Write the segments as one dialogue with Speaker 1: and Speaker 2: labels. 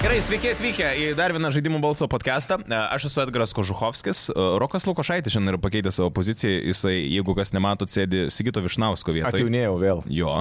Speaker 1: Tai sveiki atvykę į dar vieną žaidimų balso podcastą. E, Aš esu Edgaras Kožuhovskis. E, Rokas Lukošaitis šiandien yra pakeitęs savo poziciją. Jisai, jeigu kas nemato, sėdi Sigito Višnausko
Speaker 2: tai-
Speaker 1: vietoje.
Speaker 3: Atjaunėjau vėl.
Speaker 1: Jo.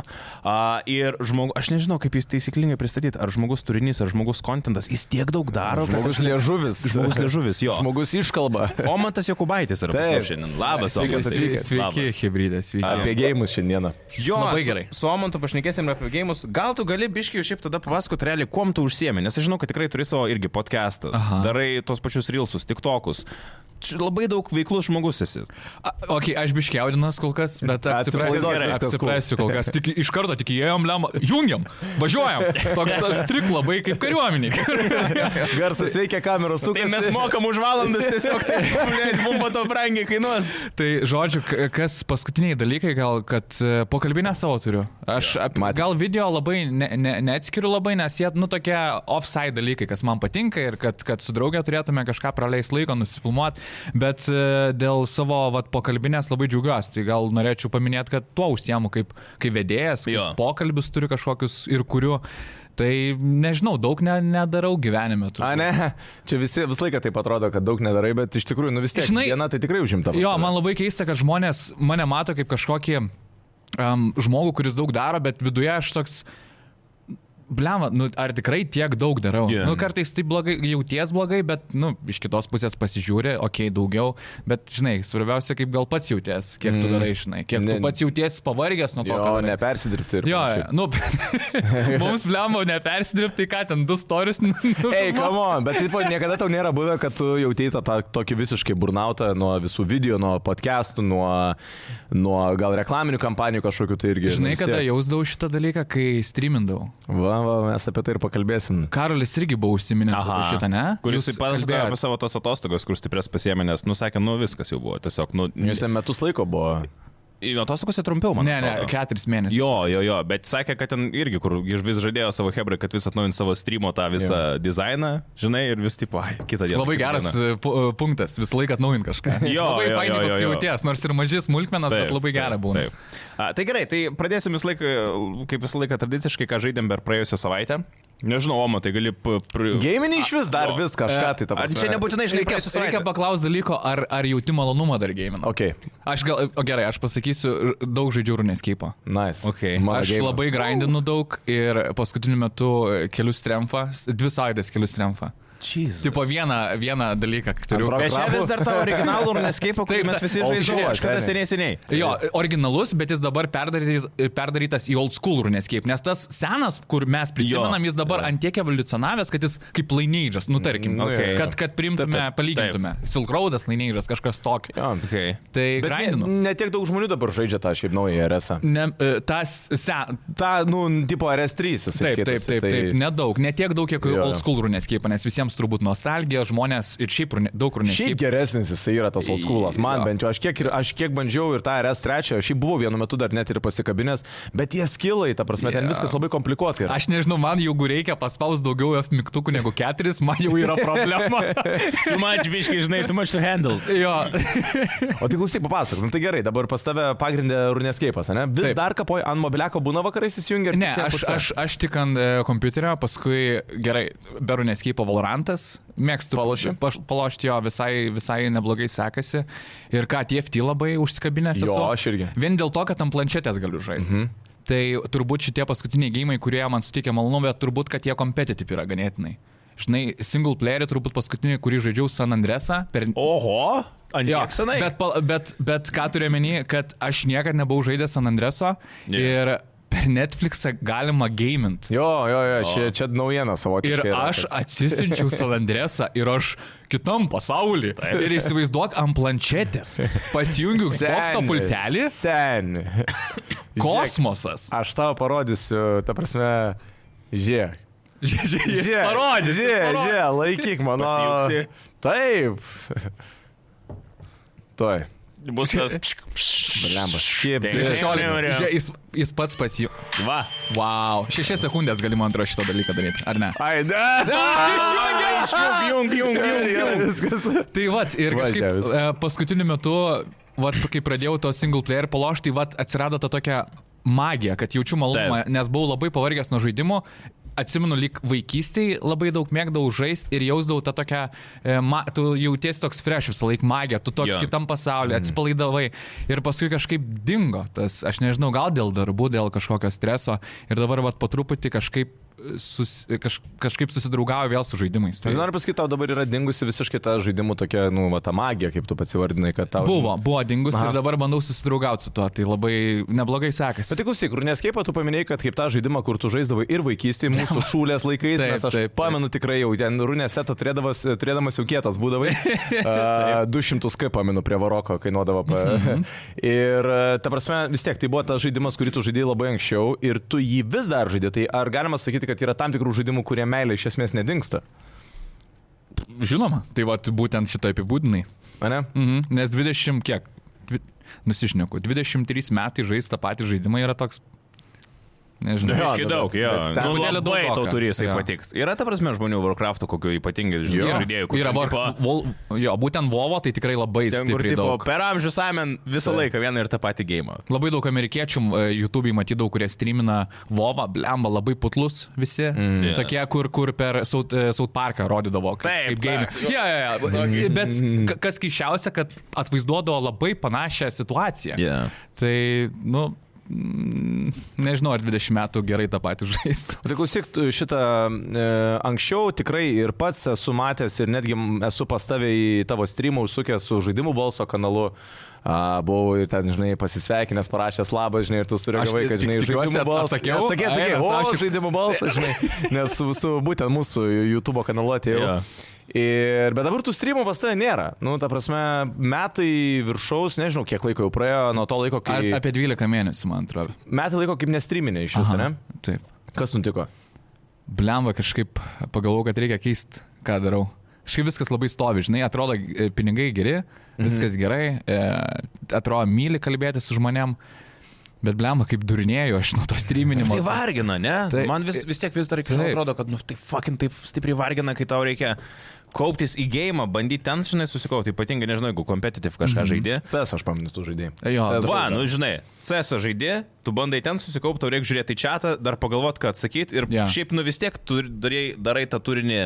Speaker 1: A, ir žmogus, aš nežinau, kaip jis taisyklingai pristatyti, ar žmogus turinys, ar žmogus kontentas, jis tiek daug daro. kad
Speaker 3: Žmogus
Speaker 1: aš ne-
Speaker 3: liežuvis.
Speaker 1: Žmogus liežuvis, jo.
Speaker 3: Žmogus iškalba.
Speaker 1: Omantas Jokubaitis yra pas
Speaker 3: Taip.
Speaker 1: mus šiandien. Labas,
Speaker 3: Sveikas
Speaker 1: Omantai.
Speaker 3: atvykęs.
Speaker 2: Sveiki,
Speaker 1: Labas.
Speaker 2: hybridė, sveiki.
Speaker 3: Apie gėjimus šiandieną.
Speaker 1: Jo,
Speaker 2: Labai
Speaker 1: su-
Speaker 2: gerai.
Speaker 1: Su Omantu pašnekėsim ir apie gėjimus. Gal tu gali biškiai šiaip tada papasakoti realiai, kuom tu užsiemi, nes aš žinau, kad tikrai turi savo irgi podcastą.
Speaker 2: Aha.
Speaker 1: Darai tos pačius reelsus, tiktokus. Čia Labai daug veiklus žmogus esi.
Speaker 2: A, ok, aš biškiaudinas kol kas, bet apsiprasiu,
Speaker 1: Atsipalaiduok,
Speaker 2: gerai,
Speaker 3: viskas cool.
Speaker 2: apsiprasiu kol kas. Tik iš karto tik įėjom, lem, jungiam, važiuojam. Toks aš trik labai kaip kariuomeniai.
Speaker 3: Garsas veikia, kameros
Speaker 1: Tai
Speaker 3: sukasi.
Speaker 1: mes mokam už valandas tiesiog, tai blėt, mums po to brangiai kainuos.
Speaker 2: tai žodžiu, k- kas paskutiniai dalykai, gal, kad e, pokalbinę savo turiu. Aš ap,
Speaker 3: matėm.
Speaker 2: gal video labai ne, ne, neatskiriu labai, nes jie, nu, tokie offside dalykai, kas man patinka ir kad, kad su draugė turėtume kažką praleis laiko, nusifilmuot, bet e, dėl savo vat, pokalbinės labai džiugas. Tai gal norėčiau paminėti, kad tuo užsiemu kaip, kaip vedėjas, kaip
Speaker 1: Jo.
Speaker 2: pokalbius turiu kažkokius ir kuriu. Tai nežinau, daug ne, nedarau gyvenime. turbūt.
Speaker 3: A, ne, čia visi visą laiką taip atrodo, kad daug nedarai, bet iš tikrųjų, nu vis tiek,
Speaker 2: Žinai-
Speaker 3: Žinai, diena tai tikrai užimta. pas
Speaker 2: Jo,
Speaker 3: tave.
Speaker 2: man labai keista, kad žmonės mane mato kaip kažkokį um, žmogų, kuris daug daro, bet viduje aš toks... Blema, nu, ar tikrai tiek daug darau?
Speaker 1: Jo.
Speaker 2: Yeah. Nu, kartais tai blogai, jauties blogai, bet, nu, iš kitos pusės pasižiūri, okei, okay, daugiau, bet, žinai, svarbiausia, kaip gal pats jauties, kiek tu darai, žinai, kiek
Speaker 3: Mm. Ne-
Speaker 2: tu pats jauties pavargęs nuo to,
Speaker 3: Jo,
Speaker 2: ką darai.
Speaker 3: nepersidirbti ir...
Speaker 2: Jo,
Speaker 3: panašiai.
Speaker 2: nu, mums blemo nepersidirbti, ką ten, du nu, storius.
Speaker 3: Ei, come on, bet taip, niekada tau nėra buvę, kad tu jautėjai tą, tą tokį visiškai burnautą nuo visų video, nuo podcastų, nuo, nuo gal reklaminių kampanijų kažkokių tai irgi.
Speaker 2: Žinai,
Speaker 3: nu, vis
Speaker 2: kada
Speaker 3: tiek.
Speaker 2: jausdavau šitą dalyką, kai streamindavau.
Speaker 3: Va, va, mes apie tai ir pakalbėsim.
Speaker 2: Karolis irgi buvo užsiminęs apie šitą, ne?
Speaker 1: Kuris
Speaker 2: Jūs
Speaker 1: taip pat kalbėjo
Speaker 2: kalbėjot.
Speaker 1: apie savo tas atostogas, kur stiprias pasiemė, nes, nu, sakė, nu, viskas jau buvo. Tiesiog, nu,
Speaker 3: Jūs ten metus laiko buvo.
Speaker 1: atostogose trumpiau, man.
Speaker 2: Ne, ne,
Speaker 1: atrodo.
Speaker 2: keturis mėnesius.
Speaker 1: Jo, jo, jo, bet sakė, kad ten irgi, kur iš vis žadėjo savo hebrai, kad vis atnaujint savo streamo tą visą dizainą, žinai, ir vis tipo, ai, kitą dieną.
Speaker 2: Labai
Speaker 1: kitą
Speaker 2: geras
Speaker 1: dieną.
Speaker 2: e, pu- e, punktas, visą laiką atnaujint kažką.
Speaker 1: Jo,
Speaker 2: labai
Speaker 1: jo, jo,
Speaker 2: fainai
Speaker 1: jo,
Speaker 2: paskui
Speaker 1: jo.
Speaker 2: jauties, nors ir mažis smulkmenas, bet labai gera būna.
Speaker 1: taip. A, tai gerai, tai pradėsim visą laiką, kaip visą laiką tradiciškai, ką žaidėm per praėjusią savaitę. Nežinau, Omo, tai gali... p- pr-
Speaker 3: Gėminį iš vis dar
Speaker 1: Jo.
Speaker 3: vis kažką
Speaker 2: E,
Speaker 3: tai
Speaker 1: Ar
Speaker 3: tavo.
Speaker 1: čia nebūtinai, žinai,
Speaker 2: Reikia,
Speaker 1: praėjusią
Speaker 2: reikia
Speaker 1: savaitę.
Speaker 2: paklausti dalyko, ar, ar jauti malonumą dar gėjiminant.
Speaker 3: Ok,
Speaker 2: Aš gal, o gerai, aš pasakysiu, r- daug žaidžiu runeskeipą.
Speaker 3: nice.
Speaker 1: Ok.
Speaker 3: Mano
Speaker 2: Aš
Speaker 3: geimas.
Speaker 2: labai grindinu daug ir paskutiniu metu keliu strempą, dvi savaitės keliu strempą.
Speaker 1: Jesus.
Speaker 2: Tipo vieną, vieną dalyką turiu.
Speaker 3: Antro
Speaker 1: Aš čia vis dar tavo originalų neskaipo,
Speaker 2: Taip,
Speaker 1: kurį mes
Speaker 2: ta-
Speaker 1: visi
Speaker 3: old
Speaker 1: žaidžiame.
Speaker 3: school,
Speaker 1: Aš kada
Speaker 3: seniai.
Speaker 1: seniai seniai.
Speaker 2: Jo, originalus, bet jis dabar perdaryt, perdarytas į old school runescape, nes tas senas, kur mes prisimenam,
Speaker 1: Jo,
Speaker 2: jis dabar
Speaker 1: jo.
Speaker 2: ant tiek evoliucionavęs, kad jis kaip lainėdžas, nu tarkim,
Speaker 3: Nu,
Speaker 1: jo, jo.
Speaker 2: kad, kad primtume,
Speaker 1: Taip, taip,
Speaker 2: palygintume. Silkraudas lainėdžas, kažkas tokio.
Speaker 3: Jo.
Speaker 1: Okay.
Speaker 2: Tai
Speaker 3: Bet ne,
Speaker 2: grindinu.
Speaker 3: ne tiek daug žmonių dabar žaidžia tą šiaip naują RS.
Speaker 2: Ne, e, tas sen.
Speaker 3: Ta, nu, tipo RS3 jis. tai
Speaker 2: Taip, taip, taip, taip, nedaug, ne tiek daug, kiek
Speaker 3: Jo, jo.
Speaker 2: old school runescape, nes visiems turbūt nostalgija, žmonės ir šiaip rune, daug
Speaker 3: Šiaip
Speaker 2: runescape.
Speaker 3: geresnis jis yra tas old schoolas, man
Speaker 2: Jo.
Speaker 3: bent jau aš kiek, ir- aš kiek bandžiau ir tą RS3, aš jį buvau vienu metu dar net ir pasikabinęs, bet tie skilai, ta prasme, ten
Speaker 2: Jo.
Speaker 3: viskas labai komplikuotai yra.
Speaker 2: Aš nežinau, man jeigu reikia paspaus daugiau F mygtukų negu keturis, man jau yra problema.
Speaker 1: Tu mačiuviškai, žinai, tu mačiu handle.
Speaker 2: jo,
Speaker 3: O tai klausyk, papasakok, nu tai gerai, dabar pas tave pagrindė Runescape'as, ne? Vis
Speaker 2: Taip.
Speaker 3: dar kapoji ant mobiliako būna vakarais įsijungia?
Speaker 2: Ne, aš, aš, aš tik ant e, kompiuterio, paskui gerai, beru neskypo Valorantas, mėgstu
Speaker 3: Paloši?
Speaker 2: paš- palošti jo, visai, visai neblogai sekasi. Ir ką, TFT labai užsikabinęs esu.
Speaker 3: Jo, aš irgi.
Speaker 2: Vien dėl to, kad ant planšetės galiu žaisti. Mhm. Tai turbūt šitie paskutiniai gėjimai, kurie man sutikė malonumą, bet turbūt, kad jie competitive yra ganėtinai. Žinai, single playerį turbūt paskutinį, kurį žaidžiau San Andresą per...
Speaker 1: Oho, ant
Speaker 2: Jo,
Speaker 1: tiek senai.
Speaker 2: Bet, pal- bet, bet ką turiu menį, kad aš niekada nebuvau žaidęs San Andreso
Speaker 1: Jo.
Speaker 2: yeah. ir per Netflixą galima gamint.
Speaker 3: Jo, jo, jo, čia, čia naujiena
Speaker 2: Ir
Speaker 3: savotiška. yra,
Speaker 2: aš atsisinčiau San Andresą ir aš kitam pasaulį. Ir įsivaizduok ant planšetės. Pasijungiu Xbox'o
Speaker 3: Seni,
Speaker 2: pultelį.
Speaker 3: Seni.
Speaker 2: Kosmosas.
Speaker 3: Aš tau parodysiu, ta prasme, žiūrėk.
Speaker 2: Žiūrėk, jis
Speaker 3: Žiūrėk,
Speaker 2: parodys, jis
Speaker 3: žiūrėk,
Speaker 2: parodys.
Speaker 3: žiūrėk, laikyk mano.
Speaker 1: Pasijungsi.
Speaker 3: Taip. Toj.
Speaker 1: Bus tas.
Speaker 3: Blemba, šiaip
Speaker 1: Taip.
Speaker 2: Ir
Speaker 3: prieš-
Speaker 2: 16. Žiūrėk, Jis, jis pats pasijungiu.
Speaker 1: Va.
Speaker 2: Wow. 6 sekundės gali man atrodo šitą dalyką daryti, ar ne?
Speaker 3: Ai, ne.
Speaker 1: Jung, jung, jung,
Speaker 3: Jau
Speaker 1: jung.
Speaker 3: viskas.
Speaker 2: Tai vat, ir
Speaker 3: Va,
Speaker 2: kažkaip
Speaker 3: čia
Speaker 2: e,
Speaker 3: viskas.
Speaker 2: paskutiniu metu, vat, kai pradėjau to single player palošti, tai vat atsirado ta tokia magija, kad jaučiu malonumą,
Speaker 1: Taip.
Speaker 2: nes buvau labai pavargęs nuo žaidimų Atsimenu, lyg vaikystėje labai daug mėgdavau žaisti ir jausdavau tą tokią, e, ma, tu jautiesi toks fresh visą laiką, magė, tu toks
Speaker 1: Jo. Mhm.
Speaker 2: yeah. kitam pasaulyje, atsipalaidavai. Ir paskui kažkaip dingo tas, aš nežinau, gal dėl darbų, dėl kažkokio streso. Ir dabar vat, po truputį kažkaip, e, sus, kaž, kažkaip susidraugauju vėl su žaidimais.
Speaker 3: Tai noriu pasakyti, tau dabar yra dingusi visiškai ta žaidimų tokia, nu, va, ta magija, kaip tu pats įvardinai, kad tau...
Speaker 2: Buvo, buvo dingus
Speaker 3: Aha.
Speaker 2: Aha. ir dabar bandau susidraugauti su tuo, tai labai neblogai sekasi.
Speaker 3: Bet tik klausyk, Runescape, tu paminėjai, kad kaip tą žaidimą, kur tu žaisdavai ir vaikystėje, mūsų šūlės laikais,
Speaker 2: Taip,
Speaker 3: nes aš
Speaker 2: taip, taip.
Speaker 3: pamenu tikrai jau ten Runesetą turėdamas, turėdamas jau kietas būdavai. A, 200 k pamenu prie Varoko kainuodavo. Pa...
Speaker 2: Mhm.
Speaker 3: ir a, ta prasme, vis tiek tai buvo tas žaidimas, kurį tu žaidėjai labai anksčiau ir tu jį vis dar žaidėjai. Tai ar galima sakyti, kad yra tam tikrų žaidimų, kurie meilė iš esmės nedingsta?
Speaker 2: Žinoma, tai va, būtent šitą apibūdinai.
Speaker 3: Ane?
Speaker 2: Mhm. Nes 20 kiek? Dvi... Nusišneku, 23 metai žaisti tą patį žaidimą yra toks... Nežinau.
Speaker 3: Jo,
Speaker 1: Aiškiai
Speaker 3: dabar-
Speaker 1: daug, jo.
Speaker 3: Ten
Speaker 1: Nu,
Speaker 2: truputėlį
Speaker 1: labai
Speaker 2: daugoka.
Speaker 1: tau turi jisai
Speaker 2: Jo.
Speaker 1: patikti. Yra, ta prasme, žmonių Warcraft'o kokio ypatingai
Speaker 2: Yra-
Speaker 1: žaidėjų, kur
Speaker 2: Yra
Speaker 1: ten,
Speaker 2: var...
Speaker 1: tipo-
Speaker 2: Vol... Jo, būtent Vovo tai tikrai labai
Speaker 1: Ten, kur
Speaker 2: stipriai
Speaker 1: tipo,
Speaker 2: daug.
Speaker 1: per amžius amen visą laiką vieną ir tą patį gėjimą.
Speaker 2: Labai daug amerikiečių e, YouTube'ai matydavau, kurie streamina Vovą, blemba, labai putlus visi. Mm.
Speaker 1: Yeah.
Speaker 2: Tokie, kur, kur per South, e, South Parką rodydavo. Kaip,
Speaker 1: Taip,
Speaker 2: kaip game.
Speaker 1: taip.
Speaker 2: Ja, ja, ja. Bet ka- kas keišiausia, kad atvaizduodavo labai panašią situaciją.
Speaker 1: Yeah.
Speaker 2: Tai, nu, mm, nežinau, ar 20 metų gerai tą patį žaistų.
Speaker 3: Tai klausyk, tu šitą e, anksčiau tikrai ir pats esu matęs ir netgi m- esu pas tavę į tavo streamą užsukęs su žaidimų balso kanalu. A, buvau ir ten, žinai, pasisveikinęs, parašęs labą, žinai, ir tu sureagavai,
Speaker 2: Aš
Speaker 3: kad,
Speaker 2: tik-
Speaker 3: žinai,
Speaker 2: tikiuosi
Speaker 3: žaidimų
Speaker 2: at-
Speaker 3: balsą.
Speaker 2: atsakiau.
Speaker 3: Atsakė, atsakė,
Speaker 2: Ai,
Speaker 3: o,
Speaker 2: nes aš-
Speaker 3: aš žaidimų balsą, žinai, nes su, su būtent mūsų YouTube kanalu atėjau.
Speaker 1: Jo.
Speaker 3: Ir, bet dabar tų streamų pas tave nėra. Nu, ta prasme, metai viršaus, nežinau, kiek laiko jau praėjo nuo to laiko,
Speaker 2: Ar,
Speaker 3: kai...
Speaker 2: apie 12 mėnesių, man atrodo.
Speaker 3: Metai laiko kaip nestreaminė iš viso, ne?
Speaker 2: Taip.
Speaker 3: Kas nutiko?
Speaker 2: Blemba kažkaip pagalvoju, kad reikia keisti, ką darau. Kažkaip viskas labai stovi, žinai, atrodo e, pinigai geri,
Speaker 1: Mhm.
Speaker 2: viskas gerai, e, atrodo myli kalbėti su žmonėm, bet blemba kaip durinėjau aš nuo to streaminimo.
Speaker 1: Tai vargina, ne?
Speaker 2: Taip.
Speaker 1: Taip. Man vis, vis tiek vis dar iki šiol
Speaker 2: Taip.
Speaker 1: atrodo, kad, nu, tai fucking taip stipriai vargina, kai tau reikia kauptis į gėjimą, bandyti ten, žinai, susikaupti, ypatingai, nežinau, jeigu competitive kažką žaidė.
Speaker 3: CS aš paminu tų žaidėjų.
Speaker 2: Jo,
Speaker 3: CS
Speaker 1: Va,
Speaker 3: draugą.
Speaker 1: nu žinai, CS žaidė, tu bandai ten susikaupti, tau reikia žiūrėti į čatą, dar pagalvoti, ką atsakyti ir
Speaker 2: Jo.
Speaker 1: yeah. šiaip, nu vis tiek tu darai, darai tą turinį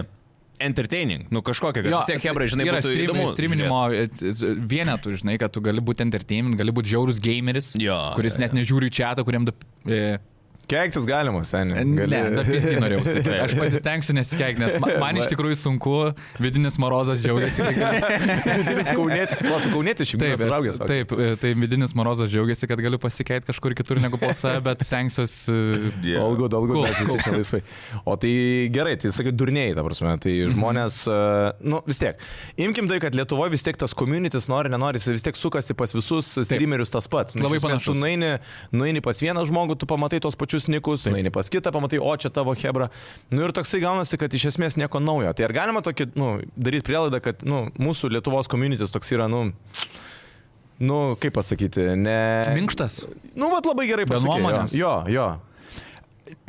Speaker 1: entertaining, nu kažkokią, kad vis tiek, hebra, žinai,
Speaker 2: yra
Speaker 1: būtų
Speaker 2: streamin-
Speaker 1: įdomu.
Speaker 2: streaminimo e, e, vienetų, žinai, kad tu gali būti entertainment, gali būti žiaurus gameris,
Speaker 1: Jo,
Speaker 2: kuris
Speaker 1: jo,
Speaker 2: net nežiūri į čatą, kuriam... Da, e,
Speaker 3: Keiktis galima, seniai.
Speaker 2: Ne, nu tai dapisnį norėjau sakyti. Aš pasistengsiu nesikeikti, nes ma- man iš tikrųjų sunku, vidinis morozas džiaugiasi, kai
Speaker 3: Tai Jis kaunėtis, o tu kaunėtis šiaip
Speaker 2: Taip,
Speaker 3: gimęs ir
Speaker 2: esu,
Speaker 3: augęs, sako.
Speaker 2: taip, e, tai vidinis Morozas džiaugiasi, kad galiu pasikeiti kažkur kitur negu po save, bet stengsiuosi. e,
Speaker 1: Yeah.
Speaker 3: Olgu, olgu,
Speaker 2: Cool,
Speaker 3: mes visi čia laisvai. O tai gerai, tai sakai, durniai, ta prasme, tai
Speaker 2: Mhm.
Speaker 3: žmonės, e, nu vis tiek, imkim tai, kad Lietuvoje vis tiek tas communities nori, nenori, jis vis tiek sukasi pas visus streamerius tas pats. Nu,
Speaker 2: Labai
Speaker 3: iš esmės, Tu
Speaker 2: panašus.
Speaker 3: nueini, nueini pas vieną žmogų, tu pamatai tos pačius nikus, nueini pas kitą, pamatai, o čia tavo hebra. Nu ir toksai gaunasi, kad iš esmės nieko naujo. Tai ar galima tokį, nu, daryti prielaidą, kad, nu, mūsų Lietuvos communities toks yra, nu... Nu, kaip pasakyti, ne.
Speaker 2: Minkštas.
Speaker 3: Nu, vat labai gerai
Speaker 2: Be
Speaker 3: pasakyti.
Speaker 2: nuomonės.
Speaker 3: Jo, jo.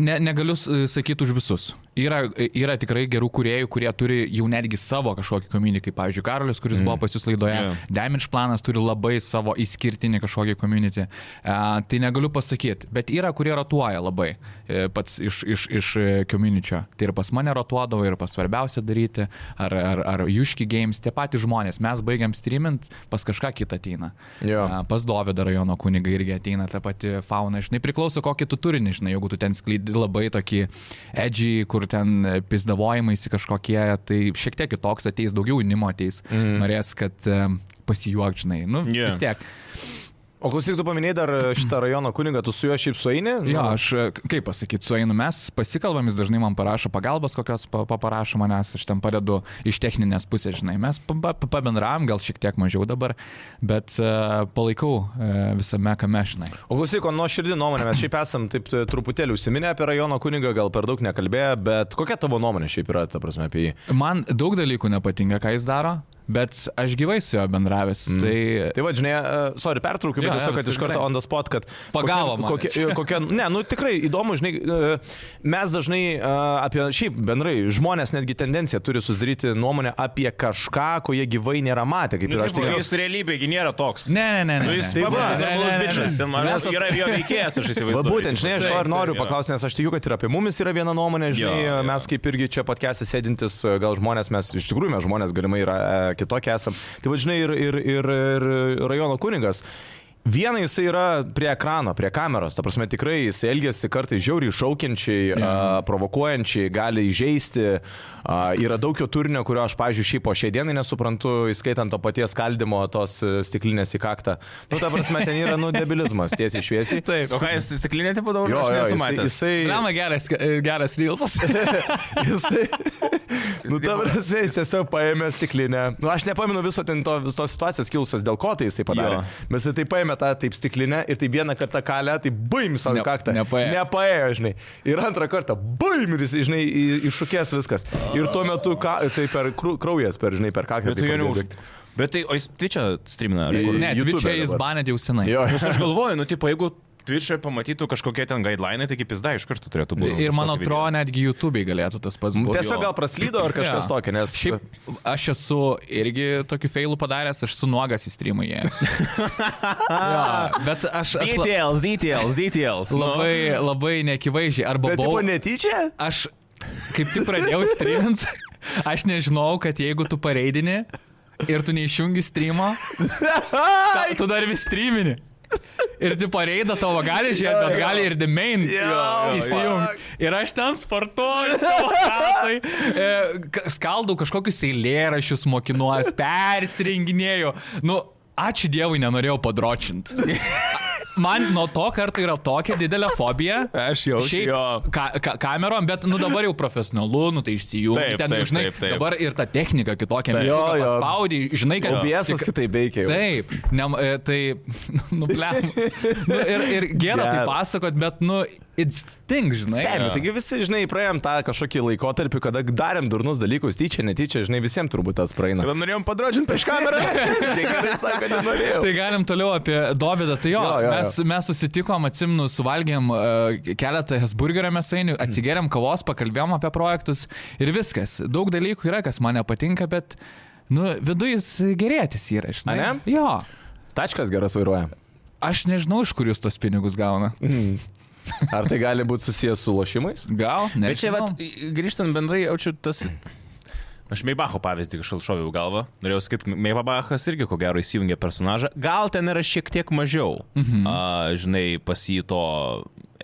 Speaker 2: Ne, negaliu s- sakyti už visus. Yra, yra tikrai gerų kuriejų, kurie turi jau netgi savo kažkokį komunikai. Pavyzdžiui, Karolis, kuris mm. buvo pas jūs laidoje,
Speaker 1: Jo.
Speaker 2: yeah. Damage planas turi labai savo įskirtinį kažkokį komunitį. E, tai negaliu pasakyti, bet yra, kurie rotuoja labai e, pats iš, iš, iš komuničio. Tai ir pas mane rotuodavo, ir pas svarbiausia daryti, ar, ar, ar Juški Games, tie patys žmonės. Mes baigiam streamint, pas kažką kitą ateina. E,
Speaker 3: Jo.
Speaker 2: A, Pas Dovydą rajono kuniga irgi ateina ta pati fauna, žinai, priklauso kokį tu turinį, žinai, jeigu tu ten sklydi labai tokį edgy, kur ten e, pizdavojimaisi kažkokie, tai šiek tiek kitoks ateis, daugiau jaunimo ateis, mm. norės, kad pasijuok, žinai, nu
Speaker 1: Jo.
Speaker 2: yeah. vis tiek.
Speaker 3: O klausyk, tu paminėjai dar e, šitą rajono kunigą, tu su juo šiaip sueini?
Speaker 2: Mm. Jo,
Speaker 3: Nu,
Speaker 2: aš e, kaip pasakyti, su einu mes, pasikalbam, jis dažnai man parašo pagalbos, kokios pa- pa- parašo manęs, aš ten padedu iš techninės pusės, žinai, mes pa- pa- pa- pabendravom, gal šiek tiek mažiau dabar, bet e, palaikau e, visame kame, žinai.
Speaker 3: O klausyk, nuo širdį nuomonė, mes šiaip esam taip e, truputėlį užsiminę apie rajono kunigą, gal per daug nekalbėję, bet kokia tavo nuomonė šiaip yra, ta prasme, apie jį?
Speaker 2: Man daug dalykų nepatinka, ką jis daro. bet aš gyvai su juo bendravęs. Mm. Tai...
Speaker 3: Tai va, žinai, uh, sorry, pertraukiu, bet
Speaker 2: Jo, jo,
Speaker 3: tiesiog, kad
Speaker 2: viskas
Speaker 3: iš karto
Speaker 2: gerai.
Speaker 3: on the spot, kad...
Speaker 2: Pagavo mane
Speaker 3: kokia,
Speaker 2: čia.
Speaker 3: kokia, kokia, Ne, nu tikrai įdomu, žinai, uh, mes dažnai uh, apie, šiaip bendrai, žmonės netgi tendenciją turi susidaryti nuomonę apie kažką, ko jie gyvai nėra matę, kaip ir aš
Speaker 1: Taip,
Speaker 3: tikėjau.
Speaker 1: jis realybėgi nėra toks.
Speaker 2: Ne, ne, ne. ne,
Speaker 1: Nu, jis
Speaker 3: tai
Speaker 2: ne.
Speaker 1: paprastas,
Speaker 2: Ne, ne,
Speaker 1: normalus
Speaker 2: ne, ne.
Speaker 1: bičias. Ten man
Speaker 3: Mes-
Speaker 1: yra jo veikėjas, aš
Speaker 3: Va
Speaker 1: įsivaizduoju.
Speaker 3: būtent, žinai, aš to ir
Speaker 1: Taip,
Speaker 3: noriu
Speaker 1: taip, jo.
Speaker 3: paklausti, nes aš tikiu, kad ir apie mumis yra viena nuomonė, žinai,
Speaker 1: Jo, jo.
Speaker 3: mes kaip irgi čia patkesi sėdintis, gal žmonės, mes iš tikrųjų mes žmonės galimai yra e, kitokie esam. Tai vadžinai ir, ir, ir, ir rajono kuningas. Viena jis yra prie ekrano, prie kameros, ta prasme tikrai jis elgesi kartais žiauriai šaukiančiai, yeah.
Speaker 1: Mhm.
Speaker 3: a, provokuojančiai, gali įžeisti, a, yra daug jo turinio, kurio aš, pavyzdžiui, šiaip po šiai dienai nesuprantu, įskaitant to paties kaldimo tos e, stiklinės į kaktą. Nu, ta prasme, ten yra, nu, debilizmas, tiesiai šviesiai.
Speaker 1: O ką jis stiklinė tipo dabar? Aš
Speaker 3: Jo, jo,
Speaker 1: nesu
Speaker 3: jisai,
Speaker 1: matęs.
Speaker 3: jisai,
Speaker 2: Lama geras, geras reelsas.
Speaker 3: jisai, nu, ta prasme, jis tiesiog paėmė stiklinę. Nu, aš nepamenu viso ten to, vis tos situacijos kilusios, dėl ko tai jisai padarė.
Speaker 1: Jo.
Speaker 3: Bet jisai tai paėmė tą taip stiklinę ir tai vieną kartą kalę, tai baim savo
Speaker 2: Ne-
Speaker 3: kaktą.
Speaker 2: nepaėjo.
Speaker 3: Nepaėjo, žinai. Ir antrą kartą baim ir jis, žinai, į- iššūkės viskas. Ir tuo metu, ka, tai per kru- kraujas, per, žinai, per kaktą.
Speaker 1: Bet tu
Speaker 3: tai
Speaker 1: jo
Speaker 3: pradėjo
Speaker 1: neuž.
Speaker 3: bėgt.
Speaker 1: Bet tai, o jis Twitch'ą streamina. ar kur?
Speaker 2: Ne,
Speaker 3: YouTube'e
Speaker 2: Twitch'e jis
Speaker 3: dabar.
Speaker 2: banė jau senai.
Speaker 3: Jo,
Speaker 1: Nes aš galvoju, nu, tipo, jeigu Twitch'e pamatytų kažkokie ten guidelinai, tai kaip jis da iš karto turėtų būti.
Speaker 2: Ir
Speaker 1: už
Speaker 2: man
Speaker 1: tokį video.
Speaker 2: atrodo, netgi YouTube'ai galėtų tas pats būti.
Speaker 3: Tiesiog gal praslydo ar kažkas
Speaker 2: Jo.
Speaker 3: tokio, nes
Speaker 2: Šiaip aš esu irgi tokių feilų padaręs, aš su nuogas į streamą įėjęs. jo, bet aš, aš la,
Speaker 1: Details, details, details. nu.
Speaker 2: labai, labai nekivaizdžiai arba
Speaker 3: Bet tipo
Speaker 2: buvau.
Speaker 3: netyčia?
Speaker 2: Aš kaip tik pradėjau streamint, aš nežinau, kad jeigu tu pareidini ir tu neišjungi streamo, ta, tu dar vis streamini. Ir tu pareidą tavo gali žiūrėti, bet gali ir the main
Speaker 3: jo,
Speaker 2: įsijungti. Ir aš ten sportuoju, savo katai, e, k- skaldau kažkokius eilėrašius, mokinuos, persirenginėjau. Nu, ačiū Dievui, nenorėjau padročinti. Man nuo to karto yra tokia didelė fobija.
Speaker 1: Aš jaučiu, jo.
Speaker 2: Šiaip ka ka kamerom, bet nu dabar jau profesionalu, nu tai
Speaker 1: Taip,
Speaker 2: išsijungi. Ten,
Speaker 1: taip,
Speaker 2: žinai,
Speaker 1: taip, taip.
Speaker 2: dabar ir ta technika kitokia.
Speaker 3: Jo,
Speaker 2: mygtuką
Speaker 3: jo.
Speaker 2: Paspaudi, žinai, kad...
Speaker 3: OBS
Speaker 2: tik-
Speaker 3: kitaip veikia. jau.
Speaker 2: Taip, ne, e, tai, nu, blem. Nu, ir, ir gera tai
Speaker 3: Gera.
Speaker 2: pasakot, bet, nu, it's sting, žinai.
Speaker 3: Semi,
Speaker 1: jo.
Speaker 3: taigi visi, žinai, praėjom tą kažkokį laikotarpį, kada darėm durnus dalykus, tyčia, netyčia, žinai, visiems turbūt tas praeina.
Speaker 1: Tada norėjom padrodžinti prieš kamerą.
Speaker 3: Tai gerai sako, nenorėjau.
Speaker 2: Tai galim toliau apie Dovydą. Tai jo,
Speaker 3: Jo,
Speaker 2: jo,
Speaker 3: jo,
Speaker 2: jo,
Speaker 3: jo.
Speaker 2: mes, mes susitikom, atsimnu, suvalgėm uh, keletą Hesburgerio mėsainių, atsigeriam kavos, pakalbėjom apie projektus ir viskas. Daug dalykų yra, kas man nepatinka, bet, nu, viduje jis gerėtis yra, žinai.
Speaker 3: Ane?
Speaker 2: Jo.
Speaker 3: Tai Tačkas geras vairuoja.
Speaker 2: Aš nežinau, iš kur jūs tos pinigus gauna.
Speaker 3: Ar tai gali būti susijęs su lošimais?
Speaker 2: Gal? Ne.
Speaker 1: Bet čia, vat, grįžtant bendrai, jaučiu tas... Aš Meibacho pavyzdį kažkaip šoviau galvą. Norėjau sakyti, Meibachas irgi ko gero įsijungia personažą. Gal ten yra šiek tiek mažiau, mhm. a, žinai, pasito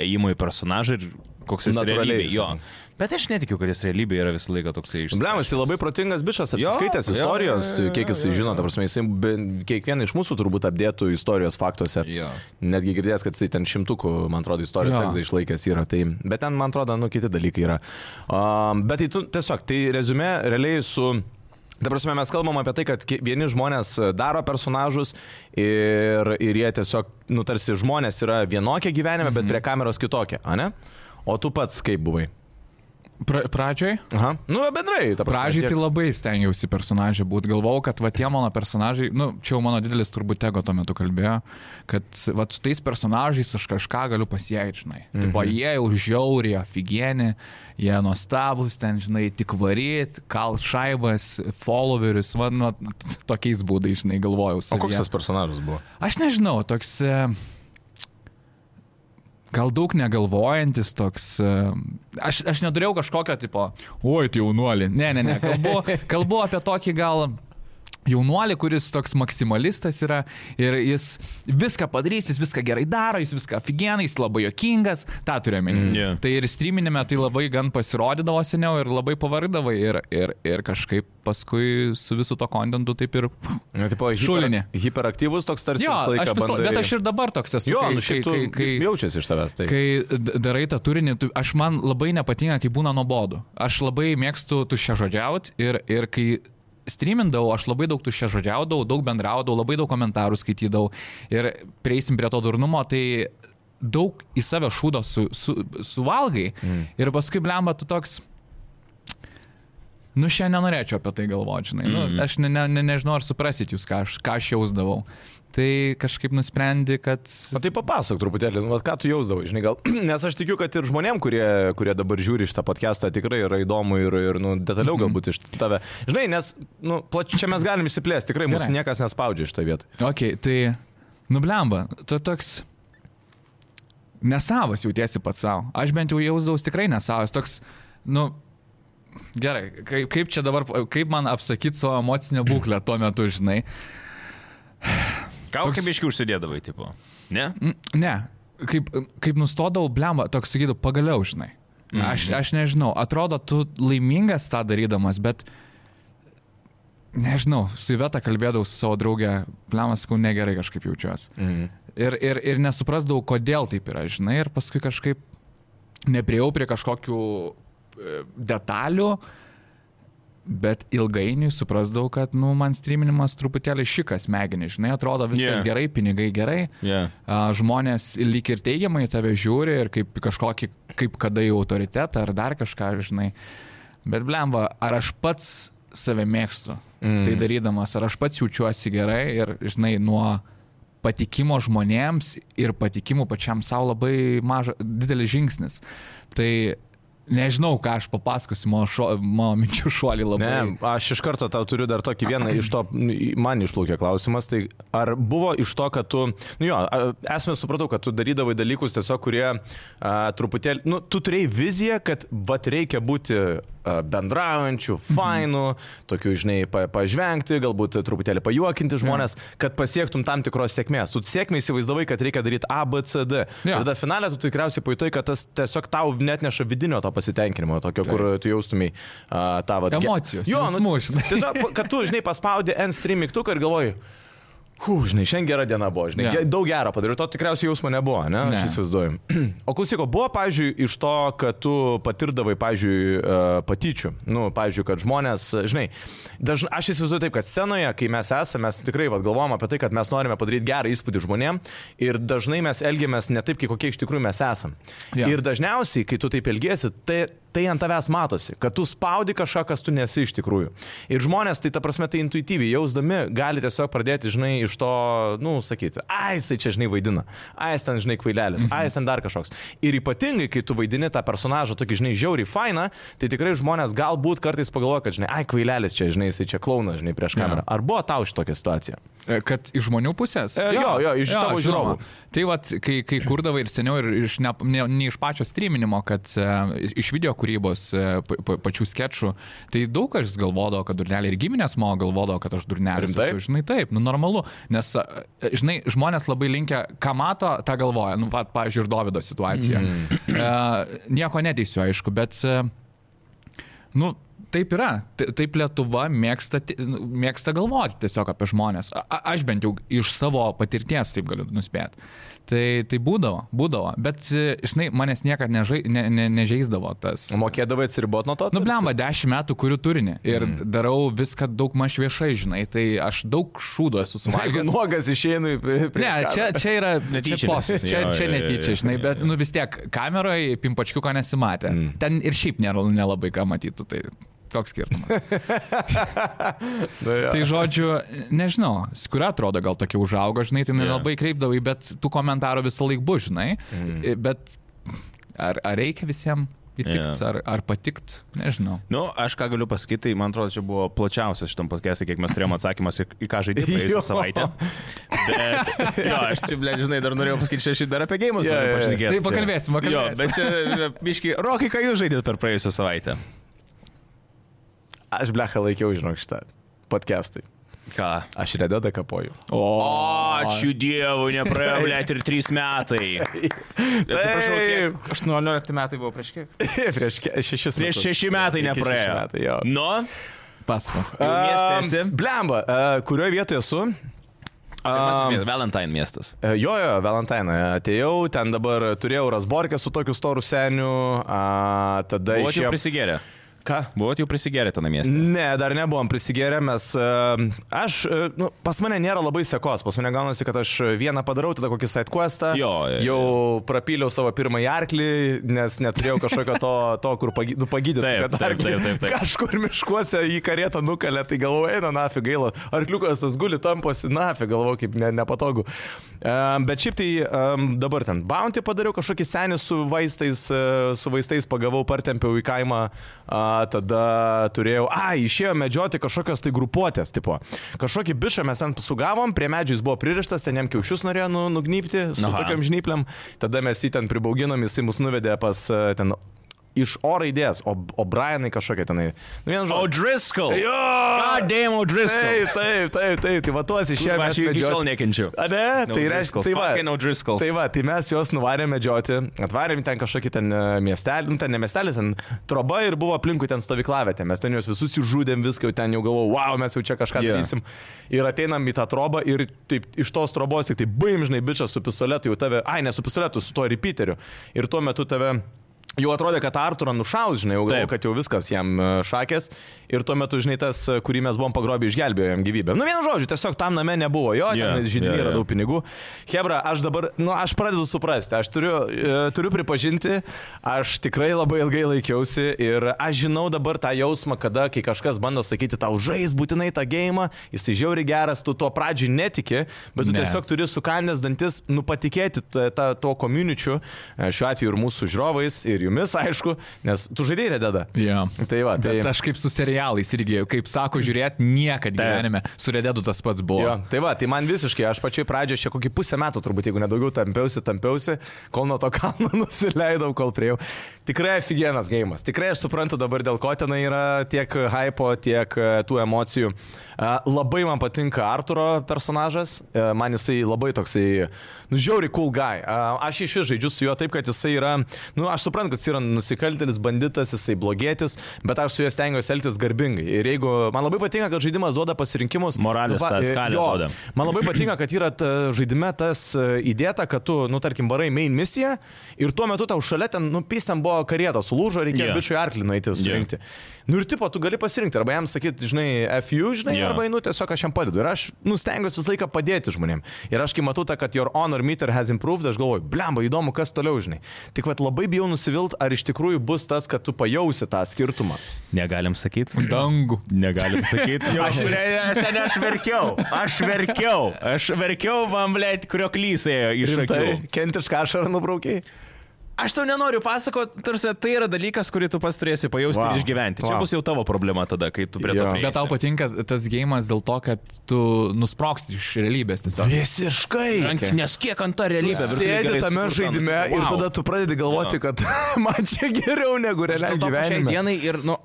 Speaker 1: ėjimo į personažą ir koks jis
Speaker 3: Natūraliai
Speaker 1: realybėje.
Speaker 3: jis
Speaker 1: Jo.
Speaker 3: yra.
Speaker 1: Bet aš netikiu, kad jis realybėje yra visą laiką toksai iš...
Speaker 3: Blemas, jis labai protingas bičias,
Speaker 1: Jo,
Speaker 3: apsiskaitęs
Speaker 1: jo,
Speaker 3: istorijos,
Speaker 1: jo, jo, jo,
Speaker 3: kiek jisai
Speaker 1: jo,
Speaker 3: žino,
Speaker 1: jo.
Speaker 3: ta prasme, jisai ben- kiekvieną iš mūsų turbūt apdėtų istorijos faktuose.
Speaker 2: Jo.
Speaker 3: Netgi girdėjęs, kad jisai ten šimtukų, man atrodo, istorijos
Speaker 2: Jo.
Speaker 3: egzai išlaikęs yra. Tai, bet ten, man atrodo, nu kiti dalykai yra. Um, bet tai tu tiesiog, tai rezume realiai su... Ta prasme, mes kalbam apie tai, kad ki- vieni žmonės daro personažus ir, ir jie tiesiog, nu tarsi žmonės yra vienokie gyvenime,
Speaker 1: Mhm.
Speaker 3: bet prie kameros kitokie, ar ne? O tu pats kaip buvai?
Speaker 2: Pra, pradžioj?
Speaker 3: Aha. Nu, bendrai, ta prasme.
Speaker 2: Pradžiai
Speaker 3: tiek-
Speaker 2: tai labai stengiausi personažą būti. Galvau, kad va tie mano personažai, nu, čia jau mano didelis turbūt tego tuo metu kalbėjo, kad va su tais personažais aš kažką galiu pasiekti, žinai. Mm -hmm.
Speaker 3: Mhm.
Speaker 2: Tipo, jie jau žiauriai, aфиgieni, jie nuostabus, ten, žinai, tik varyt, kal šaibas, followerius, va, nu, tokiais būdais, žinai, galvojau.
Speaker 3: O koks
Speaker 2: savyje.
Speaker 3: tas personažas buvo?
Speaker 2: Aš nežinau, toks e, gal daug negalvojantis, toks... e, Aš, aš neturėjau kažkokio tipo, oi, tai jaunuolį. Ne, ne, ne, kalbu, kalbu apie tokį gal jaunuolį, kuris toks maksimalistas yra ir jis viską padarys, jis viską gerai daro, jis viską aфиgenai, jis labai jokingas, tą turėjome. Mm,
Speaker 1: jo.
Speaker 2: Tai ir streaminime tai labai gan pasirodydavo seniau ir labai pavargdavo ir, ir, ir kažkaip paskui su visu to kontentu taip ir...
Speaker 3: Nu, tipo,
Speaker 2: Šulinį.
Speaker 3: Hiperaktyvus toks tarsi
Speaker 2: Jo,
Speaker 3: visą laiką
Speaker 2: aš visą,
Speaker 3: bandai.
Speaker 2: bet aš ir dabar toks esu.
Speaker 3: Jo,
Speaker 2: kai-
Speaker 3: nu šiaip tu
Speaker 2: kai, kai, kai,
Speaker 3: jaučiasi iš tavęs tai.
Speaker 2: kai d- darai tą turinį, tu, aš man labai nepatinka, kai būna nuobodu. Aš labai mėgstu tuščia žodžiauti ir, ir kai streamindavau, aš labai daug tuščia žodžiaudavau, daug bendraudavau, labai daug komentarų skaitydavau ir prieisim prie to durnumo, tai daug į save šūdo su, su, suvalgai mm. ir paskui blemba tu toks... Nu, šiandien nenorėčiau apie tai galvoti, žinai. Nu, aš ne, ne, ne, nežinau, ar suprasit jūs, ką aš, ką aš jausdavau. Tai kažkaip nusprendė, kad...
Speaker 3: Na tai papasakok truputėlį, nu, vat ką tu jausdavai, žinai, gal, nes aš tikiu, kad ir žmonėm, kurie, kurie dabar žiūri šitą podcastą, tikrai yra įdomu ir, ir nu, detaliau
Speaker 2: Mhm.
Speaker 3: galbūt iš tave. Žinai, nes, nu, plač, čia mes galim įsiplėsti, tikrai mūsų
Speaker 2: Gerai.
Speaker 3: niekas nespaudžia šitą vietą.
Speaker 2: Ok, tai nublemba, tu toks nesavas jautiesi pats savo. Aš bent jau jausdavausi tikrai nesavas, toks, nu, gerai, kaip, kaip čia dabar, kaip man apsakyti savo emocinę būklę tuo metu, žinai.
Speaker 1: Gal
Speaker 2: Toks-
Speaker 1: kaip biški užsidėdavai, tipo. Ne?
Speaker 2: Mm, Ne, kaip, kaip nustodavau, blemba, toks sakydavau, pagaliau, žinai. Aš, aš nežinau, atrodo, tu laimingas tą darydamas, bet nežinau, su Iveta kalbėdavau su savo draugė, blemas, sakau, negerai kažkaip jaučiuosi.
Speaker 3: Mhm.
Speaker 2: Ir, ir, ir nesuprasdavau, kodėl taip yra, žinai, ir paskui kažkaip nepriejau prie kažkokių e, detalių, bet ilgainiui suprasdavau, kad, nu, man streaminimas truputėlį šikas smegenį, žinai, atrodo viskas
Speaker 1: Yeah.
Speaker 2: yeah. gerai, pinigai gerai,
Speaker 1: Yeah.
Speaker 2: a, žmonės lyg ir teigiamai į tave žiūri ir kaip į kažkokį, kaip kada į autoritetą ar dar kažką, žinai. Bet blemba, ar aš pats save mėgstu, mm. tai darydamas, ar aš pats jaučiuosi gerai ir, žinai, nuo patikimo žmonėms ir patikimo pačiam savo labai mažas, didelis žingsnis. Tai nežinau, ką aš papasakosiu, mano, šo, mano minčių šuolį labai.
Speaker 3: Ne, aš iš karto tau turiu dar tokį vieną iš to, man išplaukė klausimas, tai ar buvo iš to, kad tu, nu jo, a- esmė supratau, kad tu darydavai dalykus tiesiog, kurie a, truputėlį, nu, tu turėjai viziją, kad vat reikia būti a, bendraujančiu, fainu, tokiu, žinai, pa, pažvengti, galbūt truputėlį pajuokinti žmonės, kad pasiektum tam tikros sėkmės. Tu sėkmę įsivaizdavai, kad reikia daryti A, B, C, D.
Speaker 2: Jo.
Speaker 3: Ir tada finalė tu tikriausiai pajutai, kad tas tiesiog tau net neša vidinio to pasitenkinimo, tokio, kur tu jaustumai a, tą vat,
Speaker 2: Emocijos,
Speaker 3: Jo, nu,
Speaker 2: jausmų, žinai.
Speaker 3: tiesiog, pa- kad tu, žinai, paspaudi ant stream mygtuką ir galvoji, hū, žinai, šiandien gera diena buvo, žinai,
Speaker 2: Jo.
Speaker 3: yeah. daug gero padariau, to tikriausiai jausmo nebuvo, ne, ne.
Speaker 2: Ne.
Speaker 3: aš įsivaizduoju. O klausyko, buvo, pavyzdžiui, iš to, kad tu patirdavai, pavyzdžiui, e, patyčių, nu, pavyzdžiui, kad žmonės, e, žinai, dažnai, aš įsivaizduoju taip, kad scenoje, kai mes esame, mes tikrai vat, galvojam apie tai, kad mes norime padaryti gerą įspūdį žmonėm ir dažnai mes elgiamės ne taip, kaip kokie iš tikrųjų mes esame.
Speaker 2: Jo.
Speaker 3: Yeah. Ir dažniausiai, kai tu taip elgiesi, tai, tai ant tavęs matosi, kad tu spaudi kažką, kas tu nesi iš tikrųjų. Ir žmonės, tai ta prasme, tai intuityviai jausdami, gali tiesiog pradėti, žinai, iš to, nu, sakyti, ai, jisai čia, žinai, vaidina, ai, jis ten, žinai, kvailelis, ai, jis ten dar kažkoks. Ir ypatingai, kai tu vaidini tą personažą tokį, žinai, žiauriai fainą, tai tikrai žmonės galbūt kartais pagalvoja, kad, žinai, ai, kvailelis čia, žinai, jisai čia klauna, žinai, prieš
Speaker 2: Jo.
Speaker 3: kamerą. Ar buvo tau šitokia situacija?
Speaker 2: E, Kad iš žmonių pusės?
Speaker 3: E, jo, jo, iš tavo
Speaker 2: žinoma.
Speaker 3: žiūrovų.
Speaker 2: Tai vad, kai, kai kurdavai ir seniau, ir iš ne, ne, ne iš pačio streaminimo, kad e, iš video kūrybos, e, pa, pa, pačių sketšų, tai daug kas galvodavo, kad durnelė ir giminės mano galvodavo, kad aš durnelis.
Speaker 3: Rimtai?
Speaker 2: esu. Žinai, taip, nu normalu, nes, e, žinai, žmonės labai linkia, ką mato, tą galvoja. Nu, va, pavyzdžiui, ir Davido situacija. Mm. E, nieko neteisiu, aišku, bet... E, Nu, taip yra. Ta- Taip Lietuva mėgsta, ti- nu, mėgsta galvoti tiesiog apie žmonės. A a- aš bent jau iš savo patirties taip galiu nuspėti. Tai, tai būdavo, būdavo. Bet, e, žinai, manęs niekada nežai, ne, ne, nežeisdavo tas.
Speaker 3: Mokėdavai atsiriboti nuo to?
Speaker 2: Nu, blemba, dešimt metų kuriu turinį ir mm.
Speaker 1: Mhm.
Speaker 2: darau viską daug maž viešai, žinai, tai aš daug šūdo esu
Speaker 3: Jeigu
Speaker 2: suvalgęs.
Speaker 3: nuogas išėjai,
Speaker 2: Ne, čia, čia yra
Speaker 1: Netyčinis.
Speaker 2: netyčia. Čia, čia,
Speaker 1: Jo,
Speaker 2: čia
Speaker 1: jo, jo, jo,
Speaker 2: netyčia, žinai,
Speaker 1: jo, Mhm.
Speaker 2: bet
Speaker 1: jo.
Speaker 2: nu vis tiek kameroje pimpačkiuko nesimatė. Mm. Ten ir šiaip nėra nelabai ką matytų, tai toks skirtumas.
Speaker 3: čia.
Speaker 2: Tai žodžiu, nežinau, su kuria atrodo gal tokia užauga, žinai, tai
Speaker 1: Jo. Mhm.
Speaker 2: nelabai kreipdavai, bet tų komentarų visą laiką bus, žinai. Mm. Bet ar, ar reikia visiems įtikti,
Speaker 1: Jo.
Speaker 2: yeah. ar, ar patikt, nežinau.
Speaker 1: Nu, aš ką galiu pasakyti, tai man atrodo, čia buvo plačiausias šitam podcast'e, kiek mes turėjome atsakymas į, į ką žaidė
Speaker 3: Jo.
Speaker 1: praėjusią savaitę. Bet, jo, aš čia, ble, žinai, dar norėjau pasakyti, čia aš ir dar apie gėjimus
Speaker 3: Jo, jo,
Speaker 1: noriu
Speaker 3: jo.
Speaker 1: pašnekėti.
Speaker 2: Yeah, tai pakalbėsim,
Speaker 1: Jo,
Speaker 2: pakalbėsim.
Speaker 1: bet čia, e, biški, Rokai, Tai ką jūs žaidėt per praėjusią savaitę?
Speaker 3: Aš blecha laikiau, žinok, šitą podcast'ui.
Speaker 1: Ką?
Speaker 3: Aš rededa kapoju.
Speaker 2: O,
Speaker 1: O, ačiū Dievui, nepraėjo, ble, ir trys metai.
Speaker 3: Atsiprašau, kiek?
Speaker 4: 18 metai buvo prieš kiek?
Speaker 3: Prieš ke- šešis metus.
Speaker 1: Prieš šeši metai
Speaker 3: Iki šeši
Speaker 1: nepraėjo.
Speaker 3: metai, jo.
Speaker 1: Nu,
Speaker 2: pasako.
Speaker 1: jau mieste
Speaker 3: Am,
Speaker 1: esi?
Speaker 3: Blemba, a, kurioje vietoje esu?
Speaker 1: pirmasis miestas, Valentine miestas.
Speaker 3: E, Jo, jo, Valentiną atėjau, ten dabar turėjau rasborkę su tokiu storu seniu, a, tada
Speaker 1: Buvo čia
Speaker 3: išėjau.
Speaker 1: prisigėrę.
Speaker 3: Ką?
Speaker 1: Buvot jau prisigerę ten miestą.
Speaker 3: Ne, dar nebuvom prisigėrę, mes... e, Aš, e, nu, pas mane nėra labai sekos, pas mane gaunasi, kad aš vieną padarau, tada kokį side questą,
Speaker 1: Jo, jo,
Speaker 3: jau prapyliau savo pirmąjį arklį, nes neturėjau kažkokio to, to kur pagy, nu, pagydyti.
Speaker 1: Taip,
Speaker 3: kad
Speaker 1: taip,
Speaker 3: arklį
Speaker 1: taip, taip, taip.
Speaker 3: Kažkur miškuose į karietą nukalė, tai galvoju, eina, nafig gaila, arkliukas tas guli tamposi, nafig galvoju, kaip ne, nepatogu. E, Bet šiaip tai e, dabar ten bounty padariau kažkokį senį su vaistais, e, su vaistais pagavau, partempiau į kaimą, A, tada turėjau, a, išėjo medžioti kažkokios tai grupuotės, tipo. Kažkokį bišą mes ten sugavom, prie medžių jis buvo pririštas, ten jam kiaušius norėjo nu, nugnypti su
Speaker 1: Aha.
Speaker 3: tokiam žnypliam, tada mes jį ten pribauginom, jis mus nuvedė pas e, ten iš O raidės, o, o Brianai kažkokie tenai. Nu, vienu žodžiu.
Speaker 1: O'Driscoll.
Speaker 3: Jo!
Speaker 1: God damn O'Driscoll.
Speaker 3: Taip, taip, taip, taip, tai va tuos
Speaker 1: Čia
Speaker 3: išėjo
Speaker 1: aš
Speaker 3: mes
Speaker 1: jų iki šiol
Speaker 3: medžioti.
Speaker 1: nekenčiu.
Speaker 3: A ne, tai reiškia, tai va.
Speaker 1: Fucking O'Driscoll.
Speaker 3: Tai va, tai mes juos nuvarėm medžioti, atvarėm į ten kažkokį ten e, miestelį, nu ten ne miestelis, ten troba ir buvo aplinkui ten stovyklavietė, mes ten juos visus išžudėm, viską jau ten jau galvojau, wow, mes jau čia kažką
Speaker 1: Jo.
Speaker 3: yeah. darysim. Ir ateinam į tą trobą ir taip iš tos trobos tik tai baim, žinai, bičias su pistoletu jau tave, ai, ne su pistoletu, su tuo repeateriu. Ir tuo metu tave... Jau atrodė, kad Arturą nušaus, žinai, jau galvoju,
Speaker 1: Taip.
Speaker 3: kad jau viskas jam e, šakės. Ir tuo metu, žinai, tas, e, kurį mes buvom pagrobę, išgelbėjo jam gyvybę. Nu, vienu žodžiu, tiesiog tam name nebuvo jo,
Speaker 1: Jo,
Speaker 3: yeah, ten žydinį
Speaker 1: jo,
Speaker 3: yeah,
Speaker 1: jo.
Speaker 3: radau yeah pinigų. Hebra, aš dabar, nu, aš pradedu suprasti, aš turiu, e, turiu pripažinti, aš tikrai labai ilgai laikiausi ir aš žinau dabar tą jausmą, kada, kai kažkas bando sakyti, tau žais būtinai tą gėjimą, jis žiauri geras, tu tuo pradžiu netiki, bet tu
Speaker 2: Ne.
Speaker 3: ne. tiesiog turi sukandęs dantis, nu, patikėti ta, ta, tuo komuničiu, šiuo atveju ir mūsų žiūrovais, ir jumis, aišku, nes tu žaidėjai rededa.
Speaker 2: Yeah.
Speaker 3: Tai va, tai...
Speaker 2: Bet aš kaip su serialais irgi, kaip sako, žiūrėt niekad gyvenime. Su Redėdu tas pats buvo.
Speaker 3: Jo, tai va, tai man visiškai, aš pačiai pradžioje, aš čia kokį pusę metų turbūt, jeigu nedaugiau, tampiausi, tampiausi, kol nuo to kalno nusileidau, kol prieėjau. Tikrai aфиgenas gėjimas. Tikrai aš suprantu dabar, dėl ko ten yra tiek hypo, tiek e, tų emocijų. E, Labai man patinka Arturo personažas, E, man jisai labai toksai, nu, žiauri cool guy. E, Aš iš vis žaidžiu su juo taip, kad jisai yra, nu, aš suprantu, kad jisai yra nusikaltėlis, banditas, jisai blogėtis, bet aš su juo stengiuosi elgtis garbingai. Ir jeigu, man labai patinka, kad žaidimas duoda pasirinkimus,
Speaker 1: Moralės tą
Speaker 3: e,
Speaker 1: skalę
Speaker 3: jo.
Speaker 1: duoda.
Speaker 3: Man labai patinka, kad yra ta, žaidime tas e, įdėta, kad tu, nu, tarkim, barai main misiją ir tuo metu tau šalia ten, nu, pistam buvo karieta, sulūžo, reikėjo
Speaker 1: Jo.
Speaker 3: yeah. bičiui arklį nueiti surinkti. Yeah. Nu ir tipo, tu gali pasirinkti, arba jam sakyti, žinai, FU, žinai,
Speaker 1: Jo.
Speaker 3: yeah. arba, nu, tiesiog aš jam padedu. Ir aš, nu, stengiuosi visą laiką padėti žmonėm. Ir aš, kai matau tą, kad your honor meter has improved, aš galvoju, blemba, įdomu, kas toliau, žinai. Tik, vad, labai bijau nusivilt, ar iš tikrųjų bus tas, kad tu pajausi tą skirtumą.
Speaker 1: Negalim sakyti.
Speaker 2: Dangų.
Speaker 1: Negalim sakyti. aš,
Speaker 2: Aš-
Speaker 1: aš ten aš verkiau. Aš verkiau. Aš verkiau, man, blėt, kurio klysėjo iš
Speaker 3: Tai
Speaker 1: akių.
Speaker 3: kentišką ašarą nubraukiai.
Speaker 1: Aš tau nenoriu pasakoti, tarsi tai yra dalykas, kurį tu pats turėsi pajausti wow.
Speaker 3: Vau.
Speaker 1: ir išgyventi. Čia
Speaker 3: Vau.
Speaker 1: wow. bus jau tavo problema tada, kai tu prie to
Speaker 3: Jo.
Speaker 1: prieisi.
Speaker 2: Bet tau patinka tas gėjimas dėl to, kad tu nusproksti iš realybės tiesiog.
Speaker 3: Visiškai.
Speaker 1: Rank- Nes kiek ant ta realybė.
Speaker 3: Tu sėdi tame žaidime wow. ir tada tu pradedi galvoti,
Speaker 1: Jo.
Speaker 3: kad man čia geriau negu realiam
Speaker 1: Šiai
Speaker 3: gyvenime.
Speaker 1: dienai ir, nu,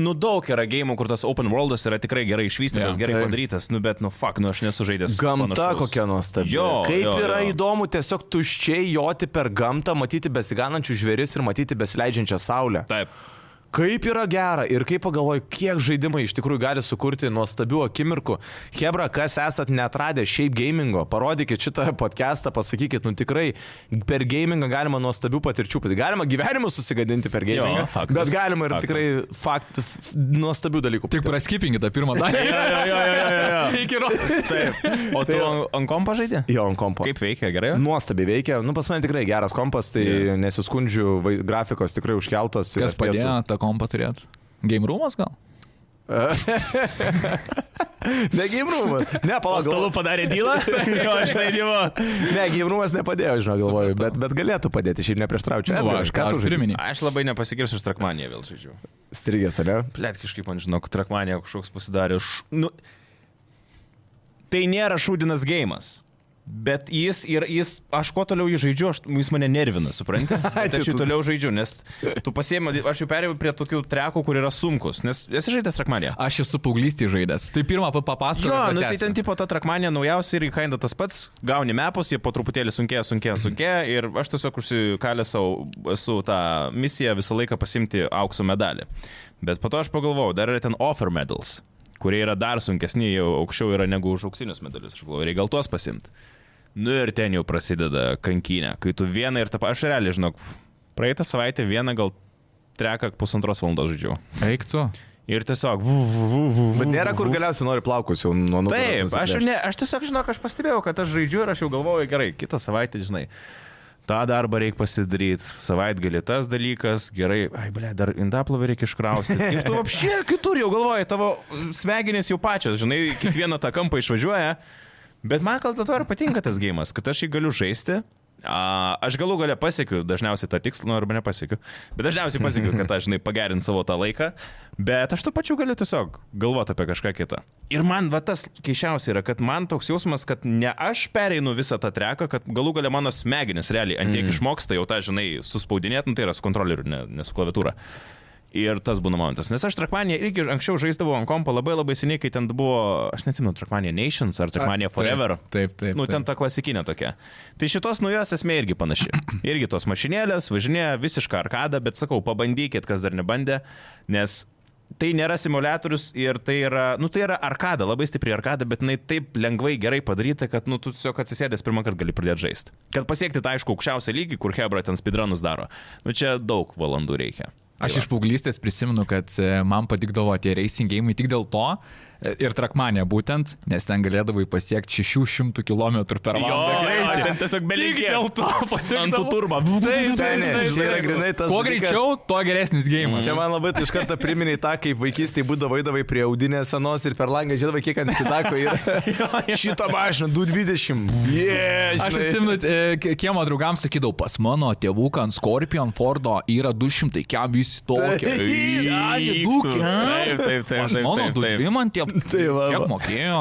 Speaker 1: nu, daug yra gėjimų, kur tas open worldas yra tikrai gerai išvystytas,
Speaker 2: Jo.
Speaker 1: yeah, gerai
Speaker 3: Taip.
Speaker 1: tai. padarytas, nu, bet, nu, fuck, nu, aš nesu žaidęs.
Speaker 3: Gamta
Speaker 1: panašaus.
Speaker 3: kokia nuostabi.
Speaker 1: Jo,
Speaker 3: Kaip
Speaker 1: jo,
Speaker 3: yra
Speaker 1: jo.
Speaker 3: įdomu tiesiog tuščiai joti per gamtą, matyti besiganančių žvėris ir matyti besileidžiančią saulę.
Speaker 1: Taip.
Speaker 3: Kaip yra gera ir kaip pagalvoju, kiek žaidimai iš tikrųjų gali sukurti nuostabių akimirkų. Hebra, kas esat netradę šiaip gamingo, parodykit šitą podcastą, pasakykit, nu tikrai per gamingą galima nuostabių patirčių, pasi- galima gyvenimą susigadinti per
Speaker 1: Jo,
Speaker 3: gamingą,
Speaker 1: faktas.
Speaker 3: bet galima ir
Speaker 1: Faktas.
Speaker 3: tikrai fakt, f, nuostabių dalykų.
Speaker 2: Tik praskipingi tą pirmą dalį.
Speaker 1: Jo, jo, jo, jo, jo, jo.
Speaker 2: Iki ro-
Speaker 1: Taip. O tu an- ant kompo žaidė?
Speaker 3: Jo, ant kompo.
Speaker 1: Kaip veikia, gerai?
Speaker 3: Nuostabiai veikia, nu pas mane tikrai geras kompas, tai yeah. nesiskundžiu, vai, grafikos tikrai užkeltos. ir FPS
Speaker 2: Kas
Speaker 3: ų.
Speaker 2: padėjo tą kompą turėti? Game roomas gal?
Speaker 3: Ne, gimrumas. Ne,
Speaker 1: Po
Speaker 3: palauk,
Speaker 1: stalu padarė dylą? Jo, aš tai dievo.
Speaker 3: Ne, gyvūnumas nepadėjo, žinau, galvoju,
Speaker 2: Supratau.
Speaker 3: bet, bet galėtų padėti, šiaip neprieštraučiau.
Speaker 2: Nu va, aš ką turiu minį.
Speaker 1: Aš labai nepasigirsiu, aš trakmaniją vėl žaidžiu.
Speaker 3: Strigės, ne?
Speaker 1: Plėt kažkaip, man žinok, trakmanija kažkoks pasidarė. Š... Nu... Tai nėra šūdinas gėjimas. Bet jis ir jis, aš kuo toliau jį žaidžiu, aš, jis mane nervina, supranti? Bet aš jį
Speaker 3: tu-
Speaker 1: toliau žaidžiu, nes tu pasiemi, aš jau perėjau prie tokių trekų, kur yra sunkus, nes esi žaidęs trakmaniją.
Speaker 2: Aš esu paauglystį žaidęs. Tai pirmą papasakosiu.
Speaker 1: Jo, nu tai ten tipo ta trakmanė naujausia ir kinda tas pats, gauni mepus, jie po truputėlį sunkėja,
Speaker 3: Mhm.
Speaker 1: sunkėja, sunkėja ir aš tiesiog užsikalę savo, esu tą misiją visą laiką pasimti aukso medalį. Bet po to aš pagalvojau, dar yra ten offer medals, kurie yra dar sunkesni, jau aukščiau yra negu už auksinius medalius, aš galvoju, reikia gal tuos pasimti. Nu ir ten jau prasideda kankinė, kai tu vieną ir tą pačią, aš realiai žinok, praeitą savaitę vieną gal treką pusantros valandos žaidžiau.
Speaker 2: Eiktų.
Speaker 1: Ir tiesiog... vu, vu, vu, vu, vu,
Speaker 3: Bet nėra kur
Speaker 1: vu.
Speaker 3: galiausiai nori plaukus jau nuo nuo.
Speaker 1: Taip, aš, jau ne, aš tiesiog žinau, aš pastebėjau, kad aš žaidžiu ir aš jau galvoju, gerai, kitą savaitę, žinai, tą darbą reikia pasidaryti, savaitgalį tas dalykas, gerai, ai, ble, dar indaplovę reikia iškrausti. Ir tu apšie kitur jau galvoji, tavo smegenys jau pačios, žinai, kiekvieną tą kampą išvažiuoja. Bet man gal dėl to ir patinka tas gėjimas, kad aš jį galiu žaisti. A, Aš galų gale pasiekiu dažniausiai tą tikslą, nu, arba nepasiekiu, bet dažniausiai pasiekiu, kad aš, žinai, pagerint savo tą laiką, bet aš tuo pačiu galiu tiesiog galvoti apie kažką kitą. Ir man va tas keišiausia yra, kad man toks jausmas, kad ne aš pereinu visą tą treką, kad galų gale mano smegenis realiai
Speaker 2: Mhm.
Speaker 1: antiek mm. išmoksta jau tą, žinai, suspaudinėt, nu, tai yra su kontrolieriu, ne, ne su klaviatūra. Ir tas būna momentas. Nes aš Trakmaniją irgi anksčiau žaisdavau ant kompo labai labai seniai, kai ten buvo, aš neatsimenu, Trakmanija Nations ar Trakmanija Forever.
Speaker 2: Taip, taip. taip
Speaker 1: Nu, ten ta klasikinė tokia. Tai šitos naujos esmė irgi panaši. Irgi tos mašinėlės, važinėja visišką arkadą, bet sakau, pabandykit, kas dar nebandė, nes tai nėra simulatorius ir tai yra, nu, tai yra arkada, labai stipri arkada, bet jinai taip lengvai gerai padaryta, kad, nu, tu tiesiog atsisėdęs pirmą kartą gali pradėti žaisti. Kad pasiekti tą, aišku, aukščiausią lygį, kur Hebra ten speedrunus daro. Nu, čia daug valandų reikia.
Speaker 2: Aš iš paauglystės prisimenu, kad e, man patikdavo tie racing gėjimai tik dėl to, e, ir trakmanė būtent, nes ten galėdavai pasiekti 600 km per valandą. greitį.
Speaker 1: tai ten tiesiog
Speaker 2: Tik
Speaker 1: belikė.
Speaker 2: dėl to
Speaker 1: Ant
Speaker 2: pasiekdavo. Tai
Speaker 1: turbo. tai
Speaker 3: Čia yra grinai tas.
Speaker 2: Kuo
Speaker 3: dalykas-
Speaker 2: greičiau, tuo geresnis gėjimas.
Speaker 3: Čia man labai tai iš karto priminė tą, kaip vaikystėje būdavo eidavai prie audinės senos ir per langą žiūrėdavai, kiek ant kitako yra. Šitą mašiną, 220. Yeah,
Speaker 2: Aš
Speaker 3: žinai.
Speaker 2: atsimenu, e, k- kiemo draugams sakydavau, pas mano tėvuką ant Scorpion Fordo yra 200 kem visi tokie.
Speaker 1: Taip, taip, taip.
Speaker 2: Pas mano dujimantė,
Speaker 3: Tai va,
Speaker 2: kiek
Speaker 3: va.
Speaker 2: mokėjo.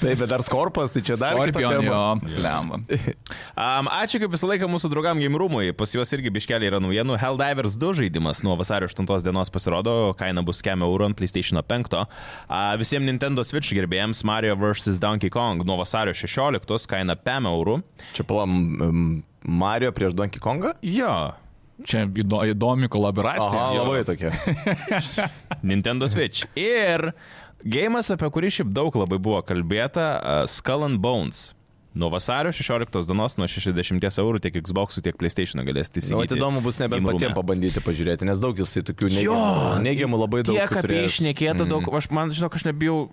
Speaker 3: Taip, bet dar skorpas, tai čia dar kita
Speaker 2: Scorpion, jo,
Speaker 3: tema.
Speaker 2: lemba.
Speaker 1: Um, ačiū kaip visą laiką mūsų draugam Game Roomui. Pas juos irgi biškeliai yra naujienų. Helldivers 2 žaidimas nuo vasario 8 dienos pasirodo, kaina bus 100 eurų ant PlayStation 5. Uh, visiems Nintendo Switch gerbėjams Mario vs. Donkey Kong nuo vasario 16 kaina 5 eurų.
Speaker 3: Čia palam Mario prieš Donkey Kongą?
Speaker 1: Jo.
Speaker 2: Čia įdo- įdomi kolaboracija.
Speaker 3: Aha,
Speaker 2: Jo.
Speaker 3: labai tokia.
Speaker 1: Nintendo Switch. Ir gėjimas, apie kurį šiaip daug labai buvo kalbėta, uh, Skull and Bones. Nuo vasario 16 dienos nuo 60 eurų tiek Xbox, tiek PlayStation galėsite
Speaker 3: O
Speaker 1: įsigyti.
Speaker 3: Nu, įdomu bus nebent
Speaker 1: Game Room'e.
Speaker 3: patiems pabandyti pažiūrėti, nes daug jisai
Speaker 1: Jo,
Speaker 3: tokių neigiamų, neigiamų labai daug. Mhm.
Speaker 1: Tiek apie
Speaker 3: turėjęs.
Speaker 1: išnekėta daug, aš man, žinok, aš nebijau.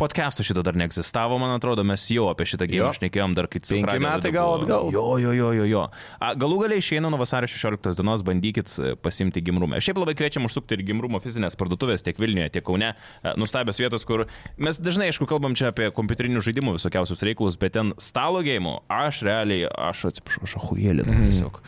Speaker 1: Podcastų šito dar neegzistavo, man atrodo, mes jau apie šitą gėjimą
Speaker 3: Jo.
Speaker 1: šnekėjom dar kaip
Speaker 3: Penki metai gal atgal.
Speaker 1: Jo, jo, jo, jo, jo. A, galų galiai išeina nuo vasario 16 dienos, bandykit e, pasiimti gimrumą. Šiaip labai kviečiam užsukti ir gimrumo fizinės parduotuvės tiek Vilniuje, tiek Kaune. E, Nustabios vietos, kur mes dažnai, aišku, kalbam čia apie kompiuterinių žaidimų visokiausius reikalus, bet ten stalo gėjimų, aš realiai, aš atsiprašau, aš ahujėlinu
Speaker 3: Mhm.
Speaker 1: tiesiog.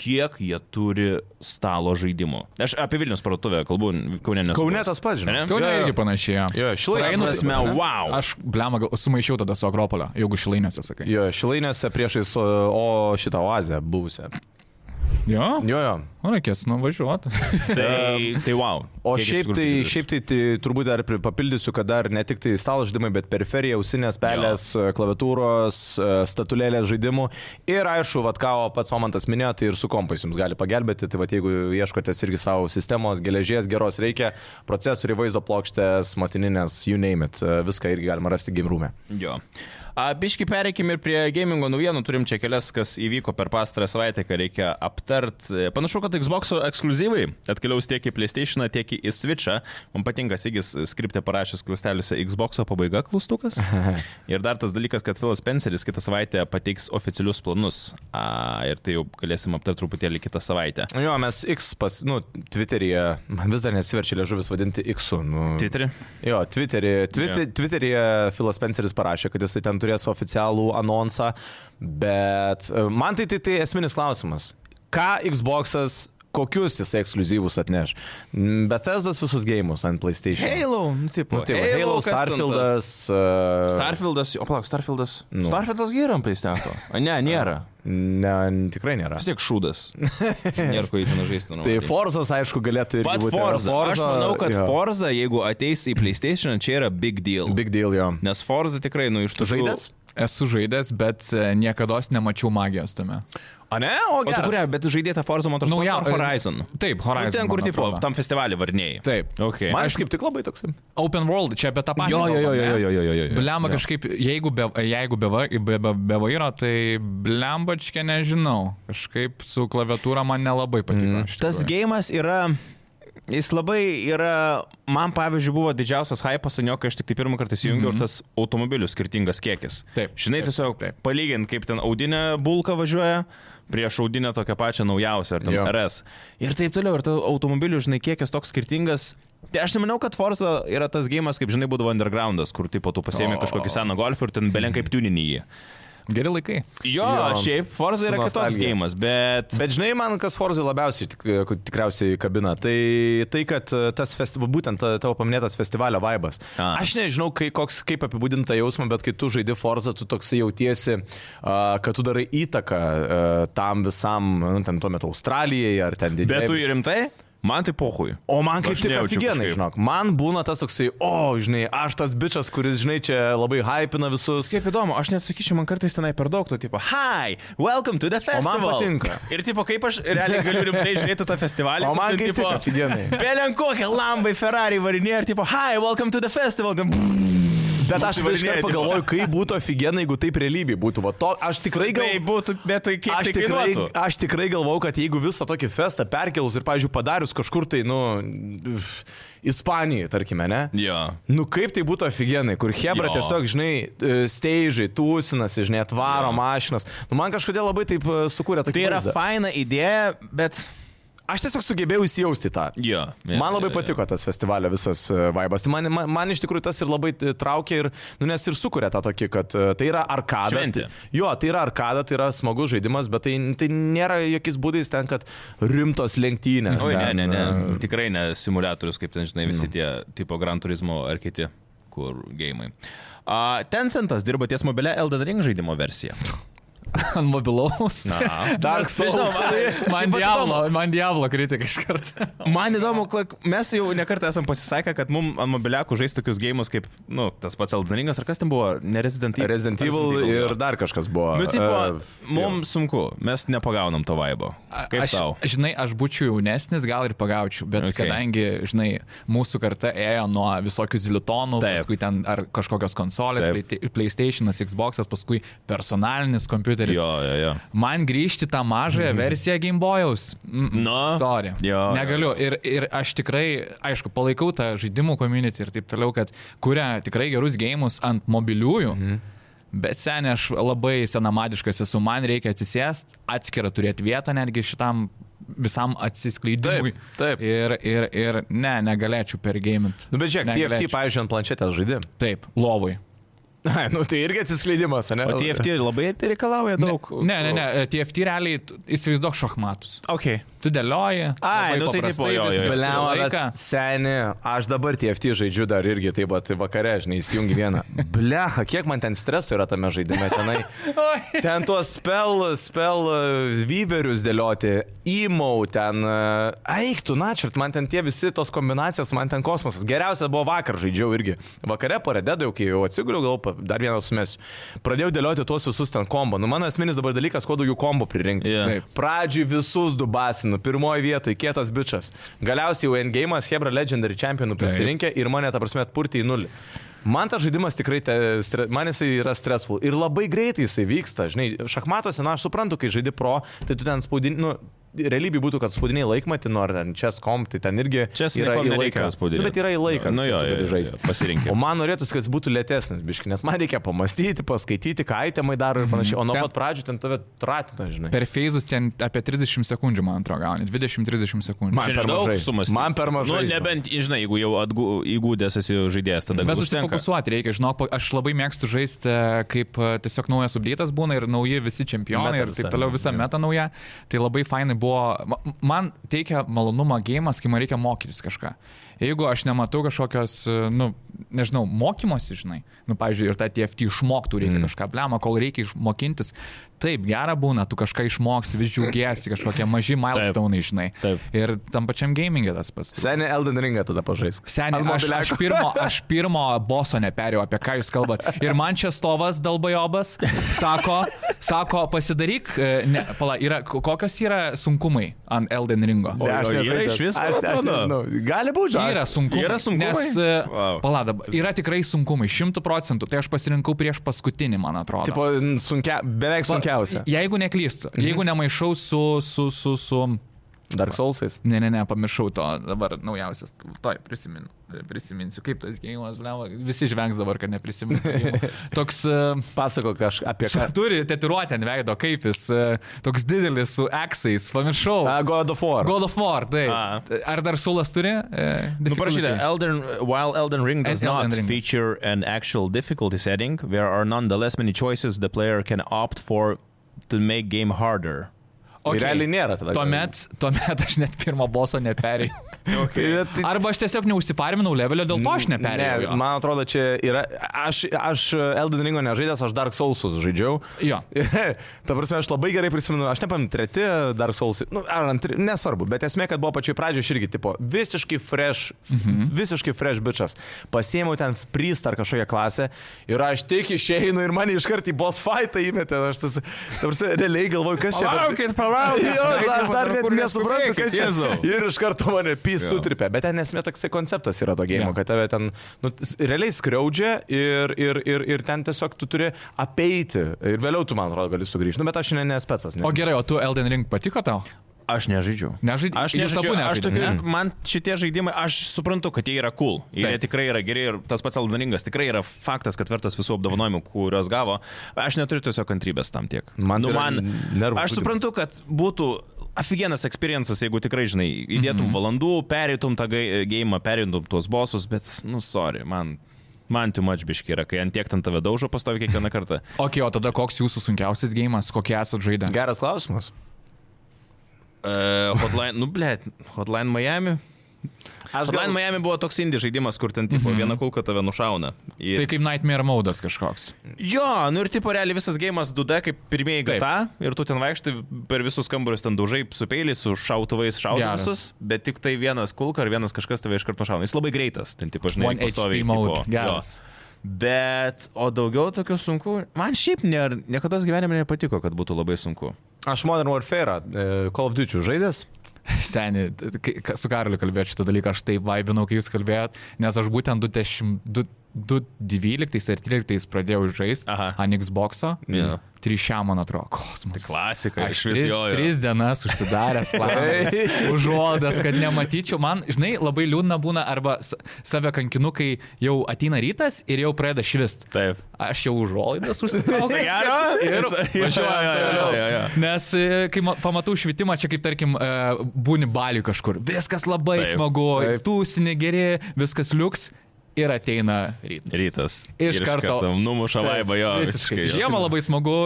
Speaker 1: Kiek jie turi stalo žaidimų? Aš apie Vilnius parduotuvę kalbu, Kaune nesu.
Speaker 3: Kaune
Speaker 1: buvęs.
Speaker 3: tas pats, žinai.
Speaker 1: Ane?
Speaker 2: Kaune
Speaker 3: Jo, jo.
Speaker 2: irgi panašiai.
Speaker 3: Jo, šilainiuose.
Speaker 2: Praeinu-
Speaker 1: Prasme, wow.
Speaker 2: Aš, blemą, gal- sumaišiau tada su Akropolio, jeigu šilainiuose sakai.
Speaker 3: Jo, šilainėse priešais, o o šitą oazę buvusią.
Speaker 2: Jo,
Speaker 3: Jo, jo.
Speaker 2: nu, reikės nuvažiuoti.
Speaker 1: Tai, tai wow.
Speaker 3: O
Speaker 1: Kiek iš
Speaker 3: šiaip
Speaker 1: tikrųjų
Speaker 3: tai,
Speaker 1: didelis.
Speaker 3: šiaip tai, tai turbūt dar pri- papildysiu, kad dar ne tik tai stalo žaidimai, bet periferija, ausinės, pelės, jo. klaviatūros, e, statulėlės žaidimų. Ir aišku, vad ką pats Omantas minėjo, tai ir su kompais jums gali pagelbėti. Tai vad jeigu ieškotės irgi savo sistemos, geležies geros reikia, procesorių, vaizdo plokštės, motininės, you name it, e, viską irgi galima rasti e. gimrūme.
Speaker 1: Jo. A, biški pereikim ir prie gamingo naujienų, turim čia kelias, kas įvyko per pastarą savaitę, ką reikia aptart. E, Panašu, kad Xbox ekskluzivai atkeliaus tiek į PlayStation, tiek į Switch'ą. Man patinka Sigis skriptė parašęs klusteliuose Xbox pabaiga klustukas. Ir dar tas dalykas, kad Philas Spenceris kitą savaitę pateiks oficialius planus. A, ir tai jau galėsim aptart truputėlį kitą savaitę.
Speaker 3: Jo, mes X pas, nu, Twitter'yje, man vis dar nesiverčia liežuvis vadinti X'u. Nu,
Speaker 1: Twitterį.
Speaker 3: Jo, Twitter'yje Twitter,
Speaker 1: Jo.
Speaker 3: Twitter'yje Filas Spenceris parašė, kad jisai ten turės oficialų anonsą, bet e, man tai, tai, tai esminis klausimas. Ką Xbox'as, kokius jis ekskluzyvus atneš? Bet esdas visus gėjimus ant PlayStation.
Speaker 1: Halo, nu taip,
Speaker 3: Nu, tai va, Halo, Starfield'as. e, Starfield.
Speaker 1: Starfieldas, o palauk, Starfieldas.
Speaker 3: Nu.
Speaker 1: Starfieldas gyram pristeko. Ne, nėra.
Speaker 3: Ne, tikrai nėra.
Speaker 1: Vis tiek šūdas. Nėra ko įtin žaisti. nu,
Speaker 3: Tai
Speaker 1: matai.
Speaker 3: Forzas, aišku, galėtų ir
Speaker 1: Vat
Speaker 3: būti.
Speaker 1: Forza. Aš manau, kad
Speaker 3: jo.
Speaker 1: Forza, jeigu ateis į PlayStation, čia yra big deal.
Speaker 3: Big deal jo.
Speaker 1: Nes Forza tikrai, nu, iš tų
Speaker 3: Žaidęs?
Speaker 2: Esu žaidęs, bet e, niekada nemačiau magijos tame.
Speaker 3: O ne? O
Speaker 1: O tu
Speaker 3: gerai.
Speaker 1: kuria, bet žaidėta Forza Motorsport
Speaker 2: Nauja-
Speaker 1: ar Horizon.
Speaker 2: Nu, e, Taip, Horizon,
Speaker 1: Nu, ten, kur
Speaker 2: man
Speaker 1: tipo,
Speaker 2: atrodo.
Speaker 1: tam festivalį varnėjai.
Speaker 2: Taip.
Speaker 1: Okay.
Speaker 3: Man aš kaip tik labai toks.
Speaker 2: Open World, čia apie tą patį.
Speaker 3: Jo, jo, jo,
Speaker 2: kalbam,
Speaker 3: jo,
Speaker 2: ne?
Speaker 3: jo, jo, jo, jo.
Speaker 2: Blemba kažkaip, jeigu be, jeigu be, va- be, be, be vairo, tai
Speaker 3: Mhm.
Speaker 2: blembačkė nežinau. Kažkaip su klaviatūra man nelabai patiko. Mm.
Speaker 1: Tas gėjimas yra Jis labai yra, man pavyzdžiui, buvo didžiausias hypas, anio, kai aš tik tai pirmą kartą įsijungiau, mm -hmm. tas automobilių skirtingas kiekis.
Speaker 2: Taip,
Speaker 1: Žinai,
Speaker 2: taip,
Speaker 1: tiesiog
Speaker 2: taip.
Speaker 1: palygint, kaip ten audinė bulka važiuoja, prieš audinę tokią pačią naujausią, ar ten
Speaker 3: Jo.
Speaker 1: RS. Ir taip toliau, ir ta automobilių, žinai, kiekis toks skirtingas. Tai aš nemanau, kad Forza yra tas gėjimas, kaip žinai, būdavo undergroundas, kur tipo tu pasiemi
Speaker 3: O.
Speaker 1: kažkokį seną golfą ir ten belen kaip tuninį jį.
Speaker 2: Geri laikai.
Speaker 1: Jo,
Speaker 3: Jo.
Speaker 1: šiaip Forza yra
Speaker 3: Su
Speaker 1: kitoks
Speaker 3: nostalgija.
Speaker 1: gėjimas, bet...
Speaker 3: Bet žinai, man kas Forzai labiausiai tik, e, tikriausiai kabina, tai tai, kad e, tas festi... būtent ta- tavo paminėtas festivalio vaibas.
Speaker 1: A.
Speaker 3: Aš nežinau, kai, koks, kaip apibūdinta jausma, bet kai tu žaidi Forzą, tu toksai jautiesi, a, kad tu darai įtaką a, tam visam, nu, ten tuo metu Australijai ar ten
Speaker 1: Bet
Speaker 3: didžiajai
Speaker 1: tu ir rimtai? Man tai pohui.
Speaker 3: O man kaip
Speaker 1: Aš
Speaker 3: tik
Speaker 1: nejaučiu
Speaker 3: aфиgenai,
Speaker 1: kažkaip.
Speaker 3: žinok. Man būna tas toksai, o, žinai, aš tas bičias, kuris, žinai, čia labai hypina visus.
Speaker 1: Kaip įdomu, aš nesakyčiau, man kartais tenai per daug to tipo, hi, welcome to the
Speaker 3: man
Speaker 1: festival.
Speaker 3: patinka.
Speaker 1: Ir tipo, kaip aš realiai galiu rimtai žiūrėti tą festivalį.
Speaker 3: O
Speaker 1: kur
Speaker 3: man
Speaker 1: ten,
Speaker 3: kaip tik aфиgenai.
Speaker 1: Belen kokie lambai Ferrari varinė ir tipo, hi, welcome to the festival. Ten, brrr,
Speaker 3: Bet aš
Speaker 1: Mums
Speaker 3: iš
Speaker 1: įvarinėja, tipo.
Speaker 3: karto pagalvoju, kaip būtų aфиgenai, jeigu taip realybėj būtų. Va, to, aš tikrai
Speaker 1: tai
Speaker 3: galvoju.
Speaker 1: būtų, bet tai kaip
Speaker 3: Aš
Speaker 1: tai
Speaker 3: tikrai,
Speaker 1: kainuotų.
Speaker 3: aš tikrai galvau, kad jeigu visą tokį festą perkelus ir, pavyzdžiui, padarius kažkur tai, nu, f- Ispanijai, tarkime, ne?
Speaker 1: Jo.
Speaker 3: Nu kaip tai būtų aфиgenai, kur Hebra
Speaker 1: Jo.
Speaker 3: tiesiog, žinai, steižai, tūsinasi, žinai, atvaro mašinas. Nu, man kažkodėl labai taip e, sukūrė tokį.
Speaker 1: Tai yra
Speaker 3: vaizdą.
Speaker 1: faina idėja, bet...
Speaker 3: Aš tiesiog sugebėjau įsijausti į tą.
Speaker 1: Jo.
Speaker 3: Yeah, man labai yeah, patiko yeah. tas festivalio visas e, vaibas. Man, man, man iš tikrųjų tas ir labai e, traukia ir, nu, nes ir sukuria tą tokį, kad e, tai yra arkada.
Speaker 1: Šventė.
Speaker 3: Jo, tai yra arkada, tai yra smagus žaidimas, bet tai, tai nėra jokiais būdais ten, kad rimtos lenktynės.
Speaker 1: Oi, ne,
Speaker 3: ten,
Speaker 1: ne, ne.
Speaker 3: e,
Speaker 1: Tikrai ne simulatorius, kaip ten, žinai,
Speaker 3: Nu.
Speaker 1: visi tie tipo Gran Turismo ar kiti, kur gėjimai. Uh, Tencentas dirba ties mobilia Elden Ring žaidimo versija.
Speaker 2: Ant mobilaus.
Speaker 1: Na.
Speaker 3: e, Dark Souls.
Speaker 1: Nežinau, man-
Speaker 2: Man
Speaker 1: šiaip vat
Speaker 2: diablo, man diablo kritika iš karto.
Speaker 3: Oh
Speaker 1: Man įdomu, kok- mes jau nekartą esam pasisakę, kad mums ant mobiliakų žaisti tokius gėjimus kaip, nu, tas pats Eldeningas, ar kas ten buvo, ne Resident Evil.
Speaker 3: Resident Evil ir dar kažkas buvo.
Speaker 1: Bet, Nu, tipo,
Speaker 3: E,
Speaker 1: mums sunku, mes nepagaunam to vaibo. Kaip
Speaker 2: aš,
Speaker 1: tau?
Speaker 2: Žinai, aš būčiau jaunesnis, gal ir pagaučiau, bet
Speaker 1: Okay.
Speaker 2: okay. kadangi, žinai, mūsų karta ėjo nuo visokių zilitonų,
Speaker 1: Taip.
Speaker 2: Taip. paskui ten ar kažkokios konsolės,
Speaker 1: Taip.
Speaker 2: Play- PlayStation'as, Xbox'as, paskui personalinis kompiuteris.
Speaker 1: Jo, jo, jo.
Speaker 2: Man grįžti tą mažąją versiją Game Boy'aus.
Speaker 1: Nu,
Speaker 2: Sorry.
Speaker 1: jo.
Speaker 2: Negaliu. Ir, ir aš tikrai, aišku, palaikau tą žaidimų community ir taip toliau, kad kuria tikrai gerus gėjimus ant mobiliųjų. Mhm. Bet seniai aš labai senamadiškas esu, man reikia atsisėst, atskirą turėti vietą netgi šitam visam atsiskleidimui.
Speaker 3: Taip, taip.
Speaker 2: Ir, ir, ir ne, negalėčiau per gaming.
Speaker 3: Nu, bet žiūrėk, TFT,
Speaker 2: Negalėčiau.
Speaker 3: pavyzdžiui, ant planšetės žaidė.
Speaker 2: Taip, lovui.
Speaker 3: Na, nu, tai irgi atsiskleidimas, ne?
Speaker 1: O TFT labai tai reikalauja daug.
Speaker 2: Ne, ne, ne, TFT realiai tu- įsivaizduok šachmatus.
Speaker 1: Ok.
Speaker 2: Tu dėlioji.
Speaker 1: Ai,
Speaker 2: labai
Speaker 1: nu tai
Speaker 2: paprastai
Speaker 1: tipo, jo, jo,
Speaker 2: viskas
Speaker 1: jo.
Speaker 2: turi
Speaker 3: Bliama,
Speaker 2: laiką.
Speaker 3: bet seni, aš dabar TFT žaidžiu dar irgi, taip pat vakare, žinai, įsijungi vieną. Bleha, kiek man ten streso yra tame žaidime tenai.
Speaker 2: Oi.
Speaker 3: Ten tuos spel, spel e, vyverius dėlioti, įmau ten, e, eik tu, načert, man ten tie visi tos kombinacijos, man ten kosmosas. Geriausia buvo vakar žaidžiau irgi. Vakare paradėdavau, kai jau atsiguliau, gal pa- dar vieną sumesiu. Pradėjau dėlioti tuos visus ten kombo. Nu, mano esminis dabar dalykas, kuo daugiau kombo pririnkti.
Speaker 1: Jo.
Speaker 2: Taip.
Speaker 3: Pradžiui visus dubasinu, pirmoji vietoje kietas bičias. Galiausiai jau endgame'as Hebra Legendary Championų prisirinkė ir mane, ta prasme, atpurti į nulį. Man tas žaidimas tikrai, te, stre- man jisai yra stressful ir labai greitai jisai vyksta, žinai, šachmatuose, na, aš suprantu, kai žaidi pro, tai tu ten spaudini, nu, realybė būtų, kad spaudiniai laikmatį, nors ten čia skom, tai ten irgi
Speaker 1: Čia
Speaker 3: yra
Speaker 1: yra
Speaker 3: į laiką. Nu, bet yra į laiką.
Speaker 1: Nu
Speaker 3: vis
Speaker 1: jo,
Speaker 3: tiek tu gali žaisti.
Speaker 1: pasirinkime.
Speaker 3: O man norėtųsi, kad jis būtų lėtesnis, biški, nes man reikia pamastyti, paskaityti, ką aitemai daro
Speaker 1: Mhm.
Speaker 3: ir panašiai. O nuo
Speaker 2: Ten-
Speaker 3: pat pradžių ten tave tratina, žinai.
Speaker 2: Per feizus ten apie 30 sekundžių, man atrodo, gauni. 20-30 sekundžių.
Speaker 3: Man per mažai. Man per mažai,
Speaker 1: Nu,
Speaker 3: žinau.
Speaker 1: nebent, žinai, jeigu jau atgu- įgūdęs esi žaidėjas, tada
Speaker 2: Bet
Speaker 1: gal užtenka.
Speaker 2: užsifokusuoti reikia, žinok, pa- aš labai mėgstu žaisti, e, kaip e, tiesiog naujas subdytas būna ir nauji visi čempionai
Speaker 3: Meta
Speaker 2: ir taip
Speaker 3: visa,
Speaker 2: toliau visa
Speaker 3: jo.
Speaker 2: meta nauja. Tai labai fainai buvo, ma- man teikia malonumą gėjimas, kai man reikia mokytis kažką. Jeigu aš nematau kažkokios, e, nu, nežinau, mokymosi, žinai, nu, pavyzdžiui, ir tą TFT išmoktų reikia mm. kažką, blema, kol reikia išmokintis, taip gera būna, tu kažką išmoksti, vis džiaugiesi, kažkokie maži milestone, žinai.
Speaker 1: Taip.
Speaker 2: Ir tam pačiam gamingė tas pats.
Speaker 3: Seniai Elden Ringą tada pažaisk.
Speaker 2: Seniai,
Speaker 3: Ant
Speaker 2: aš, aš,
Speaker 3: mobiliako.
Speaker 2: pirmo, aš pirmo boso neperėjau, apie ką jūs kalbate. Ir man čia stovas dalbajobas sako, sako pasidaryk, e, ne, pala, yra, ko- kokios yra sunkumai ant Elden Ringo.
Speaker 3: Ne, aš
Speaker 1: O, yra
Speaker 3: nežaidęs.
Speaker 1: iš vis,
Speaker 3: Aš, aš
Speaker 1: atrodo?
Speaker 3: nežinau. Gali būti žaidimas.
Speaker 2: Yra sunkumai.
Speaker 1: Yra sunkumai?
Speaker 2: Nes,
Speaker 1: Vau.
Speaker 2: wow. pala, dabar, yra tikrai sunkumai, šimtų procentų. Tai aš pasirinkau prieš paskutinį, man atrodo.
Speaker 3: Tipo, n- sunkia, beveik
Speaker 2: Pa-
Speaker 3: sunkiausia.
Speaker 2: Jeigu neklystu, jeigu nemaišau su, su, su, su
Speaker 3: Dark Soulsais.
Speaker 2: Ne, ne, ne, pamiršau to, dabar naujausias, toj prisimin, prisiminsiu, kaip tas gėjimas, bleva, visi žvengs dabar, kad neprisimenu. gėjimo. Toks, e,
Speaker 3: Pasako kažką apie ką.
Speaker 2: su- turi tetiruotę ant veido, kaip jis, e, toks didelis su eksais, pamiršau.
Speaker 3: A, God of War.
Speaker 2: God of War, tai.
Speaker 1: A.
Speaker 2: Ar dar Sulas turi? e,
Speaker 1: Nu,
Speaker 2: difficulty?
Speaker 1: parašyta, Elden, while Elden Ring does
Speaker 2: And Elden
Speaker 1: not
Speaker 2: Ring.
Speaker 1: feature an actual difficulty setting, there are nonetheless many choices the player can opt for to make game harder.
Speaker 3: Okay.
Speaker 2: Okei.
Speaker 3: E, Tai Realiai nėra tada.
Speaker 2: Tuomet, tuomet aš net pirmo boso neperėjau.
Speaker 3: Okay. Tai,
Speaker 2: Arba aš tiesiog neužsiparminau levelio, dėl to aš neperėjau.
Speaker 3: Ne,
Speaker 2: jo.
Speaker 3: man atrodo, čia yra. Aš, aš Elden Ringo nežaidęs, aš Dark Soulsus žaidžiau.
Speaker 2: Jo.
Speaker 3: Ta prasme, aš labai gerai prisimenu, aš nepaminu, treti Dark Soulsai. Nu, ar antri, nesvarbu, bet esmė, kad buvo pačioj pradžioje aš irgi, tipo, visiškai fresh, mhm. visiškai fresh bičias. Pasėmiau ten priest ar kažkokią klasę ir aš tik išeinu ir mane iš karto į boss fightą įmetė. Aš tas, ta prasme, realiai galvoju, kas čia. Palaukit, palaukit. Jo, aš dar net
Speaker 1: Kur
Speaker 3: nesuprantu,
Speaker 1: neskubėkit,
Speaker 3: kas čia.
Speaker 1: Jėzau.
Speaker 3: Ir iš karto mane pys sutripė. Bet ten esmė toksai konceptas yra to gėjimo,
Speaker 2: Jo.
Speaker 3: kad tave ten nu, s- realiai skriaudžia ir, ir, ir, ir ten tiesiog tu turi apeiti. Ir vėliau tu, man atrodo, gali sugrįžti. Nu, bet aš šiandien nespecas. Ne.
Speaker 2: O gerai, o tu Elden Ring patiko tau?
Speaker 1: Aš nežaidžiu.
Speaker 2: Nežaid-
Speaker 1: Aš
Speaker 2: jūs
Speaker 1: nežaidžiu.
Speaker 2: abu
Speaker 1: Aš
Speaker 2: nežaidėt,
Speaker 1: tokiu,
Speaker 2: ne?
Speaker 1: man šitie žaidimai, aš suprantu, kad jie yra cool. Ir jie
Speaker 2: Taip.
Speaker 1: tikrai yra geri ir tas pats Aldaningas tikrai yra faktas, kad vertas visų apdovanojimų, kuriuos gavo. Aš neturiu tiesiog kantrybės tam tiek.
Speaker 3: Man
Speaker 1: nu,
Speaker 3: tai yra
Speaker 1: man
Speaker 3: nervų žudymas.
Speaker 1: Aš suprantu, kad būtų aфиgenas experiencas, jeigu tikrai, žinai, įdėtum mm
Speaker 2: Mhm.
Speaker 1: -hmm. valandų, perėtum tą gai- gėjimą, perėtum tuos bosus, bet, nu, sorry, man. Man too much biški yra, kai ant tiek ten tave daužo pastovi kiekvieną kartą.
Speaker 2: Ok, o tada koks jūsų sunkiausias gėjimas, kokį esat žaidę?
Speaker 3: Geras klausimas.
Speaker 1: Uh, hotline, nu, blė, Hotline Miami.
Speaker 3: Aš
Speaker 1: Hotline Miami buvo toks indie žaidimas, kur ten, tipo, viena kulka tave nušauna. Ir...
Speaker 2: Mhm. Tai kaip Nightmare Modas kažkoks.
Speaker 1: Jo, nu ir tipo realiai visas gėjimas 2D kaip pirmieji
Speaker 2: Taip.
Speaker 1: gata ir tu ten vaikštai per visus kambarius ten dužai, su peiliais, su šautuvais šaudai
Speaker 2: Geras.
Speaker 1: visus, bet tik tai vienas kulka ar vienas kažkas tave iš karto šauna. Jis labai greitas, ten tipo žinai,
Speaker 2: 1
Speaker 1: pastoviai
Speaker 2: HP
Speaker 1: tipo,
Speaker 2: mode.
Speaker 1: jo.
Speaker 2: Geras.
Speaker 1: Bet, o daugiau tokių sunku, man šiaip ne, niekada gyvenime nepatiko, kad būtų labai sunku.
Speaker 3: Aš Modern Warfare, e, Call of Duty žaidęs.
Speaker 2: Seniai, su Karliu kalbėjau šitą dalyką, aš taip vaibinau, kai jūs kalbėjot, nes aš būtent 2012 ar 2013 pradėjau žaisti
Speaker 1: Aha.
Speaker 2: ant Xbox'o.
Speaker 1: Jo. Tai
Speaker 2: 3 man atrodo, kosmosas.
Speaker 1: klasika,
Speaker 2: Aš
Speaker 1: iš vis
Speaker 2: tris,
Speaker 1: jo, jo.
Speaker 2: tris dienas užsidaręs, laimės, užuodas, kad nematyčiau. Man, žinai, labai liūdna būna arba s- save kankinu, kai jau ateina rytas ir jau pradeda švist.
Speaker 1: Taip.
Speaker 2: Aš jau užuolaidas užsidaręs.
Speaker 1: Gero?
Speaker 2: Ir važiuoju toliau. Nes e, kai ma- pamatau švietimą, čia kaip tarkim e, būni baliui kažkur. Viskas labai
Speaker 1: Taip,
Speaker 2: taip, smagu,
Speaker 3: taip.
Speaker 2: tūsinė geri, viskas liuks ir ateina rytas.
Speaker 1: Rytas.
Speaker 2: Iš
Speaker 1: Ir
Speaker 2: karto.
Speaker 1: Numuša vaibą jo.
Speaker 2: Visiškai.
Speaker 1: visiškai.
Speaker 2: Žiemą labai smagu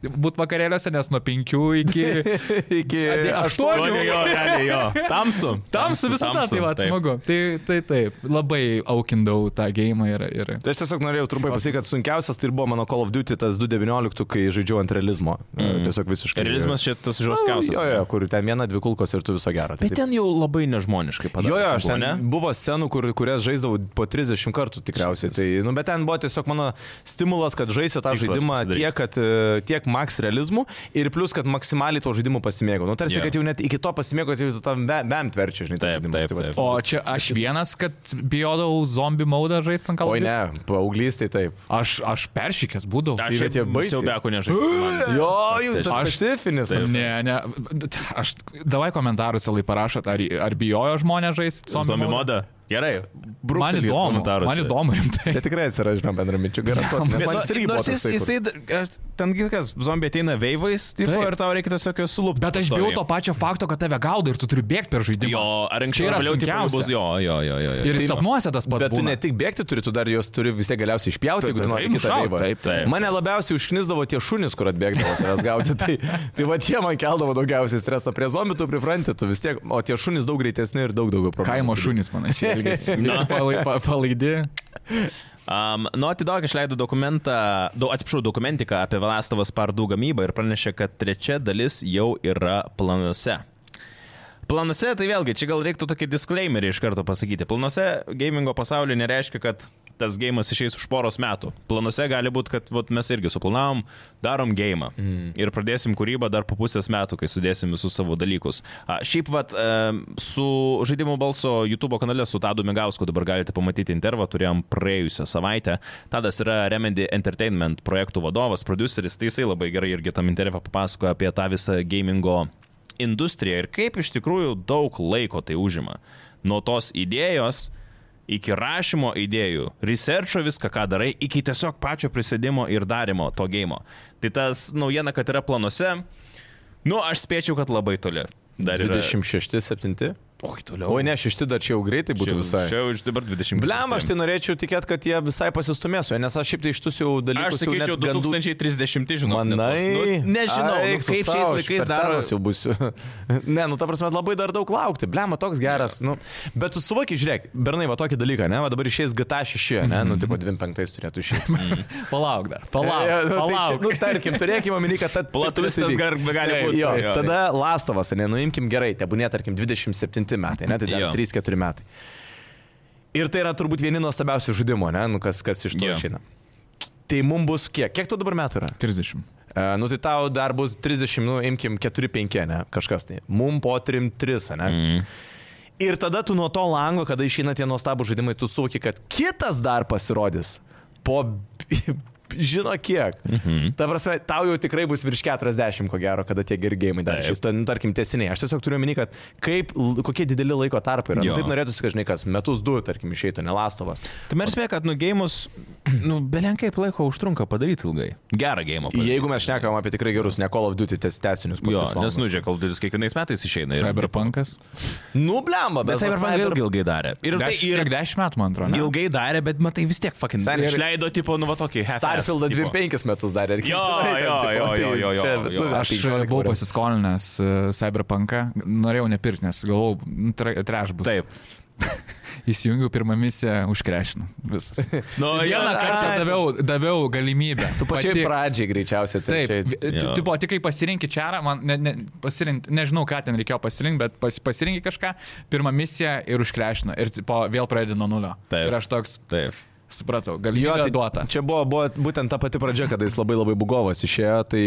Speaker 2: būti vakarėliuose, nes nuo 5 iki
Speaker 3: Iki
Speaker 2: Ate-
Speaker 1: Jo,
Speaker 2: aštuonių.
Speaker 1: jo, realiai jo. Tamsu.
Speaker 2: Tamsu visada, tai va,
Speaker 1: taip.
Speaker 2: smagu. Tai, tai taip, labai aukindau tą gėjimą ir... ir...
Speaker 3: Tai aš tiesiog norėjau trumpai pasakyti, kad sunkiausias tai ir buvo mano Call of Duty tas 2.19, kai žaidžiau ant realizmo. Mm. Tiesiog visiškai.
Speaker 1: Mhm. Realizmas šitas
Speaker 3: žoskiausias.
Speaker 1: žoskiausias.
Speaker 3: Jo, jo, kur ten viena, dvi kulkos ir tu viso gero. Tai
Speaker 1: Bet ten jau labai nežmoniškai padarė.
Speaker 3: Jo, jo, aš ten buvo scenų, kur, kurias žaisdavau po 30 kartų tikriausiai. Tai, nu, bet ten buvo tiesiog mano stimulas, kad žaisiu tą
Speaker 1: Tikslas
Speaker 3: žaidimą
Speaker 1: pasidaryt.
Speaker 3: tiek, kad, e, tiek maks realizmu ir plus, kad maksimaliai to žaidimu pasimėgau. Nu, tarsi,
Speaker 1: Jo.
Speaker 3: yeah. kad jau net iki to pasimėgau, tai tu tam bent verčia, žinai, tas
Speaker 1: Taip,
Speaker 3: žaidimas.
Speaker 1: taip,
Speaker 3: Tai vat-
Speaker 1: taip.
Speaker 2: O čia aš vienas, kad bijodavau zombie maudą žaisti ant kalbos.
Speaker 3: Oi ne, paauglys tai taip.
Speaker 2: Aš, aš peršykęs būdavau.
Speaker 1: Aš
Speaker 3: tai Bet jie
Speaker 1: jau
Speaker 3: baisiai.
Speaker 1: baisiau beko nežaidžiu.
Speaker 3: Jo, jau tas
Speaker 2: Aš-
Speaker 3: specifinis.
Speaker 1: Taip.
Speaker 2: Ne, ne. Aš davai komentarus lai parašot, ar, ar bijojo žmonės žaisti zombie,
Speaker 1: Zombie
Speaker 2: modą.
Speaker 1: moda. Gerai.
Speaker 2: Man
Speaker 1: brūkštelis
Speaker 2: įdomu,
Speaker 1: komentaruose.
Speaker 2: man įdomu rimtai.
Speaker 3: Tai tikrai atsiražina bendraminčių, garantuoju.
Speaker 1: Bet
Speaker 3: Man
Speaker 1: nu-
Speaker 3: jis irgi buvo
Speaker 1: Nors jis,
Speaker 3: toksai, kur-
Speaker 1: jisai, aš- ten gi kas, zombiai ateina veivais, tipo,
Speaker 2: Taip.
Speaker 1: ir tau reikia tiesiog juos sulūpti.
Speaker 2: Bet aš bijau to pačio fakto, kad tave gaudo ir tu turi bėgti per žaidimą.
Speaker 1: Jo, ar anksčiau
Speaker 2: Čia
Speaker 1: ar
Speaker 2: yra
Speaker 1: vėliau tipo
Speaker 2: sunkiausia.
Speaker 1: bus jo, jo, jo, jo. jo.
Speaker 2: Ir
Speaker 1: Tai-
Speaker 2: sapnuose tas pats.
Speaker 3: Bet tu
Speaker 2: būna.
Speaker 3: ne tik bėgti turi, tu dar jos turi vis tiek galiausiai išpjauti, jeigu tu
Speaker 2: taip,
Speaker 3: nori
Speaker 2: taip,
Speaker 3: kitą
Speaker 2: nušaut,
Speaker 3: laivą.
Speaker 2: taip,
Speaker 1: taip.
Speaker 3: Mane labiausiai užknisdavo tie šunys, kur atbėgdavo tavęs gauti. Tai, tai va tie man keldavo daugiausiai streso. Prie zombių tu pripranti, tu vis tiek, o tie šunys daug greitesni ir daug daugiau problemų.
Speaker 2: Kaimo šunys panašiai. elgiasi. Visi palai- pa- Palaidi.
Speaker 1: Um, Naughty Dog išleido dokumentą, du, atsiprašau, dokumentiką apie Velastovas pardų gamybą ir pranešė, kad trečia dalis jau yra planuose. Planuose, tai vėlgi, čia gal reiktų tokį disclaimerį iš karto pasakyti. Planuose gamingo pasaulyje nereiškia, kad tas gėjimas išeis už poros metų. Planuose gali būti, kad vat, mes irgi suplanavom, darom gėjimą mm. ir pradėsim kūrybą dar po pusės metų, kai sudėsim visus savo dalykus. A, šiaip vat, em, su žaidimo balso YouTube kanale su Tadu Migausku dabar galite pamatyti intervą, turėjom praėjusią savaitę. Tadas yra Remedy Entertainment projektų vadovas, produceris, tai jisai labai gerai irgi tam intervą papasakoja apie tą visą gamingo industrija ir kaip iš tikrųjų daug laiko tai užima. Nuo tos idėjos iki rašymo idėjų, researcho viską, ką darai, iki tiesiog pačio prisėdimo ir darimo to gėjimo. Tai tas naujiena, kad yra planuose, nu aš spėčiau, kad labai toli. Dar yra-
Speaker 3: 26, 7.
Speaker 1: Oi, toliau.
Speaker 3: O ne, 6 dar čia jau greitai būtų visai.
Speaker 1: Čia jau iš dabar 20.
Speaker 3: Blem, aš tai norėčiau tikėti, kad jie visai pasistumės, nes aš šiaip tai iš tų jau dalykų.
Speaker 1: Aš sakyčiau, 2030, žinau.
Speaker 3: Manai,
Speaker 1: nu, nežinau,
Speaker 3: Ai,
Speaker 1: nu,
Speaker 3: su
Speaker 1: kaip
Speaker 3: savo,
Speaker 1: šiais
Speaker 3: aš
Speaker 1: laikais
Speaker 3: per
Speaker 1: daro.
Speaker 3: senas jau būsiu. ne, nu, ta prasme, labai dar daug laukti. Blema, toks geras. Nu. Bet tu suvoki, žiūrėk, Bernai, va tokį dalyką, ne, va dabar išeis GTA 6, ne,
Speaker 1: Mhm.
Speaker 3: nu, tipo 25 turėtų išeiti.
Speaker 2: Palauk dar, palauk.
Speaker 3: Jo, nu, tai čia,
Speaker 2: palauk.
Speaker 3: Nu, tarkim, turėkime omeny, kad ta
Speaker 1: Platus tas gar- gali
Speaker 3: Taip,
Speaker 1: būti.
Speaker 3: Jo,
Speaker 1: Jo,
Speaker 3: tada lastovas, ne, nuimkim gerai, tebūnė, tarkim, 27 metai, ne, tai
Speaker 1: Jo.
Speaker 3: dar 3-4 metai. Ir tai yra turbūt vieni nuostabiausių žaidimų, ne, nu, kas, kas iš to
Speaker 1: Jo.
Speaker 3: išeina. Tai mums bus kiek? Kiek tu dabar metų yra?
Speaker 2: 30.
Speaker 3: E, nu tai tau dar bus 30, nu imkim 4-5, ne, kažkas tai. Mum po 3-3, ne.
Speaker 1: Mhm.
Speaker 3: Mm. Ir tada tu nuo to lango, kada išeina tie nuostabų žaidimai, tu suvoki, kad kitas dar pasirodys po... Žino kiek. Mhm. Ta prasme, tau jau tikrai bus virš 40, ko gero, kada tie gergėjimai dar
Speaker 1: Taip.
Speaker 3: išės. Nu, tarkim, tiesiniai. Aš tiesiog turiu omeny, kad kaip, l- kokie dideli laiko tarpai yra.
Speaker 1: Jo.
Speaker 3: Nu, taip norėtųsi, kad žinai, kas metus du, tarkim, išeitų nelastovas.
Speaker 1: Tai mes spėjame, kad nu gėjimus, nu belenkai laiko užtrunka padaryti ilgai. Gerą gėjimą. padaryti.
Speaker 3: Jeigu mes šnekam apie tikrai gerus, ne Call of Duty tes- tęsinius, po
Speaker 1: Jo, nes
Speaker 3: tris
Speaker 1: nu,
Speaker 3: valandas.
Speaker 1: nužė, kol duris kiekvienais metais išeina. ir-
Speaker 2: Cyberpunkas.
Speaker 3: Nu, blemba, bet
Speaker 1: Bet Cyberpunk
Speaker 3: Cyber-
Speaker 1: irgi ilgai darė. Ir tai
Speaker 2: Deš-
Speaker 1: ir
Speaker 2: Kiek 10 metų, man atrodo. ne?
Speaker 1: ilgai darė, bet matai vis tiek fucking.
Speaker 3: Seniai, ir-
Speaker 1: išleido tipo, nu va tokį. half-ass,
Speaker 3: Starfieldą
Speaker 1: tipo.
Speaker 3: 25 metus darė. ir kiek
Speaker 1: Jo,
Speaker 3: tenai ten,
Speaker 1: jo,
Speaker 3: tipo,
Speaker 1: jo,
Speaker 3: tai
Speaker 1: jo, jo,
Speaker 3: čia,
Speaker 1: jo,
Speaker 3: nu,
Speaker 1: jo.
Speaker 3: apie
Speaker 2: Aš
Speaker 3: 15
Speaker 2: buvau
Speaker 3: eurų.
Speaker 2: pasiskolinęs e, Cyberpunką, norėjau nepirkti, nes galvojau, nu, treš bus.
Speaker 1: Taip.
Speaker 2: Įsijungiau pirmą misiją, užkrešinu visas.
Speaker 1: Nu,
Speaker 2: Vieną
Speaker 1: jo,
Speaker 2: kartą
Speaker 3: ai, tu-
Speaker 2: daviau, daviau galimybę.
Speaker 3: Tu pačiai
Speaker 2: patikt.
Speaker 3: pradžiai greičiausiai. tai
Speaker 2: Taip,
Speaker 3: čia-
Speaker 1: Jo.
Speaker 2: vi- tipo, tik kai pasirinkti čia, man ne, ne, pasirink, nežinau, ką ten reikėjo pasirinkti, bet pas, pasirinkti kažką, pirmą misiją ir užkrešino. Ir tipo, vėl pradėjo nuo nulio.
Speaker 1: Taip.
Speaker 2: Ir aš toks,
Speaker 1: Taip.
Speaker 2: supratau, galimybę
Speaker 3: tai
Speaker 2: duota.
Speaker 3: Čia buvo, buvo būtent ta pati pradžia, kada jis labai labai bugovas išėjo, tai,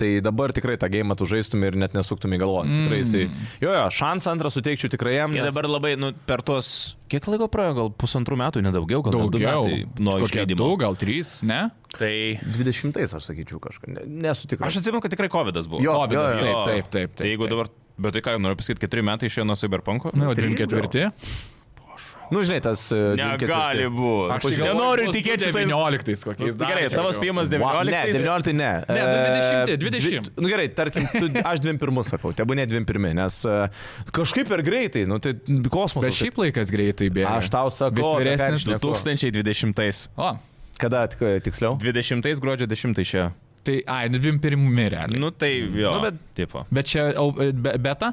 Speaker 3: tai dabar tikrai tą gėjimą tu žaistum ir net nesuktum į galvos. Tikrai jisai.
Speaker 2: Mm.
Speaker 3: Jo, jo, šansą antrą suteikčiau tikrai jam.
Speaker 1: Jie
Speaker 3: nes-
Speaker 1: dabar labai, nu, per tuos, kiek laiko praėjo, gal pusantrų metų, nedaugiau, gal net du
Speaker 2: Daugiau.
Speaker 1: metai nuo
Speaker 2: Kokie du,
Speaker 1: išleidimo.
Speaker 2: gal trys, ne?
Speaker 1: Tai
Speaker 3: 20 aš sakyčiau kažką. ne- Nesu
Speaker 1: aš
Speaker 3: tikras.
Speaker 1: atsimenu, kad tikrai COVID buvo.
Speaker 3: Jo,
Speaker 2: COVID,
Speaker 3: jo,
Speaker 2: taip,
Speaker 3: jo.
Speaker 2: taip, taip, taip.
Speaker 1: Tai jeigu dabar, bet tai ką, noriu pasakyti, keturi metai išėjo nuo Cyberpunk.
Speaker 2: Nu, jau
Speaker 3: Trys gal?
Speaker 2: 24.
Speaker 3: Nu, žinai, tas... e,
Speaker 1: Negali
Speaker 3: 24.
Speaker 1: būti.
Speaker 2: Aš tai galvoju,
Speaker 1: nenoriu
Speaker 2: bus
Speaker 1: tikėti tai šitai.
Speaker 2: 19 kokiais. dar
Speaker 1: Nu, Gerai,
Speaker 2: čia
Speaker 1: tavo
Speaker 2: daugiau.
Speaker 1: spėjimas
Speaker 3: Wow, ne,
Speaker 1: 19.
Speaker 3: 19 ne.
Speaker 2: Ne, du
Speaker 3: E,
Speaker 2: 20, 20.
Speaker 3: dvi- Nu gerai, tarkim, tu, aš 21 sakau, tebu ne 21, nes e, kažkaip per greitai, nu tai kosmosas.
Speaker 2: Bet šiaip laikas greitai bėga.
Speaker 3: Aš tau sakau,
Speaker 2: Vis
Speaker 3: apie ką
Speaker 2: vyresnis.
Speaker 3: aš šneku.
Speaker 1: 2020.
Speaker 2: O,
Speaker 3: Kada tik, tiksliau?
Speaker 1: 20 gruodžio 10 išėjo.
Speaker 2: tai, ai, nu, dvim pirmi realiai. Nu.
Speaker 1: Nu tai jo.
Speaker 3: Nu,
Speaker 1: bet
Speaker 3: bet-
Speaker 1: tipo.
Speaker 2: Bet čia au- be, beta?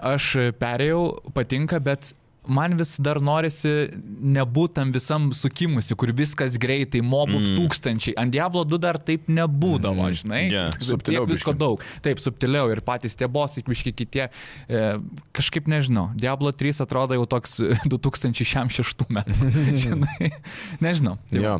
Speaker 2: aš perėjau, patinka, bet man vis dar norisi nebūtam visam sukimusi, kur viskas greitai, mobų mm. tūkstančiai. Ant Diablo 2 dar taip nebūdavo, mm. žinai.
Speaker 1: Yeah.
Speaker 2: Tiek
Speaker 3: Subtiliau
Speaker 2: visko
Speaker 3: biškį.
Speaker 2: daug. Taip, subtiliau ir patys tie bosai, viški kitie. E, kažkaip nežinau. Diablo 3 atrodo jau toks 2006 metų. žinai. Nežinau.
Speaker 3: Jo.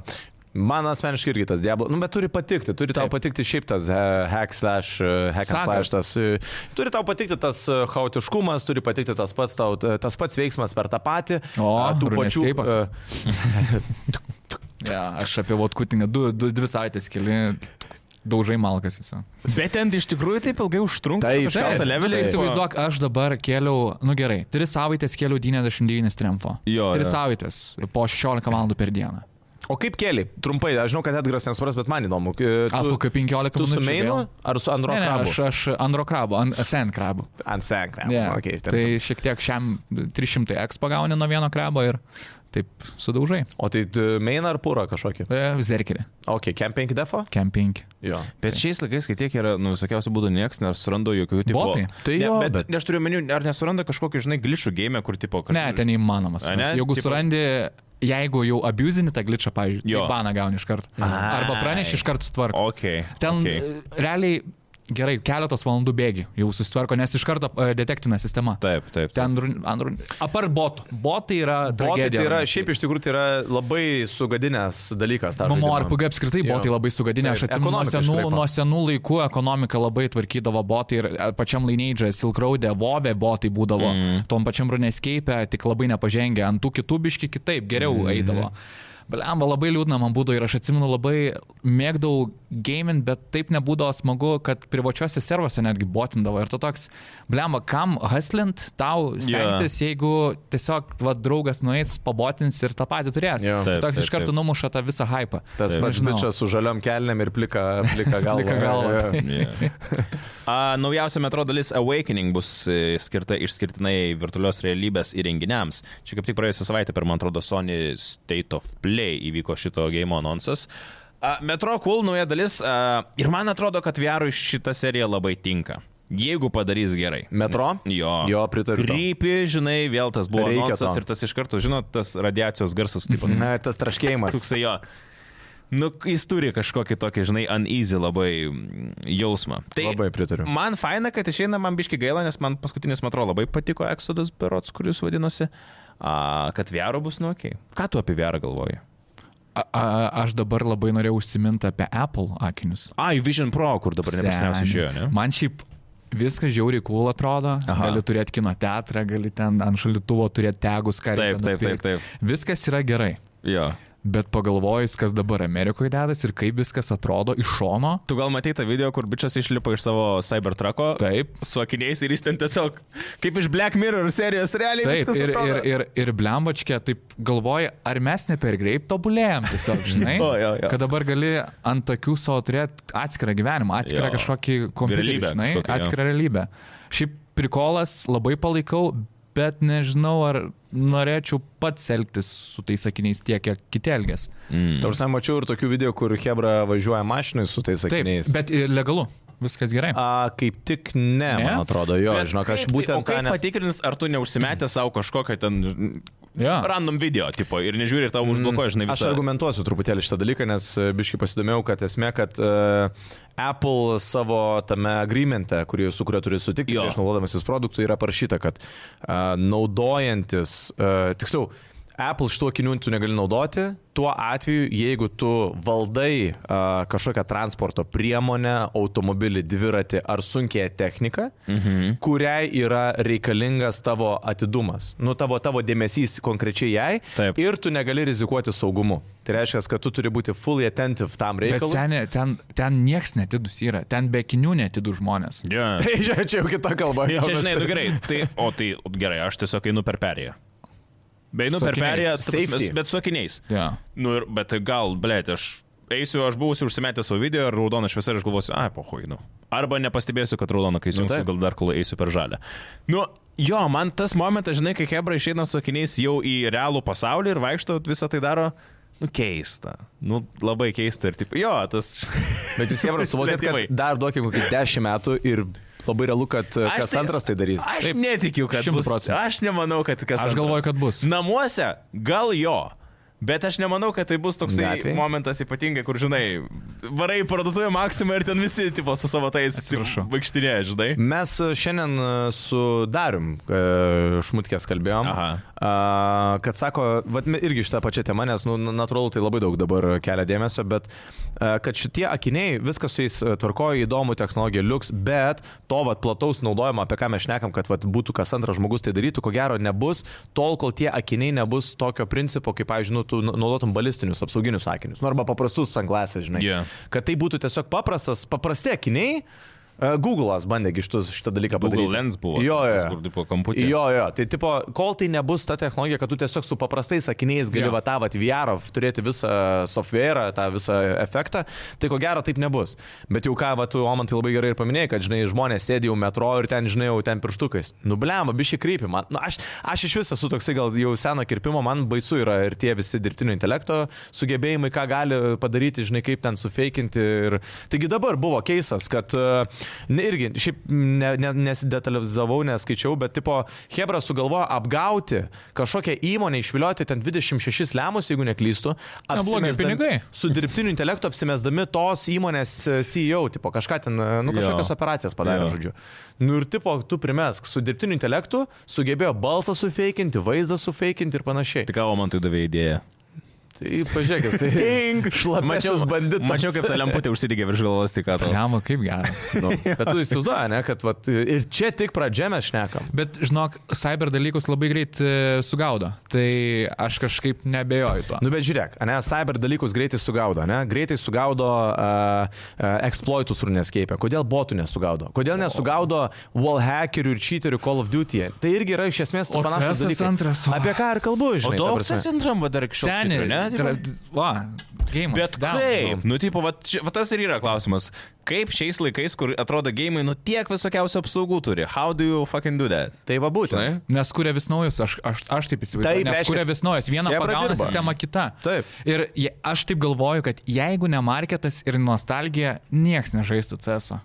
Speaker 3: Man asmeniškai irgi tas Diablo, nu, bet turi patikti, turi tau
Speaker 2: Taip.
Speaker 3: patikti šiaip tas e, hack slash, e, hack and
Speaker 2: Saga.
Speaker 3: slash, tas, e, turi tau patikti tas e, chaotiškumas, turi patikti tas pats, tau, e, tas pats veiksmas per tą patį,
Speaker 2: O,
Speaker 3: e, tų pačių.
Speaker 2: Runescape'as.
Speaker 3: e,
Speaker 2: Ja, aš apie Votkutingą du, du, dvi savaitės keli. Daužai malkas visą.
Speaker 1: Bet ten iš tikrųjų taip ilgai užtrunka.
Speaker 3: Taip,
Speaker 1: kad šaltą
Speaker 3: taip.
Speaker 1: levelį.
Speaker 2: Tai
Speaker 1: tipo-
Speaker 2: įsivaizduok, aš dabar keliau, nu gerai, 3 savaitės keliau 99 triumfo.
Speaker 1: Jo,
Speaker 2: 3
Speaker 1: jo.
Speaker 2: savaitės po 16 valandų per dieną.
Speaker 3: O kaip keli? Trumpai, aš žinau, kad Edgaras nesupras, bet man įdomu. e, tu-
Speaker 2: Alfa K15
Speaker 3: Tu su
Speaker 2: minučių
Speaker 3: Meinu
Speaker 2: vėl.
Speaker 3: ar su
Speaker 2: Ne, ne,
Speaker 3: Androkrabu?
Speaker 2: aš, aš Andro krabo, an, Sen krabo.
Speaker 3: Ant sekrą.
Speaker 2: Ne,
Speaker 3: Okay, ten-
Speaker 2: tai šiek tiek šiam 300 X pagauni nuo vieno krabo ir taip sudaužai.
Speaker 3: O tai tu main ar pūra kažkokį?
Speaker 2: E, Zerkerį,
Speaker 3: Ok, Camp 5 defo?
Speaker 2: Camping.
Speaker 3: Jo.
Speaker 1: Bet šiais laikais, kai tiek yra, nu, visokiausių būdų nieks nesurando jokių tipo.
Speaker 2: Botai?
Speaker 3: Tai
Speaker 1: ne,
Speaker 3: jo,
Speaker 1: bet,
Speaker 3: bet-
Speaker 1: bet... Aš turiu meniu, ar nesuranda kažkokį, žinai, gličių game, kur tipo
Speaker 2: Ne, ten įmanomas.
Speaker 1: A, ne?
Speaker 2: nes Jeigu
Speaker 1: Tipo-
Speaker 2: surandi, jeigu jau abuzini tą glitchą, pavyzdžiui,
Speaker 1: Jo.
Speaker 2: tai baną gauni iš karto. Arba praneši iš karto sutvarko.
Speaker 1: Ok.
Speaker 2: Ten
Speaker 1: okay.
Speaker 2: okay. realiai gerai, keletos valandų bėgi, jau susitvarko, nes iš karto e, detektina sistema.
Speaker 1: Taip, taip. taip.
Speaker 2: Ten, run- ant run- apar botų. Botai yra...
Speaker 3: Botai
Speaker 2: tragedija
Speaker 3: tai yra,
Speaker 2: run-
Speaker 3: šiaip iš tikrųjų, tai yra labai sugadinęs dalykas. tą
Speaker 2: Mamo
Speaker 3: žaidimą.
Speaker 2: RPG apskritai
Speaker 3: Jo.
Speaker 2: botai labai sugadinę, aš
Speaker 3: Taip,
Speaker 2: atsimenu, nuo
Speaker 3: ekonomiką
Speaker 2: senų,
Speaker 3: iškraipo.
Speaker 2: nuo senų laikų ekonomika labai tvarkydavo botai ir e, pačiam lainėdžiai, Silkraudė, Vovė botai būdavo, mm. tom pačiam Runescape, tik labai nepažengę, ant tų kitų biški kitaip geriau
Speaker 3: Mhm.
Speaker 2: mm. eidavo. Blemba, labai liūdna man būdavo ir aš atsimenu labai mėgdavau gaming, bet taip nebūdavo smagu, kad privačiuose servuose netgi botindavo. Ir to toks, blemba, kam haslint tau stengtis, yeah. jeigu tiesiog va, draugas nueis, pabotins ir tą patį turės.
Speaker 3: Jo.
Speaker 2: Tai
Speaker 1: Taip,
Speaker 2: toks
Speaker 1: taip,
Speaker 2: iš karto
Speaker 1: taip.
Speaker 2: numuša tą visą hypą.
Speaker 3: Tas
Speaker 1: Taip.
Speaker 3: pats
Speaker 2: Nežinau.
Speaker 3: bičias su žaliom kelniam ir plika, plika galva.
Speaker 2: Plika galva,
Speaker 3: Jo.
Speaker 2: tai.
Speaker 1: Yeah. A, naujausia metro dalis Awakening bus e, skirta išskirtinai virtualios realybės įrenginiams. Čia kaip tik praėjusią savaitę per, man atrodo, Sony State of Play įvyko šito game annonsas. A, metro Cool nauja dalis a, ir man atrodo, kad VR šita serija labai tinka. Jeigu padarys gerai.
Speaker 3: Metro?
Speaker 1: Jo.
Speaker 3: Jo, pritariu tau.
Speaker 1: Krypi, žinai, vėl tas buvo
Speaker 3: Reikia
Speaker 1: annonsas
Speaker 3: to.
Speaker 1: ir tas iš karto, žinot, tas radiacijos garsas taip pat.
Speaker 3: Na, tas traškėjimas.
Speaker 1: Toksai jo. Nu, jis turi kažkokį tokį, žinai, uneasy labai mm, jausmą. Tai
Speaker 3: Labai pritariu.
Speaker 1: Man faina, kad išeina, man biški gaila, nes man paskutinis metro labai patiko Exodus Berots, kuris vadinosi, a, kad Vero bus nuokiai. Ką tu apie Verą galvoji?
Speaker 2: A, a, aš dabar labai norėjau užsiminti apie Apple akinius.
Speaker 1: Ai, Vision Pro, kur dabar nepasniausiai
Speaker 2: Seni.
Speaker 1: išėjo, ne?
Speaker 2: Man šiaip viskas žiauriai cool atrodo. Aha.
Speaker 1: Aha.
Speaker 2: Gali turėti kino teatrą, gali ten ant šalituvo turėti tegus, ką
Speaker 1: Taip,
Speaker 2: reikia
Speaker 1: taip, taip,
Speaker 2: nupirkt.
Speaker 1: taip.
Speaker 2: Viskas yra gerai.
Speaker 1: Jo.
Speaker 2: Bet pagalvojus, kas dabar Amerikoje dedas ir kaip viskas atrodo iš šono,
Speaker 1: Tu gal matei tą video, kur bičias išlipa iš savo Cybertruko
Speaker 2: taip,
Speaker 1: su akiniais ir jis ten tiesiog kaip iš Black Mirror serijos realiai.
Speaker 2: Taip,
Speaker 1: viskas
Speaker 2: ir, ir,
Speaker 1: atrodo.
Speaker 2: ir, ir blembačkė, taip galvoja, ar mes ne per greit tobulėjom tiesiog, žinai,
Speaker 1: Jo, jo, jo.
Speaker 2: kad dabar gali ant akių savo turėti atskirą gyvenimą, atskirą
Speaker 1: Jo.
Speaker 2: kažkokį kompiuterį,
Speaker 1: Realybę
Speaker 2: žinai,
Speaker 1: kažkokią, jo.
Speaker 2: atskirą realybę. Šiaip prikolas labai palaikau, bet nežinau, ar norėčiau pats elgtis su tais sakiniais tiek, kiek kiti elgės.
Speaker 1: Mm.
Speaker 3: Tarsi mačiau ir tokių video, kur Hebra važiuoja mašinai su tais
Speaker 2: Taip,
Speaker 3: akiniais.
Speaker 2: bet ir legalu, viskas gerai.
Speaker 3: A, kaip tik ne, ne,
Speaker 2: Ne?
Speaker 3: man atrodo, jo,
Speaker 1: Bet
Speaker 3: žinok, aš
Speaker 1: kaip tai- o
Speaker 3: būtent
Speaker 1: kaip
Speaker 3: tą nes...
Speaker 1: patikrins, ar tu neužsimetė savo kažkokio ten
Speaker 2: Jo.
Speaker 1: random video, tipo, ir nežiūri, ir tau užblokuoja, žinai,
Speaker 3: Mm, Aš
Speaker 1: visą.
Speaker 3: argumentuosiu truputėlį šitą dalyką, nes e, biškai pasidomėjau, kad esmė, kad uh, Apple savo tame agreemente, kurį, su kuriuo turi sutikti,
Speaker 1: Jo.
Speaker 3: prieš naudodamasis produktų, yra parašyta, kad uh, naudojantis, uh, tiksliau, Apple šituo akiniu tu negali naudoti, tuo atveju, jeigu tu valdai uh, kažkokią transporto priemonę, automobilį, dviratį ar sunkią techniką, mhm. kuriai yra reikalingas tavo atidumas, nu tavo, tavo dėmesys konkrečiai jai,
Speaker 1: Taip.
Speaker 3: ir tu negali rizikuoti saugumu. Tai reiškia, kad tu turi būti fully attentive tam
Speaker 2: Bet
Speaker 3: reikalui.
Speaker 2: senė, ten, ten nieks netidus yra, ten be kinių netidus žmonės.
Speaker 1: Yeah.
Speaker 3: Tai čia, čia jau kita kalba.
Speaker 1: Tai
Speaker 3: jo,
Speaker 1: čia,
Speaker 3: mes-
Speaker 1: žinai, nu gerai. Tai, o tai gerai, aš tiesiog einu per perėją. Beinu
Speaker 2: Su
Speaker 1: per
Speaker 2: akiniais.
Speaker 1: perėją, ta prasme,
Speaker 3: Safety.
Speaker 1: bet su akiniais.
Speaker 2: Yeah.
Speaker 1: Nu, ir, bet tai gal, blėt, aš eisiu, aš būsiu užsimetęs savo video ir raudona šviesa ir aš galvosiu, ai, pohui, nu. Arba nepastebėsiu, kad raudona, kai įsijungsiu,
Speaker 3: taip.
Speaker 1: nu, gal dar kol eisiu per žalę. Nu, jo, man tas momentas, žinai, kai Hebra išeina su akiniais jau į realų pasaulį ir vaikšto visą tai daro, nu, keista. Nu, labai keista ir taip. Jo, tas...
Speaker 3: Bet jūs jau suvokėt,
Speaker 1: Išsilietimai.
Speaker 3: kad dar duokim kokį 10 metų ir labai realu, kad e,
Speaker 1: Aš
Speaker 3: kas antras tai darys.
Speaker 1: Aš Taip, netikiu, kad
Speaker 2: šimtu
Speaker 1: bus.
Speaker 2: procentų.
Speaker 1: Aš nemanau, kad kas.
Speaker 2: Aš galvoju, kad bus.
Speaker 1: Namuose gal jo. Bet aš nemanau, kad tai bus toksai
Speaker 3: Gatvėj?
Speaker 1: Gatvėj. momentas ypatingai, kur, žinai, varai į parduotuvę maksimą ir ten visi, tipo, su savo tais
Speaker 2: Atsiprašau.
Speaker 1: vaikštinė, žinai.
Speaker 3: Mes e, šiandien e, su Darium e, Šmutkės kalbėjom,
Speaker 1: Aha.
Speaker 3: a, kad sako, vat, me- irgi šitą pačią temą, nes, nu, na- natūralu, tai labai daug dabar kelia dėmesio, bet a, kad šitie akiniai, viskas su jais e, tvarkoja, įdomu, technologija liuks, bet to vat, plataus naudojimo, apie ką mes šnekam, kad vat, būtų kas antras žmogus tai darytų, ko gero nebus, tol kol tie akiniai nebus tokio principo, kaip, pavyzdžiui, nu, tu na- naudotum balistinius apsauginius akinius, nu, arba paprastus sanglasės, žinai
Speaker 1: Jo.
Speaker 3: kad tai būtų tiesiog paprastas, paprasti akiniai. E, Google'as bandė gi šitus- šitą dalyką padaryti.
Speaker 1: Google Lens buvo,
Speaker 3: Jo,
Speaker 1: tas,
Speaker 3: jo.
Speaker 1: kur tipo kamputyje.
Speaker 3: Jo, jo. Tai tipo, kol tai nebus ta technologija, kad tu tiesiog su paprastais akiniais gali
Speaker 2: Jo.
Speaker 3: vatavat VR, turėti visą software, tą visą efektą, tai ko gero taip nebus. Bet jau ką, va, tu, Oman, tai labai gerai ir paminėjai, kad, žinai, žmonės sėdi jau metro ir ten, žinai, jau ten pirštukais. Nu, Nublema, bišį krypį. Man, nu, aš, aš iš viso esu toksai gal jau seno kirpimo, man baisu yra ir tie visi dirbtinio intelekto sugebėjimai, ką gali padaryti, žinai, kaip ten sufeikinti. Ir... Taigi dabar buvo keisas, kad uh, Ne, irgi, šiaip ne, ne, nesidetalizavau, neskaičiau, bet tipo, Hebra sugalvojo apgauti kažkokią įmonę, išvilioti ten 26 lemus, jeigu neklystu,
Speaker 2: Neblogi
Speaker 3: apsimesdami-
Speaker 2: pinigai.
Speaker 3: su dirbtiniu intelektu apsimesdami tos įmonės e, CEO, tipo, kažką ten, e, nu, kažkokias
Speaker 1: Jo.
Speaker 3: operacijas padarė,
Speaker 1: Jo.
Speaker 3: žodžiu. Nu ir tipo, tu primesk, su dirbtiniu intelektu sugebėjo balsą sufeikinti, vaizdą sufeikinti ir panašiai.
Speaker 1: Tik ką man tai davė idėją.
Speaker 3: Tai pažiūrėkis, tai
Speaker 1: Mačiau,
Speaker 3: šlapmačiaus banditas.
Speaker 1: mačiau, kaip ta lemputė užsidegė virš galvos, tik ką tau.
Speaker 2: Jam, kaip geras.
Speaker 1: Nu.
Speaker 3: Bet tu įsivaizduoji, ne, kad vat, ir čia tik pradžia mes šnekam.
Speaker 2: Bet žinok, cyber dalykus labai greit e, sugaudo. Tai aš kažkaip nebejoju to.
Speaker 3: Nu bet žiūrėk, ne, cyber dalykus greitai sugaudo, ne, greitai sugaudo uh, uh, exploitus runescape, kodėl botų nesugaudo, kodėl nesugaudo wallhackerių ir cheaterių Call of Duty. Tai irgi yra iš esmės
Speaker 2: O
Speaker 3: panašus
Speaker 2: CS
Speaker 3: dalykas.
Speaker 2: antras, o.
Speaker 3: Apie ką ir kalbu,
Speaker 1: O
Speaker 3: žinai. ta
Speaker 1: daug
Speaker 3: prasme.
Speaker 1: tas antram va dar iki šiol.
Speaker 2: Seniai, tai
Speaker 1: šitų,
Speaker 2: ne?
Speaker 1: Tipo,
Speaker 2: Tra, va, game.
Speaker 1: Bet kaip? Nu, tipo, va, čia- va tas ir yra klausimas. Kaip šiais laikais, kur atrodo gėjimai, nu tiek visokiausių apsaugų turi? How do you fucking do that?
Speaker 3: Tai va būtent.
Speaker 1: Žinai?
Speaker 2: Nes kuria vis naujus, aš, aš, aš taip
Speaker 3: Taip,
Speaker 2: įsivaizduoju. Nes kuria
Speaker 3: reiškias,
Speaker 2: vis naujus, viena
Speaker 3: chebra
Speaker 2: pagauna
Speaker 3: dirba.
Speaker 2: sistemą kita.
Speaker 3: Taip.
Speaker 2: Ir je- aš taip galvoju, kad jeigu ne marketas ir nostalgija, nieks nežaistų CS. -o.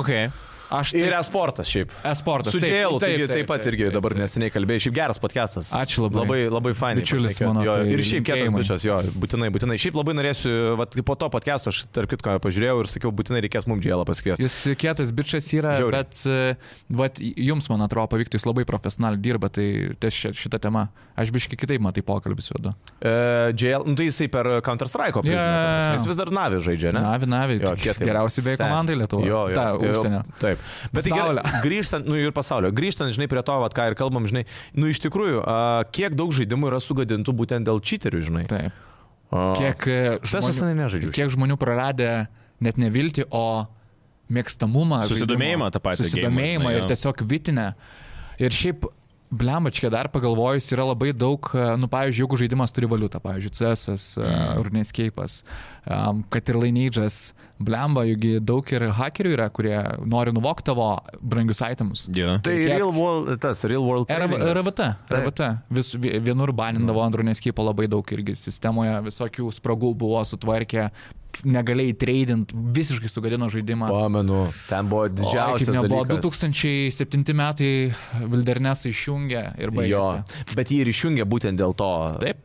Speaker 1: Okay.
Speaker 2: Aš
Speaker 3: Ir
Speaker 2: taip,
Speaker 3: esportas šiaip.
Speaker 2: esportas.
Speaker 3: Su
Speaker 2: taip,
Speaker 3: Džėlu taip, taip, taip pat
Speaker 2: taip,
Speaker 3: irgi
Speaker 2: taip,
Speaker 3: dabar
Speaker 2: taip.
Speaker 3: neseniai kalbėjai. Šiaip geras podcastas.
Speaker 2: Ačiū labai.
Speaker 3: Labai, labai fainai.
Speaker 2: Bičiulis
Speaker 3: pašnekėjot.
Speaker 2: mano,
Speaker 3: Jo,
Speaker 2: tai
Speaker 3: ir šiaip kietas
Speaker 2: linkėjimai.
Speaker 3: bičias, jo, būtinai, būtinai. Šiaip labai norėsiu, vat, po to podcast'o aš tarp kitko pažiūrėjau ir sakiau, būtinai reikės mums Džėlą pasikviesti.
Speaker 2: Jis kietas bičias yra,
Speaker 3: Žiauriai.
Speaker 2: Žiauriai. bet uh, vat, jums, man atrodo, pavyktų, jis labai profesionaliai dirba, tai ties ši- šita tema. Aš biškai kitaip matai pokalbis vedu.
Speaker 3: E, JL, nu, tai jisai per Counter-Strike prizmę.
Speaker 2: Jo.
Speaker 3: Yeah. Jis vis dar navi žaidžia, ne?
Speaker 2: Navi, navi,
Speaker 3: Jo, kietai.
Speaker 2: geriausiai tai beje
Speaker 3: Sen.
Speaker 2: komandai Lietuvos.
Speaker 3: Jo, jo,
Speaker 2: Ta,
Speaker 3: jo,
Speaker 2: užsienio.
Speaker 3: Taip. Bet tai
Speaker 2: Pasaulio.
Speaker 3: gerai, grįžtant, nu ir pasaulio, grįžtant, žinai, prie to, vat, ką ir kalbam, žinai, nu iš tikrųjų, a, kiek daug žaidimų yra sugadintų būtent dėl cheaterių, žinai.
Speaker 2: Taip.
Speaker 3: A.
Speaker 2: Kiek, e,
Speaker 3: Sesu
Speaker 2: žmonių-
Speaker 3: senai nežaidžiu.
Speaker 2: kiek žmonių praradė net nevilti, o mėgstamumą.
Speaker 1: Susidomėjimą
Speaker 2: žaidimo,
Speaker 1: tą patį
Speaker 2: Susidomėjimą
Speaker 1: geimą, žinai,
Speaker 2: ir
Speaker 1: jo.
Speaker 2: tiesiog vitinę. Ir šiaip, blemačkė dar pagalvojus, yra labai daug, e, nu pavyzdžiui, jeigu žaidimas turi valiutą, pavyzdžiui, CS, mm. Urnescape'as, em, kad ir Laineidžas, e, blemba, jugi daug ir hakerių yra, kurie nori nuvokti tavo brangius itemus.
Speaker 1: Yeah.
Speaker 3: Tai
Speaker 2: Kiek-
Speaker 3: real world, tas real world. tradingas.
Speaker 2: RBT,
Speaker 3: Taip.
Speaker 2: RBT. Vis, vi- vienur banindavo Andronės kypo labai daug irgi sistemoje, visokių spragų buvo sutvarkę, negalėjai treidint, visiškai sugadino žaidimą.
Speaker 3: Pamenu, ten buvo didžiausias.
Speaker 2: kaip nebuvo,
Speaker 3: dalykas.
Speaker 2: 2007 metai Vildernesą išjungė ir
Speaker 3: Jo,
Speaker 2: baigė.
Speaker 3: bet jį ir išjungė būtent dėl to.
Speaker 2: Taip.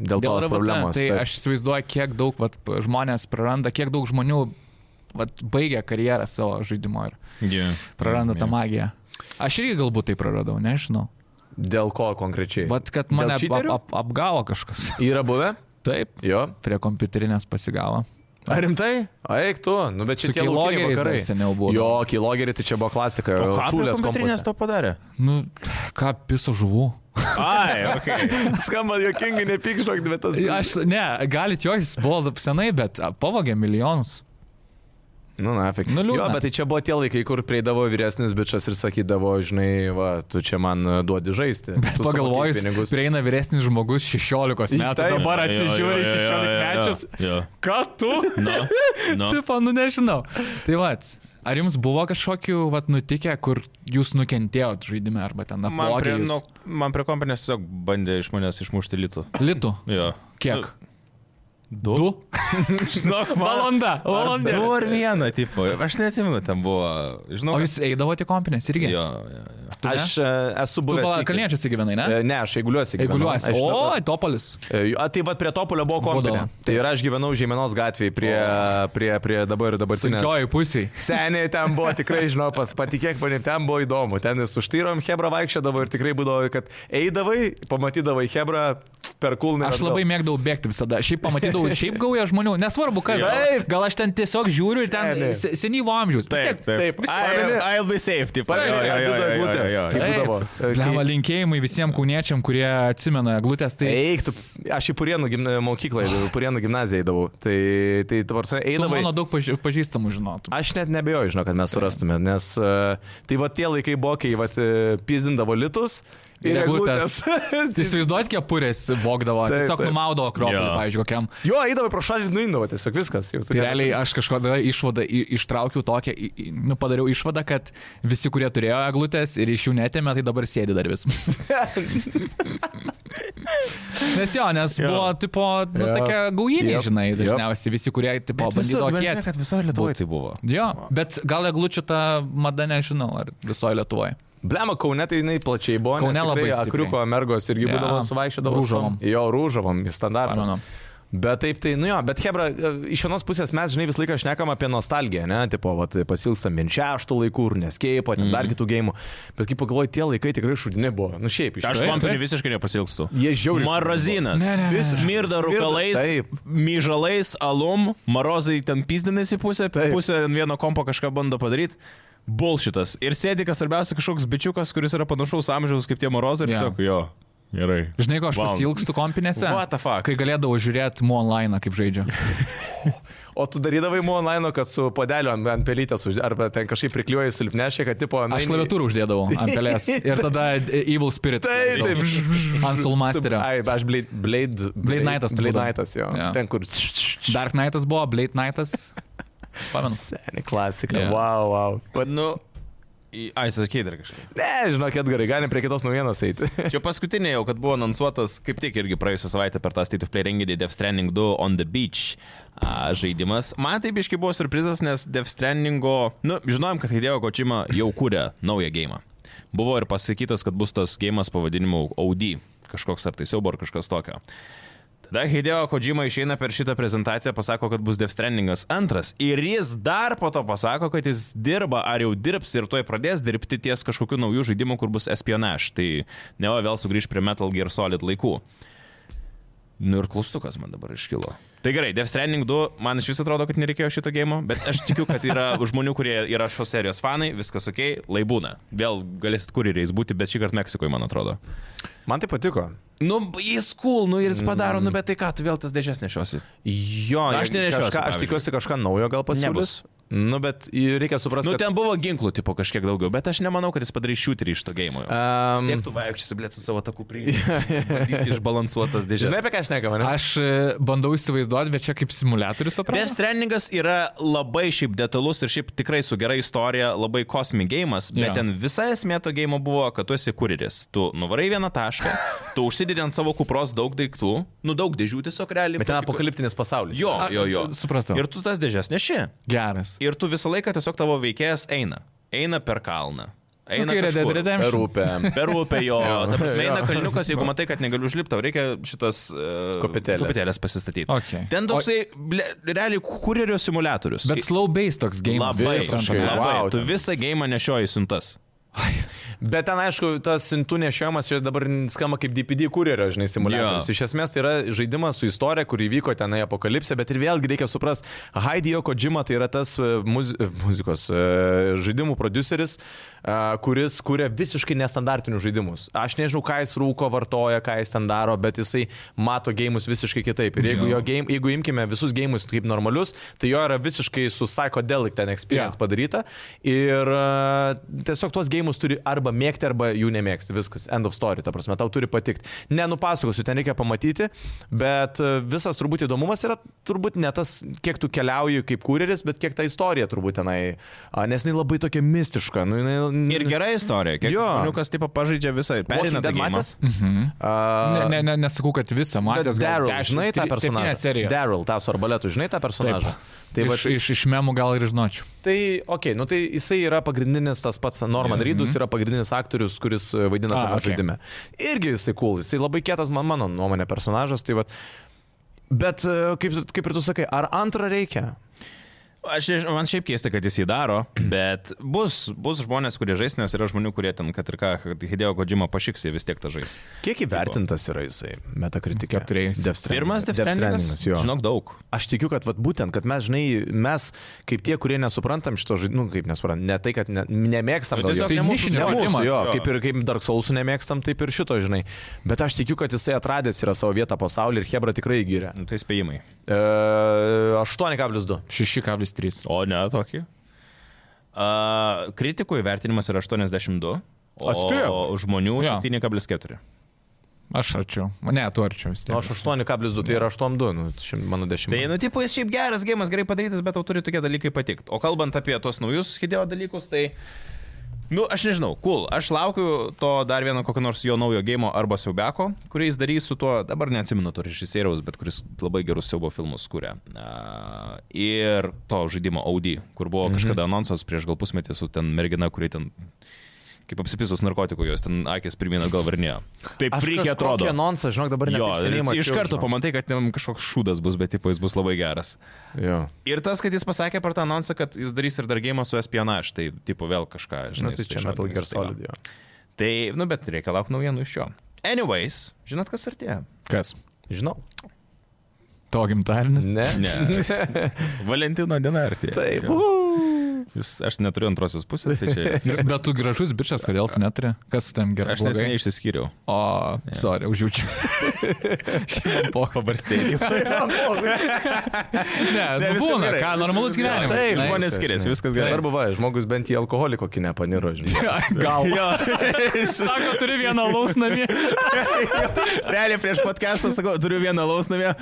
Speaker 3: Dėl, dėl tos
Speaker 2: RBT,
Speaker 3: problemos.
Speaker 2: Tai
Speaker 3: taip.
Speaker 2: aš įsivaizduoju, kiek daug vat, žmonės praranda, kiek daug žmonių vat, baigia karjerą savo žaidimo ir
Speaker 1: Yeah.
Speaker 2: praranda tą magiją. Aš irgi galbūt tai praradau, nežinau.
Speaker 3: Dėl ko konkrečiai?
Speaker 2: Bet kad
Speaker 3: Dėl
Speaker 2: mane ap,
Speaker 3: čyterių?
Speaker 2: ap, apgavo kažkas.
Speaker 3: Yra buvę?
Speaker 2: Taip.
Speaker 3: Jo.
Speaker 2: prie kompiuterinės pasigavo.
Speaker 3: Ar rimtai? Eik tu, nu bet čia
Speaker 2: Su
Speaker 3: tie laukiniai
Speaker 2: keylogeriais dar
Speaker 3: vakarai.
Speaker 2: seniau būdavo.
Speaker 3: Jo, keylogeriai tai čia buvo klasika.
Speaker 1: O ką prie
Speaker 3: Šulės
Speaker 1: kompiuterinės
Speaker 3: kompas.
Speaker 1: to padarė?
Speaker 2: Nu, ką, piso žuvų.
Speaker 1: Ai, okay.
Speaker 3: Skamba jokingai, nepykštok, bet tas.
Speaker 2: Aš, ne, galit juoktis, buvo senai, bet a, pavogė milijonus.
Speaker 3: Nu, na, fik.
Speaker 2: Nu, liūdna.
Speaker 3: jo, bet tai čia buvo tie laikai, kur prieidavo vyresnis bičias ir sakydavo, žinai, va, tu čia man e, duodi žaisti.
Speaker 2: Bet
Speaker 3: Tu
Speaker 2: pagalvojus,
Speaker 3: sumokėk pinigus.
Speaker 2: prieina vyresnis žmogus 16
Speaker 3: Į
Speaker 2: metų,
Speaker 3: taip.
Speaker 2: dabar atsižiūri 16 mečius.
Speaker 1: Jo,
Speaker 2: Ką tu?
Speaker 1: jo, jo. No, no.
Speaker 2: Tipo, nu nežinau. Tai vats. Ar jums buvo kažkokių vat, nutikę, kur jūs nukentėjot žaidime arba ten
Speaker 1: Man prie,
Speaker 2: apmokėjus?
Speaker 1: nu, man prie kompanijos tiesiog bandė iš manęs išmušti litų.
Speaker 2: Litų.
Speaker 1: Jo.
Speaker 2: Kiek?
Speaker 1: Du.
Speaker 2: Du.
Speaker 1: Žinok, man.
Speaker 2: Valanda.
Speaker 1: Ar
Speaker 2: Valanda.
Speaker 1: Du ar vieną, tipo. Aš nesimenu, ten buvo. Žinau,
Speaker 2: O jūs eidavote į kompinės irgi?
Speaker 1: Jo, jo, jo.
Speaker 2: Tu ne?
Speaker 3: Aš e, esu
Speaker 2: Tu
Speaker 3: buvęs.
Speaker 2: pala,
Speaker 3: iki-
Speaker 2: kalniečiasi gyvenai, ne?
Speaker 3: E, Ne, aš eiguliuosi. gyvenau.
Speaker 2: Eiguliuosi.
Speaker 3: Aš
Speaker 2: O,
Speaker 3: dabar-
Speaker 2: Topolis.
Speaker 3: E, A, tai vad prie Topolio buvo kompinė.
Speaker 2: Būdavo.
Speaker 3: Tai ir aš gyvenau Žemėnos gatvėje prie, prie, prie dabar dabartinės.
Speaker 2: Sunkioji pusiai.
Speaker 3: Seniai ten buvo tikrai, žinau, pas, patikėk manim, ten buvo įdomu. Ten su štyrom Hebra vaikščiodavo ir tikrai būdavo, kad eidavai, pamatydavai Hebra per kulną.
Speaker 2: Aš labai mėgdavau bėgti visada. Šiaip pamatydavau, šiaip gauja žmonių, nesvarbu kas.
Speaker 3: Taip.
Speaker 2: Gal aš ten tiesiog žiūriu ir ten
Speaker 3: Seniai.
Speaker 2: se- senyvo amžiaus.
Speaker 1: Taip, taip.
Speaker 3: taip.
Speaker 1: I,
Speaker 3: Pameni?
Speaker 1: I'll be safe, tipo.
Speaker 3: Pameni,
Speaker 1: Jo, jo,
Speaker 3: ant
Speaker 1: jo, jo,
Speaker 3: du
Speaker 1: jo,
Speaker 3: eglutės.
Speaker 1: jo, jo.
Speaker 3: Kaip būdavo? E,
Speaker 2: Blema,
Speaker 3: kai-
Speaker 2: linkėjimai visiems kauniečiam, kurie atsimena glutės. Tai
Speaker 3: Eiktų, aš į Purienų gimna- mokyklą, eidavau, Purienų gimnaziją eidavau. Tai, tai dabar,
Speaker 2: tu
Speaker 3: eidavai.
Speaker 2: mano daug paži- pažįstamų žinotum.
Speaker 3: Aš net nebejoju, žinau, kad mes surastume, nes e, tai va tie laikai buvo, kai va e, pizdindavo litus Ir
Speaker 2: eglutės. Tai įsivaizduot, kiek purės vogdavo.
Speaker 3: Taip,
Speaker 2: Tiesiog
Speaker 3: taip.
Speaker 2: numaudavo kropelį,
Speaker 1: Jo.
Speaker 2: pavyzdžiui, kokiam.
Speaker 3: Jo, eidavo pro šalį, nuindavo tiesiog viskas. Jau,
Speaker 2: Tai realiai aš kažkada išvadą i- ištraukiau tokią, i- i- nu, padariau išvadą, kad visi, kurie turėjo eglutės ir iš jų netėmė, tai dabar sėdi dar vis. nes jo, nes
Speaker 1: Jo.
Speaker 2: buvo, tipo, nu,
Speaker 3: Jo.
Speaker 2: tokia gaujinė,
Speaker 3: Jep.
Speaker 2: žinai,
Speaker 3: Jep.
Speaker 2: dažniausiai visi, kurie, tipo, bandydavo
Speaker 1: žinai,
Speaker 2: kėti.
Speaker 1: kad visoje Lietuvoje tai buvo.
Speaker 2: Jo, bet gal eglučių ta mada nežinau, ar visoje Lietuvoje.
Speaker 3: Blema Kaune tai jinai plačiai buvo. nes
Speaker 2: Kaune
Speaker 3: tikrai
Speaker 2: labai stipriai.
Speaker 3: Akriuko mergos irgi
Speaker 2: Jo.
Speaker 3: būdavo suvaikščiodavo. su tom-
Speaker 2: Rūžavom.
Speaker 3: Jo, rūžavom, į standartą.
Speaker 2: Pamenu.
Speaker 3: Bet taip, tai, nu jo, bet Hebra, e, iš vienos pusės mes, žinai, visą laiką šnekam apie nostalgiją, ne, tipo, vat, pasilstam minčiaštų laikų, ir neskeipo, ten mm.
Speaker 2: Mhm.
Speaker 3: dar kitų gėjimų. Bet kaip pagalvoju, tie laikai tikrai šudini buvo. Nu šiaip, iš
Speaker 1: Aš
Speaker 3: tikrųjų.
Speaker 2: Taip,
Speaker 1: kompanijų
Speaker 2: taip.
Speaker 1: visiškai nepasilgstu.
Speaker 3: Jie žiauriai
Speaker 1: Marozinas.
Speaker 2: Ne, ne, ne.
Speaker 1: Vis smirda rūkalais,
Speaker 3: Taip.
Speaker 1: myžalais, alum, marozai ten pizdinasi pusę,
Speaker 3: Taip.
Speaker 1: pusę ant vieno kompo kažką bando padaryti. Bulšitas. Ir sėdi, kas svarbiausia, kažkoks bičiukas, kuris yra panašaus amžiaus kaip tie marozai. Ir
Speaker 2: Jo.
Speaker 1: tiesiog, jo, gerai.
Speaker 2: Žinai, ko aš
Speaker 1: Wow.
Speaker 2: pasilgstu kompinėse?
Speaker 1: What the fuck?
Speaker 2: Kai galėdavau žiūrėti mu online, kaip žaidžia.
Speaker 3: O tu darydavai mu online, kad su padeliu ant, ant pelytės, užde- arba ten kažkaip prikliuoji silpnešė, kad tipo...
Speaker 2: Aš klaviatūrą uždėdavau ant pelės. Ir tada Evil Spirit.
Speaker 3: Taip, taip. ž- ž- ž-
Speaker 2: Ant Soulmasterio.
Speaker 3: Ai, aš Blade... Blade,
Speaker 2: Blade Knightas tai
Speaker 3: Blade
Speaker 2: būdavo.
Speaker 3: Knightas, jo.
Speaker 2: Jo.
Speaker 3: Ten, kur...
Speaker 2: Dark Knightas buvo, Blade Knightas. Pamenu.
Speaker 3: Seniai klasika.
Speaker 2: Jo.
Speaker 3: Yeah. Wow, wow.
Speaker 1: Bet, nu. į- Ai, sakai dar kažką.
Speaker 3: Ne, žinokit, gerai, galim prie kitos naujienos eiti.
Speaker 1: Čia paskutinė jau, kad buvo anonsuotas, kaip tik irgi praėjusią savaitę per tą State of Play renginį Death Stranding 2 on the Beach a, žaidimas. Man tai biški buvo surprizas, nes Death Strandingo, nu, žinojom, kad Hideo Kočima jau kūrė naują gėjimą. Buvo ir pasakytas, kad bus tas gėjimas pavadinimu OD, kažkoks ar tai siaubo ar kažkas tokio. Tada Hideo Kojima išeina per šitą prezentaciją, pasako, kad bus Death Strandingas antras. Ir jis dar po to pasako, kad jis dirba ar jau dirbs ir tuoj pradės dirbti ties kažkokiu nauju žaidimu, kur bus espionage. Tai ne va vėl sugrįž prie Metal Gear Solid laikų. Nu ir klaustukas man dabar iškilo. Tai gerai, Death Stranding 2, man iš viso atrodo, kad nereikėjo šito gėjimo, bet aš tikiu, kad yra žmonių, kurie yra šios serijos fanai, viskas ok, laibūna. Vėl galėsit kurjeriais būti, bet šį kartą Meksikoje, man atrodo.
Speaker 3: Man tai patiko.
Speaker 1: Nu, jis cool, nu ir jis padaro, nu bet tai ką, tu vėl tas dėžes nešiosi.
Speaker 3: Jo,
Speaker 1: Na, aš
Speaker 3: jie
Speaker 1: nenešiosiu,
Speaker 3: Kažką, aš
Speaker 1: pavyzdžiui.
Speaker 3: tikiuosi kažką naujo gal pasiūlys.
Speaker 1: Nebus.
Speaker 3: Nu, bet i- reikia suprasti.
Speaker 1: Nu,
Speaker 3: kad-
Speaker 1: ten buvo ginklų tipo kažkiek daugiau, bet aš nemanau, kad jis padarys šūterį iš to gėjimo.
Speaker 3: Am,
Speaker 1: Tiek tu vaikščiasi, blėt, su savo takų priimtu. Jis išbalansuotas dėžė.
Speaker 3: Žinai, apie ką aš nekam, ne?
Speaker 2: Aš e, bandau įsivaizduoti, bet čia kaip simulatorius
Speaker 1: Death
Speaker 2: atrodo.
Speaker 1: Strandingas yra labai šiaip detalus ir šiaip tikrai su gera istorija, labai kosmi gėjimas, bet
Speaker 2: Jo.
Speaker 1: yeah. ten visa esmė to gėjimo buvo, kad tu esi kurjeris. Tu nuvarai vieną tašką, tu užsidedi ant savo kupros daug daiktų, nu daug dėžių tiesiog realiai.
Speaker 3: Bet ten
Speaker 1: Tokį-
Speaker 3: apokaliptinis pasaulis.
Speaker 1: Jo,
Speaker 2: A,
Speaker 1: jo, jo.
Speaker 2: supratau.
Speaker 1: Ir tu tas dėžes neši.
Speaker 2: Geras.
Speaker 1: Ir tu visą laiką tiesiog tavo veikėjas eina. Eina per kalną.
Speaker 2: Nu,
Speaker 1: Eina
Speaker 2: kai Red Dead
Speaker 1: kažkur.
Speaker 3: Per
Speaker 2: Redemption.
Speaker 3: upę.
Speaker 1: Per upę jo.
Speaker 3: Jo.
Speaker 1: Ta prasme, eina
Speaker 3: Jo.
Speaker 1: kalniukas, jeigu matai, kad negaliu užlipti, tau reikia šitas uh,
Speaker 3: Kopėtėlės.
Speaker 1: kopėtėlės pasistatyti.
Speaker 2: Okei.
Speaker 1: Ten toksai, ble, realiai, kurjerio simulatorius.
Speaker 2: Bet slow base toks game.
Speaker 1: labai,
Speaker 3: visiškai.
Speaker 1: labai.
Speaker 3: Wow,
Speaker 1: Tu
Speaker 3: ten.
Speaker 1: visą gėjimą nešioji siuntas.
Speaker 3: Bet ten, aišku, tas sintų nešiojimas čia dabar skamba kaip DPD kurjerio, žinai, simuliatorius.
Speaker 1: Jo.
Speaker 3: Iš esmės tai yra žaidimas su istorija, kur įvyko tenai apokalipsė, bet ir vėlgi reikia suprasti, Haidijo Kojima tai yra tas e, muz e, muzikos e, žaidimų produceris, e, kuris kuria visiškai nestandartinius žaidimus. Aš nežinau, ką jis rūko, vartoja, ką jis ten daro, bet jisai mato gėjimus visiškai kitaip. Ir jeigu, jo game, jeigu imkime visus gėjimus kaip normalius, tai jo yra visiškai su psychedelic ten experience
Speaker 2: Jo.
Speaker 3: padaryta. Ir a, tiesiog tuos gėjimus turi arba mėgti, arba jų nemėgti. Viskas, end of story, ta prasme, tau turi patikti. Nenupasakosiu, ten reikia pamatyti, bet a, visas turbūt įdomumas yra turbūt ne tas, kiek tu keliauji kaip kūrėris, bet kiek ta istorija turbūt tenai, a, nes jinai labai tokia mistiška. Nu, jinai,
Speaker 1: Ir gera istorija. Kiek
Speaker 3: Jo.
Speaker 1: kalniukas taip pažaidžia visą ir perina tą gėjimą.
Speaker 2: Mhm. Ne,
Speaker 3: Ne,
Speaker 2: ne, ne, nesakau, kad visą matęs. gal
Speaker 3: Daryl,
Speaker 2: dešimt,
Speaker 3: žinai tą
Speaker 2: tri- septynias
Speaker 3: personažą.
Speaker 2: serijas.
Speaker 3: Daryl, tą su arbaletu, žinai tą personažą. Tai
Speaker 2: Taip,
Speaker 3: va,
Speaker 2: iš, iš, iš memų gal ir žinočiau.
Speaker 3: Tai, okei, okay, nu tai jisai yra pagrindinis, tas pats
Speaker 1: Mhm.
Speaker 3: Norman mm -hmm. Reedus yra pagrindinis aktorius, kuris e, vaidina
Speaker 1: Ah,
Speaker 2: A,
Speaker 3: tame okay.
Speaker 2: okei.
Speaker 3: žaidime. Irgi jisai cool, jisai labai kietas, man, mano nuomonė, personažas, tai va. Bet, e, kaip, tu- kaip ir tu sakai, ar antrą reikia?
Speaker 1: Aš, nežinau, man šiaip keista, kad jis jį daro, bet bus, bus žmonės, kurie žais, nes yra žmonių, kurie ten, kad ir ką, kad Hideo Kojima pašiks, jie vis tiek tą žais.
Speaker 3: Kiek įvertintas yra jisai metakritikė?
Speaker 2: Keturiais.
Speaker 3: Death Stranding-
Speaker 1: Pirmas Death Strandingas,
Speaker 3: jo.
Speaker 1: žinok, daug.
Speaker 3: Aš tikiu, kad vat, būtent, kad mes, žinai, mes kaip tie, kurie nesuprantam šito žaidimo, nu, kaip nesuprantam, ne tai, kad ne, nemėgstam,
Speaker 1: Nu,
Speaker 3: gal jo.
Speaker 1: tiesiog
Speaker 2: Tai
Speaker 1: ne mūsų
Speaker 2: nišinis
Speaker 3: Ne mūsų,
Speaker 2: žaidimas.
Speaker 3: jo,
Speaker 1: jo.
Speaker 3: kaip ir kaip Dark Soulsų nemėgstam, taip ir šito, žinai. Bet aš tikiu, kad jisai atradęs yra savo vietą pasaulyje ir Hebra tikrai įgyrė.
Speaker 1: Nu, tai spėjimai.
Speaker 3: E, 8,2.
Speaker 2: 6,3.
Speaker 1: O ne tokį. Uh, kritikų įvertinimas yra 82,
Speaker 3: Atspėjau.
Speaker 1: O žmonių
Speaker 2: Jo.
Speaker 1: 7,4.
Speaker 2: Aš arčiau. Ne, tu arčiau vis
Speaker 3: Nu,
Speaker 2: tiek.
Speaker 3: aš 8,2, tai yra 8,2, nu, šim, mano 10.
Speaker 1: Tai, nu, tipo, jis šiaip geras gėjimas, gerai padarytas, bet tau turi tokie dalykai patikti. O kalbant apie tuos naujus Hideo dalykus, tai... Nu, aš nežinau, cool. Aš laukiu to dar vieno kokio nors jo naujo gėjimo arba siaubeko, kurį jis darys su tuo, dabar neatsimenu to režisieriaus, bet kuris labai gerus siaubo filmus kūrė. Uh, ir to žaidimo Audi, kur buvo mhm. kažkada annonsas prieš gal pusmetį su ten mergina, kuri ten kaip apsipisus narkotikų, jos ten akis pirmyn atgal varnėjo. Taip reikia atrodo.
Speaker 3: Anonsą, žinok, dabar ne.
Speaker 1: Jo, ir iš karto pamatai, kad ten kažkoks šūdas bus, bet tipo, jis bus labai geras.
Speaker 3: Jo.
Speaker 1: Ir tas, kad jis pasakė per tą annonsą, kad jis darys ir dar gėjimą su espionaž, tai tipo vėl kažką,
Speaker 3: Na,
Speaker 1: žinai,
Speaker 3: tai
Speaker 1: su
Speaker 3: čia
Speaker 1: tais
Speaker 3: Metal Gear
Speaker 1: šaudmenys, tai va.
Speaker 3: Solid. Jo.
Speaker 1: Tai, nu, bet reikia laukti naujienų iš jo. Anyways, žinot, kas artėja?
Speaker 2: Kas?
Speaker 3: Žinau.
Speaker 2: To gimtadienis?
Speaker 3: Ne.
Speaker 1: Ne. Valentino diena artėja.
Speaker 3: Taip.
Speaker 1: Jo. Jūs, aš neturiu antrosios pusės, tai čia...
Speaker 2: Bet tu gražus bičias, kodėl tu neturi? Kas tam gerai?
Speaker 1: Aš neseniai išsiskyriau.
Speaker 2: O, sorry, užjaučiu. Šiandien po
Speaker 1: Pabarstėjai.
Speaker 2: Ne,
Speaker 1: Ne,
Speaker 2: ne
Speaker 1: viskas
Speaker 2: būna,
Speaker 1: gerai.
Speaker 2: ką, normalus
Speaker 1: Viskas gerai.
Speaker 2: gyvenimas.
Speaker 1: Taip,
Speaker 2: žinai.
Speaker 1: žmonės skiriasi, viskas gerai.
Speaker 3: Svarbu, va, žmogus bent į alkoholiko kinę paniro, žinai.
Speaker 2: Gal. Sako, turi vieną laus namie.
Speaker 1: Realiai prieš podcastą sakau, turiu vieną lausnavę,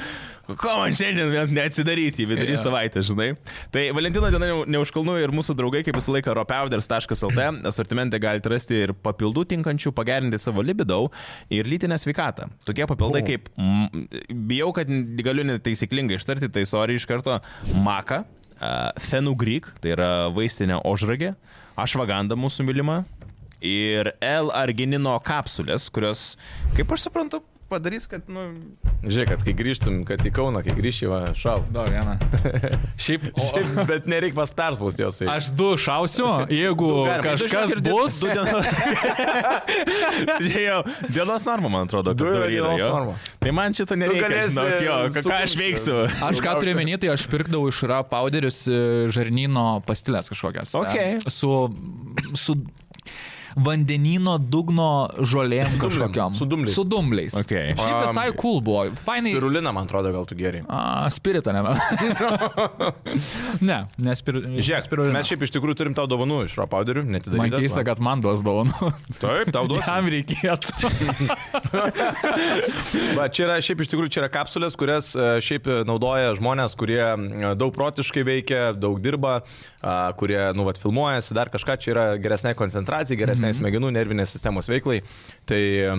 Speaker 1: ko man šiandien vėl neatsidaryti, vidurį
Speaker 2: Jo.
Speaker 1: yeah. savaitę, žinai. Tai Valentino diena jau neužkalnų ir mūsų draugai, kaip visą laiką, ropeuders.lt, asortimente galite rasti ir papildų tinkančių pagerinti savo libidau ir lytinę sveikatą. Tokie papildai kaip, mm, bijau, kad galiu netaisyklingai ištarti, tai sorry iš karto, maka. a, Fenugreek, tai yra vaistinė ožragė, ašvaganda mūsų mylima, ir L-arginino kapsulės, kurios, kaip aš suprantu, padarys, kad, nu,
Speaker 3: Žiūrėk, kad kai grįžtum, kad į Kauną, kai grįžtum, va, šau.
Speaker 2: Dar vieną. Šiaip, o,
Speaker 3: Šiaip, bet nereik pas perspaus jos. tai Aš...
Speaker 2: aš du šausiu, jeigu
Speaker 3: galima.
Speaker 2: kažkas
Speaker 1: Du
Speaker 2: bus.
Speaker 1: Žiūrėjau, dienos norma, man atrodo, kad
Speaker 3: Du yra
Speaker 1: dar yra,
Speaker 3: dienos
Speaker 1: jo.
Speaker 3: norma.
Speaker 1: Tai man šito nereikia,
Speaker 3: galėsi
Speaker 1: žinok, jo, ką- ką aš
Speaker 3: sukurti.
Speaker 1: veiksiu.
Speaker 2: Aš ką turiu menyti, tai aš pirkdavau iš rapauderius žarnyno pastilės kažkokias.
Speaker 1: Okei.
Speaker 2: E, Su, su vandenino dugno žolėm kažkokiam.
Speaker 3: su dumbliais.
Speaker 2: Su dumbliais.
Speaker 1: Okei.
Speaker 2: Šiaip visai cool buvo. Fainai.
Speaker 3: Pirulina, man atrodo, gal tu geriai.
Speaker 2: A, spiritą ne. ne, ne spiritą.
Speaker 3: Žiūrėk, mes šiaip iš tikrųjų turim tau dovanų iš rapauderių,
Speaker 2: Man
Speaker 3: netidarytas.
Speaker 2: keista, kad man duos dovanų.
Speaker 3: Taip, tau duosiu.
Speaker 2: Tam reikėtų.
Speaker 3: Va, čia yra šiaip iš tikrųjų, čia yra kapsulės, kurias e, šiaip e, naudoja žmonės, kurie e, daug protiškai veikia, daug dirba, a, kurie, nu, vat, filmuojasi, dar kažką, čia yra geresnė koncentracija,
Speaker 1: Mhm.
Speaker 3: geresnė mm -hmm. smegenų, nervinės sistemos veiklai. Tai e,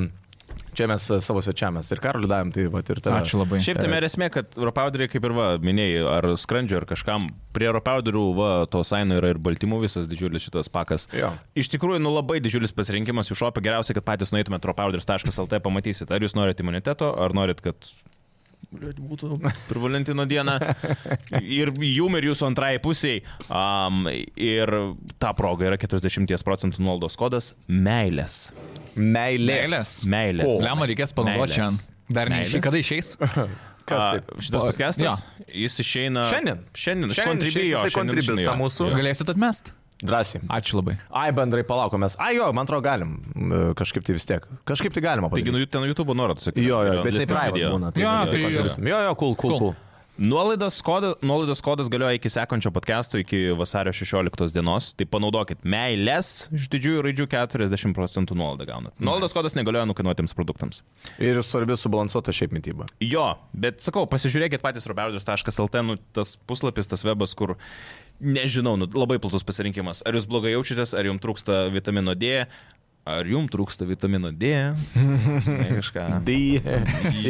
Speaker 3: čia mes e, savo svečiamės ir karaliu davėm, tai vat, ir tave.
Speaker 2: Ačiū labai.
Speaker 1: Šiaip tame ir esmė, kad ropauderiai, kaip ir va, minėjai, ar skrandžio, ar kažkam, prie ropauderių, va, to saino yra ir baltymų visas didžiulis šitas pakas.
Speaker 3: Jo.
Speaker 1: Iš tikrųjų, nu labai didžiulis pasirinkimas jų šopė, geriausia, kad patys nueitumėte ropauders.lt, pamatysit, ar jūs norit imuniteto, ar norit, kad... Blet, Būtų per Valentino dieną ir jum ir jūsų antrai pusiai. Um, ir ta proga yra 40 procentų nuolaidos kodas - meilės.
Speaker 3: Meilės.
Speaker 1: Meilės.
Speaker 3: O.
Speaker 2: Lemą reikės panaudoti
Speaker 1: Meilės.
Speaker 2: šiandien. Dar neišėjai.
Speaker 1: Meilės.
Speaker 2: Kada išeis?
Speaker 1: A,
Speaker 3: Kas taip?
Speaker 1: Šitas
Speaker 2: O,
Speaker 1: paskestas, ja. jis išeina.
Speaker 3: Šiandien.
Speaker 1: Šiandien. Iš
Speaker 3: Šiandien išeis
Speaker 1: kontribijo.
Speaker 3: jisai Contribis, tą mūsų. Jo.
Speaker 2: Galėsit atmest?
Speaker 3: Drąsiai.
Speaker 2: Ačiū labai.
Speaker 3: Ai, bendrai palaukomės. Ai, jo, man atrodo, galim. e, Kažkaip tai vis tiek. Kažkaip tai galima
Speaker 1: Taigi,
Speaker 3: padaryti.
Speaker 1: nu, ten YouTube norą atsakyti.
Speaker 3: Jo, jo, bet tai praėjo.
Speaker 2: Jo, tai-
Speaker 3: Jo, jo, cool, cool,
Speaker 2: Cool.
Speaker 3: cool.
Speaker 1: Nuolaidos kodas, nuolaidos kodas galioja iki sekančio podcast'o, iki vasario 16 dienos. Tai panaudokit meilės iš didžiųjų raidžių 40 procentų nuolaidą gaunat. Nuolaidos kodas negalioja nukainuotiems produktams.
Speaker 3: Ir svarbi subalansuota šiaip mytyba.
Speaker 1: Jo, bet sakau, pasižiūrėkit patys robertas.lt, nu, tas puslapis, tas webas, kur, nežinau, nu, labai platus pasirinkimas. Ar jūs blogai jaučiatės, ar jums trūksta vitamino D, ar jums trūksta vitamino D. Ne, kažką.
Speaker 3: D.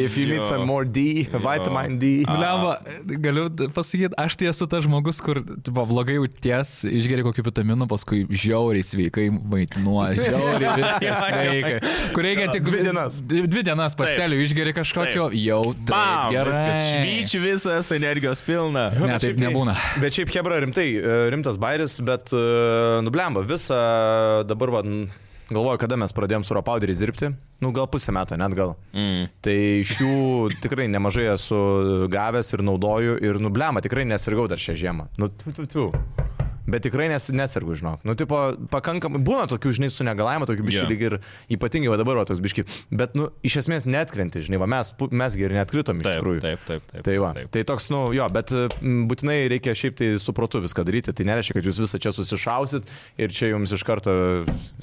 Speaker 3: If you need
Speaker 1: Jo.
Speaker 3: some more D,
Speaker 1: Jo.
Speaker 3: vitamin D.
Speaker 1: A.
Speaker 2: Lemba, galiu pasakyti, aš tai esu tas žmogus, kur tipo, blogai jauties, išgeri kokį vitaminų, paskui žiauriai sveikai maitinuoja, žiauriai viskas sveikai. Kur reikia tik
Speaker 3: Dvi dienas.
Speaker 2: Dvi dvi dienas pastelių, išgeri kažkokio, jau
Speaker 1: Bam,
Speaker 2: taip, gerai.
Speaker 1: viskas švyčiu visas, energijos pilna.
Speaker 2: Ne,
Speaker 3: Bet
Speaker 2: taip
Speaker 3: šiaip tai-
Speaker 2: nebūna.
Speaker 3: Bet šiaip Hebra rimtai, e, rimtas bairis, bet e, nublemba visą dabar, va, n- galvoju, kada mes pradėjom su Ropauderiais dirbti, nu gal pusę metų, net gal.
Speaker 1: Mm.
Speaker 3: Tai iš jų tikrai nemažai Nu, esu gavęs ir naudoju ir nublemba, tikrai nesirgau dar šią žiemą. Nu, tu, tu, tu. Bet tikrai nes, nesirgu, žinok. Nu, tipo, pakankamai, būna tokių, žinai, su negalavimu, tokių biškių
Speaker 1: Jo.
Speaker 3: yeah. lyg ir ypatingai va dabar, o tos biškių. Bet, nu, iš esmės netkrenti, žinai, va, mes, pu- mesgi ir netkritom iš
Speaker 1: Taip,
Speaker 3: tikrųjų.
Speaker 1: taip, taip, taip.
Speaker 3: Tai va,
Speaker 1: taip.
Speaker 3: tai toks, nu jo, bet m, būtinai reikia šiaip tai supratu viską daryti, tai nereiškia, kad jūs visą čia susišausit ir čia jums iš karto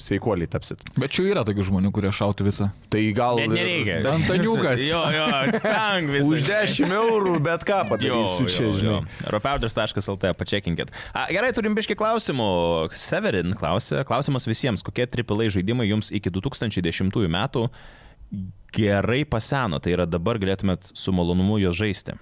Speaker 3: sveikuoliai tapsit.
Speaker 2: Bet čia yra tokių žmonių, kurie šautų visą.
Speaker 3: Tai gal...
Speaker 1: Bet nereikia.
Speaker 2: Antaniukas.
Speaker 1: Jo, jo, tang visą.
Speaker 3: Už 10 eurų bet ką padarysiu čia, žinai.
Speaker 1: Ropelders.lt, pačekinkit. A, gerai, turim biški klausimų. Severin klausė, klausimas visiems, kokie AAA žaidimai jums iki 2010 metų gerai paseno, tai yra dabar galėtumėt su malonumu jo žaisti.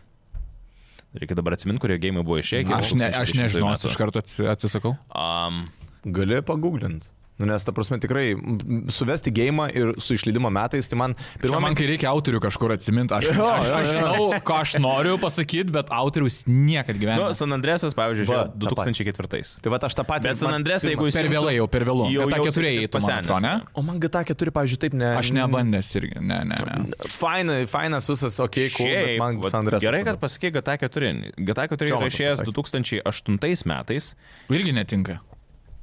Speaker 1: Reikia dabar atsiminti, kurie gėjimai buvo išėję. iki
Speaker 2: Aš, ne, aš
Speaker 1: 2010
Speaker 2: nežinau,
Speaker 1: metų.
Speaker 2: aš iš karto atsi- atsisakau.
Speaker 1: Am,
Speaker 3: Gali paguglinti. Nu, nes, ta prasme, tikrai m, suvesti gėjimą ir su išleidimo metais, tai man
Speaker 2: Čia
Speaker 3: pirmą
Speaker 2: man, kai reikia autorių kažkur atsiminti, aš, aš, aš žinau, ką aš noriu pasakyti, bet autorius niekad
Speaker 1: nu,
Speaker 2: gyvenime.
Speaker 1: San Andresas, pavyzdžiui,
Speaker 3: Va,
Speaker 1: žiūrėjo
Speaker 3: tą patį.
Speaker 1: 2004.
Speaker 3: Tai va, aš tą patį.
Speaker 1: Bet San
Speaker 3: man-
Speaker 1: Andresas, jeigu jis...
Speaker 2: Per vėlai jau, per vėlų.
Speaker 1: Jau-
Speaker 2: Jau, jau,
Speaker 1: jau
Speaker 2: tą keturiai
Speaker 1: sakytis
Speaker 2: eitų, man
Speaker 1: pasenęs,
Speaker 2: atrodo, ne?
Speaker 1: jo.
Speaker 3: O man GTA 4, pavyzdžiui, taip ne.
Speaker 2: Aš nebandęs irgi, ne, ne,
Speaker 1: Mm.
Speaker 2: ne.
Speaker 3: Faina, fainas visas, okei, okay, cool, bet
Speaker 1: Šiaip,
Speaker 3: man
Speaker 1: vat
Speaker 3: San Andresas.
Speaker 1: Gerai, kad pasakė GTA 4. GTA 4 yra
Speaker 3: Jonas
Speaker 1: išėjęs
Speaker 3: pasakė.
Speaker 1: 2008 metais.
Speaker 2: Irgi netinka.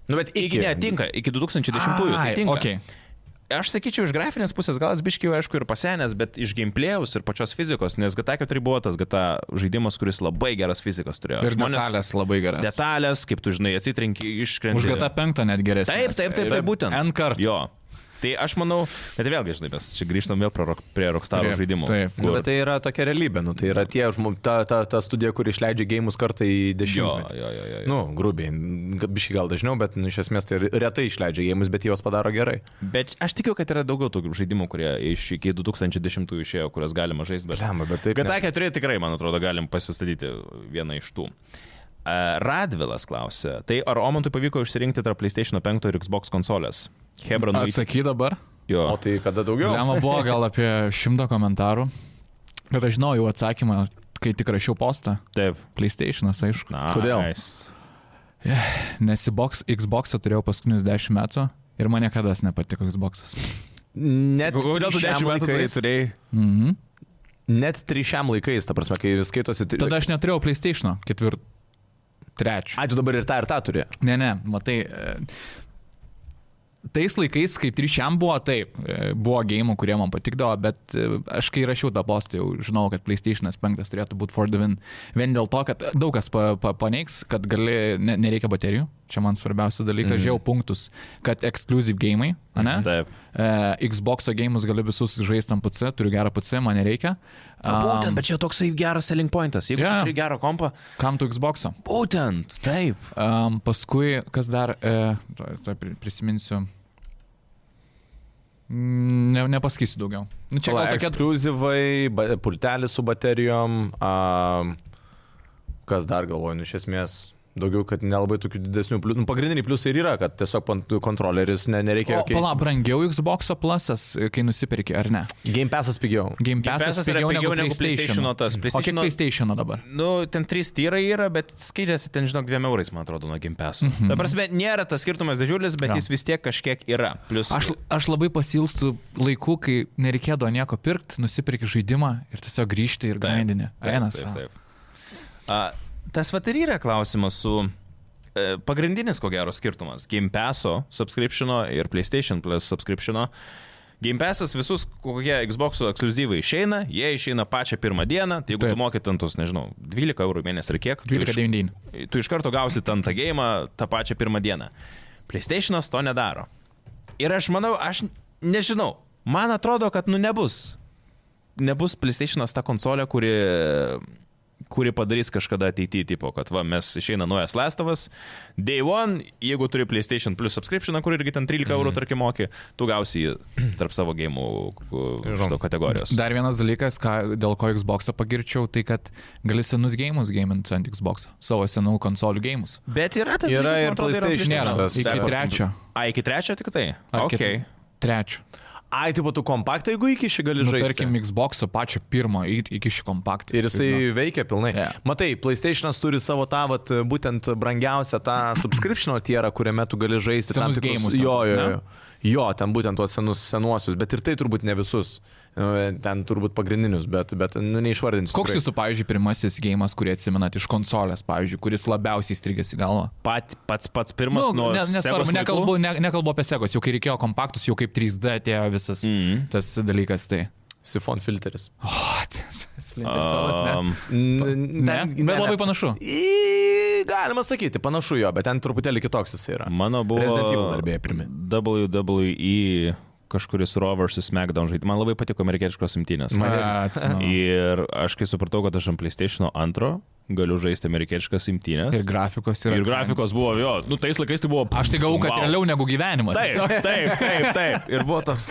Speaker 3: Nu, bet
Speaker 1: Iki netinka, iki 2010-ųjų. Tai tinka.
Speaker 2: okay.
Speaker 1: Aš sakyčiau, iš grafinės pusės gal jis biškiai, aišku, ir pasenęs, bet iš gameplėjaus ir pačios fizikos, nes GTA 4 buvo tas GTA žaidimas, kuris labai geras fizikas turėjo.
Speaker 2: Ir detalės labai geras.
Speaker 1: Detalės, kaip tu žinai, atsitrenki, iškrenti.
Speaker 2: Už GTA 5 net geresnis.
Speaker 1: Taip, taip, taip, taip, būtent.
Speaker 2: N kartų.
Speaker 1: Jo. Tai aš manau, bet vėlgi, žinai, mes čia grįžtam vėl prie Rock- prie Rockstar
Speaker 2: Prie-
Speaker 1: žaidimų.
Speaker 2: taip.
Speaker 3: Nu,
Speaker 1: kur-
Speaker 3: bet tai yra tokia realybė, nu, tai yra tie žmonės, ta, ta, ta studija, kuri išleidžia gėjimus kartą į
Speaker 1: Jo,
Speaker 3: dešimtmetį.
Speaker 1: jo, jo, jo. jo.
Speaker 3: Nu, grubiai, biškai gal dažniau, bet nu, iš esmės tai ir retai išleidžia gėjimus, bet juos padaro gerai.
Speaker 1: Bet aš tikiu, kad yra daugiau tokių žaidimų, kurie iš iki 2010 išėjo, kurias galima žaisti. Bet...
Speaker 3: Blemba, bet taip
Speaker 1: GTA
Speaker 3: ne.
Speaker 1: 4 tikrai, man atrodo, galim pasistatyti vieną iš tų. A, Radvilas klausė, tai ar Omontui pavyko išsirinkti tarp PlayStation 5 ir Xbox konsolės? Hebra nuo
Speaker 2: Atsaky dabar.
Speaker 1: jo.
Speaker 3: O tai kada daugiau?
Speaker 2: Lema buvo gal apie šimtą komentarų, bet aš žinau jau atsakymą, kai tik rašiau postą.
Speaker 1: Taip.
Speaker 2: PlayStation'as, aišku.
Speaker 1: Na,
Speaker 3: Kodėl?
Speaker 1: Nice.
Speaker 2: Nes į box, Xbox'ą turėjau paskutinius 10 metų ir man niekada nepatiko Xbox'as.
Speaker 3: Net
Speaker 1: Kodėl tu
Speaker 3: trišiam
Speaker 1: 10 metų tai
Speaker 3: laikais-
Speaker 1: turėjai?
Speaker 2: Mhm.
Speaker 3: Net trišiam laikais, ta prasme, kai skaitosi. tri-
Speaker 2: Tada aš neturėjau PlayStation'o ketvirto, trečio.
Speaker 3: Ai, tu dabar ir tą, ir tą turi.
Speaker 2: Ne, ne, matai. e, Tais laikais, kai trišiam buvo, taip, e, buvo gėjimų, kurie man patikdavo, bet e, aš kai rašiau tą postą, jau žinau, kad PlayStation 5 turėtų būti for the win. Vien dėl to, kad daug kas pa, pa, paneigs, kad gali, ne, nereikia baterijų. Čia man svarbiausias dalykas, mm. žiau punktus, kad exclusive gėjimai, ne?
Speaker 1: Taip.
Speaker 2: E, Xbox gėjimus galiu visus žaisti ant PC, turiu gerą PC, man nereikia.
Speaker 1: Būtent,
Speaker 2: Am,
Speaker 1: bet čia toksai geras selling pointas. Jeigu
Speaker 2: Jo.
Speaker 1: yeah. turi gerą kompą,
Speaker 2: Kam tu Xbox'o?
Speaker 1: būtent, taip.
Speaker 2: Um, paskui, kas dar, e, tuoj- tuoj pri- prisiminsiu. Mm, Ne, nepasakysiu daugiau. Nu, čia gal tokia
Speaker 3: Ekskluzyvai, ba- pultelis su baterijom. A, kas dar galvoju, nu, iš esmės. Daugiau, kad nelabai tokių didesnių pliusų. Nu, pagrindiniai pliusai ir yra, kad tiesiog pant- kontroleris ne, nereikia
Speaker 2: O,
Speaker 3: jokio.
Speaker 2: pala, brangiau Xbox plusas, e, kai nusipirki, ar ne?
Speaker 3: Game Passas pigiau.
Speaker 2: Game
Speaker 1: Pass'as
Speaker 2: Pass'as
Speaker 1: yra
Speaker 2: pigiau
Speaker 1: pigiau
Speaker 2: negu,
Speaker 1: negu
Speaker 2: negu PlayStation.
Speaker 1: PlayStation'o tas.
Speaker 2: O kiek
Speaker 1: PlayStation'o
Speaker 2: PlayStation'o dabar?
Speaker 1: Nu, ten trys tyrai yra, bet skiriasi ten, žinok, dviem eurais, man atrodo, nuo gimpes. Mm -hmm. Ta prasme, nėra tas skirtumas didžiulis, bet
Speaker 2: Jo.
Speaker 1: ja. jis vis tiek kažkiek yra. Plus,
Speaker 2: Aš, aš labai pasilstu laikų, kai nereikėdavo nieko pirkti, nusipirki žaidimą ir tiesiog grįžti ir grindinį. Vienas.
Speaker 1: Taip, taip. A, tas vat ir yra klausimas su... e, Pagrindinis, ko gero, skirtumas - Game Pass'o subscription'o ir PlayStation Plus subscription'o. Game Pass'as visus, kokie Xbox'o ekskluzyvai išeina, jie išeina pačią pirmą dieną, tai jeigu Taip.
Speaker 2: Taip.
Speaker 1: tu mokyt ant tos, nežinau, 12 eurų į mėnesį ar kiek, tu iš-
Speaker 2: 12.99.
Speaker 1: tu iš karto gausi ten tą gėjimą tą pačią pirmą dieną. PlayStation'as to nedaro. Ir aš manau, aš nežinau, man atrodo, kad nu nebus. Nebus PlayStation'as ta konsolė, kuri kuri padarys kažkada ateityje, tipo, kad va, mes išeina naujas Lestovas, Day One, jeigu turi PlayStation Plus subscription, kur irgi ten 13
Speaker 3: Mhm.
Speaker 1: eurų, tarkim, moki, tu gausi jį tarp savo gėjimų uh, šito kategorijos.
Speaker 2: Dar vienas dalykas, ką, dėl ko Xbox'ą pagirčiau, tai kad gali senus gėjimus gėjiminti ant Xbox'o, savo senų konsolių gėjimus.
Speaker 1: Bet yra tas
Speaker 3: Yra
Speaker 1: dalykas, man
Speaker 3: ir
Speaker 1: atrodo,
Speaker 3: PlayStation
Speaker 1: PlayStation'as.
Speaker 2: Nėra,
Speaker 3: Šitas-
Speaker 2: iki
Speaker 1: Dar-
Speaker 2: trečio.
Speaker 1: A, iki trečio tik tai?
Speaker 2: Ar
Speaker 1: Ok.
Speaker 2: kito- Trečio.
Speaker 3: Ai, tai būtų kompaktą, jeigu iki šį gali
Speaker 2: Nu,
Speaker 3: žaisti.
Speaker 2: tarkim, Xbox'o pačio pirmo i- iki šį kompaktą.
Speaker 3: Ir jisai veikia pilnai.
Speaker 2: Jo.
Speaker 3: Yeah. Matai, PlayStation'as turi savo tą, vat, būtent brangiausią tą subscription'o tierą, kuriame tu gali žaisti
Speaker 2: Senus
Speaker 3: tikrus-
Speaker 2: geimus
Speaker 3: Jo,
Speaker 2: tokius,
Speaker 3: jo,
Speaker 2: ne?
Speaker 3: jo. Jo, ten būtent tuos senus, senuosius, bet ir tai turbūt ne visus. E, Ten turbūt pagrindinius, bet, bet nu, neišvardinsiu.
Speaker 2: Koks
Speaker 3: tikrai.
Speaker 2: jūsų, pavyzdžiui, pirmasis gėjimas, kurį atsimenat iš konsolės, pavyzdžiui, kuris labiausiai įstrigęs į galvą?
Speaker 1: Pat, pats pats pirmas nu, nuo...
Speaker 2: ne,
Speaker 1: Segos
Speaker 2: nesvarbu,
Speaker 1: laikų.
Speaker 2: nekalbu, ne, nekalbu apie sekos, jau kai reikėjo kompaktus, jau kaip 3D atėjo visas
Speaker 3: Mhm.
Speaker 2: mm. tas dalykas. Tai.
Speaker 3: Sifon filteris.
Speaker 2: O, tai splinteris, ne?
Speaker 1: Am,
Speaker 3: Um, N-
Speaker 2: Ne,
Speaker 3: ten-
Speaker 2: bet labai panašu.
Speaker 3: Į, galima sakyti, panašu jo, bet ten truputėlį kitoks jis yra.
Speaker 1: Mano buvo...
Speaker 3: Resident Evil dar beje pirmi.
Speaker 1: WWE kažkuris Rovers SmackDown žaidimas. Man labai patiko amerikietiškos imtynės.
Speaker 2: Man irgi. Atsimenu.
Speaker 1: Ir aš kai supratau, kad aš ant PlayStation 2 galiu žaisti amerikietiškas imtynės.
Speaker 2: Ir grafikos yra.
Speaker 1: ir grafikos buvo jo. Nu, tais laikais tai buvo...
Speaker 2: Aš tai gavau, kad
Speaker 1: Vau.
Speaker 2: realiau negu gyvenimas.
Speaker 1: Taip, taip, taip, taip.
Speaker 3: Ir buvo toks.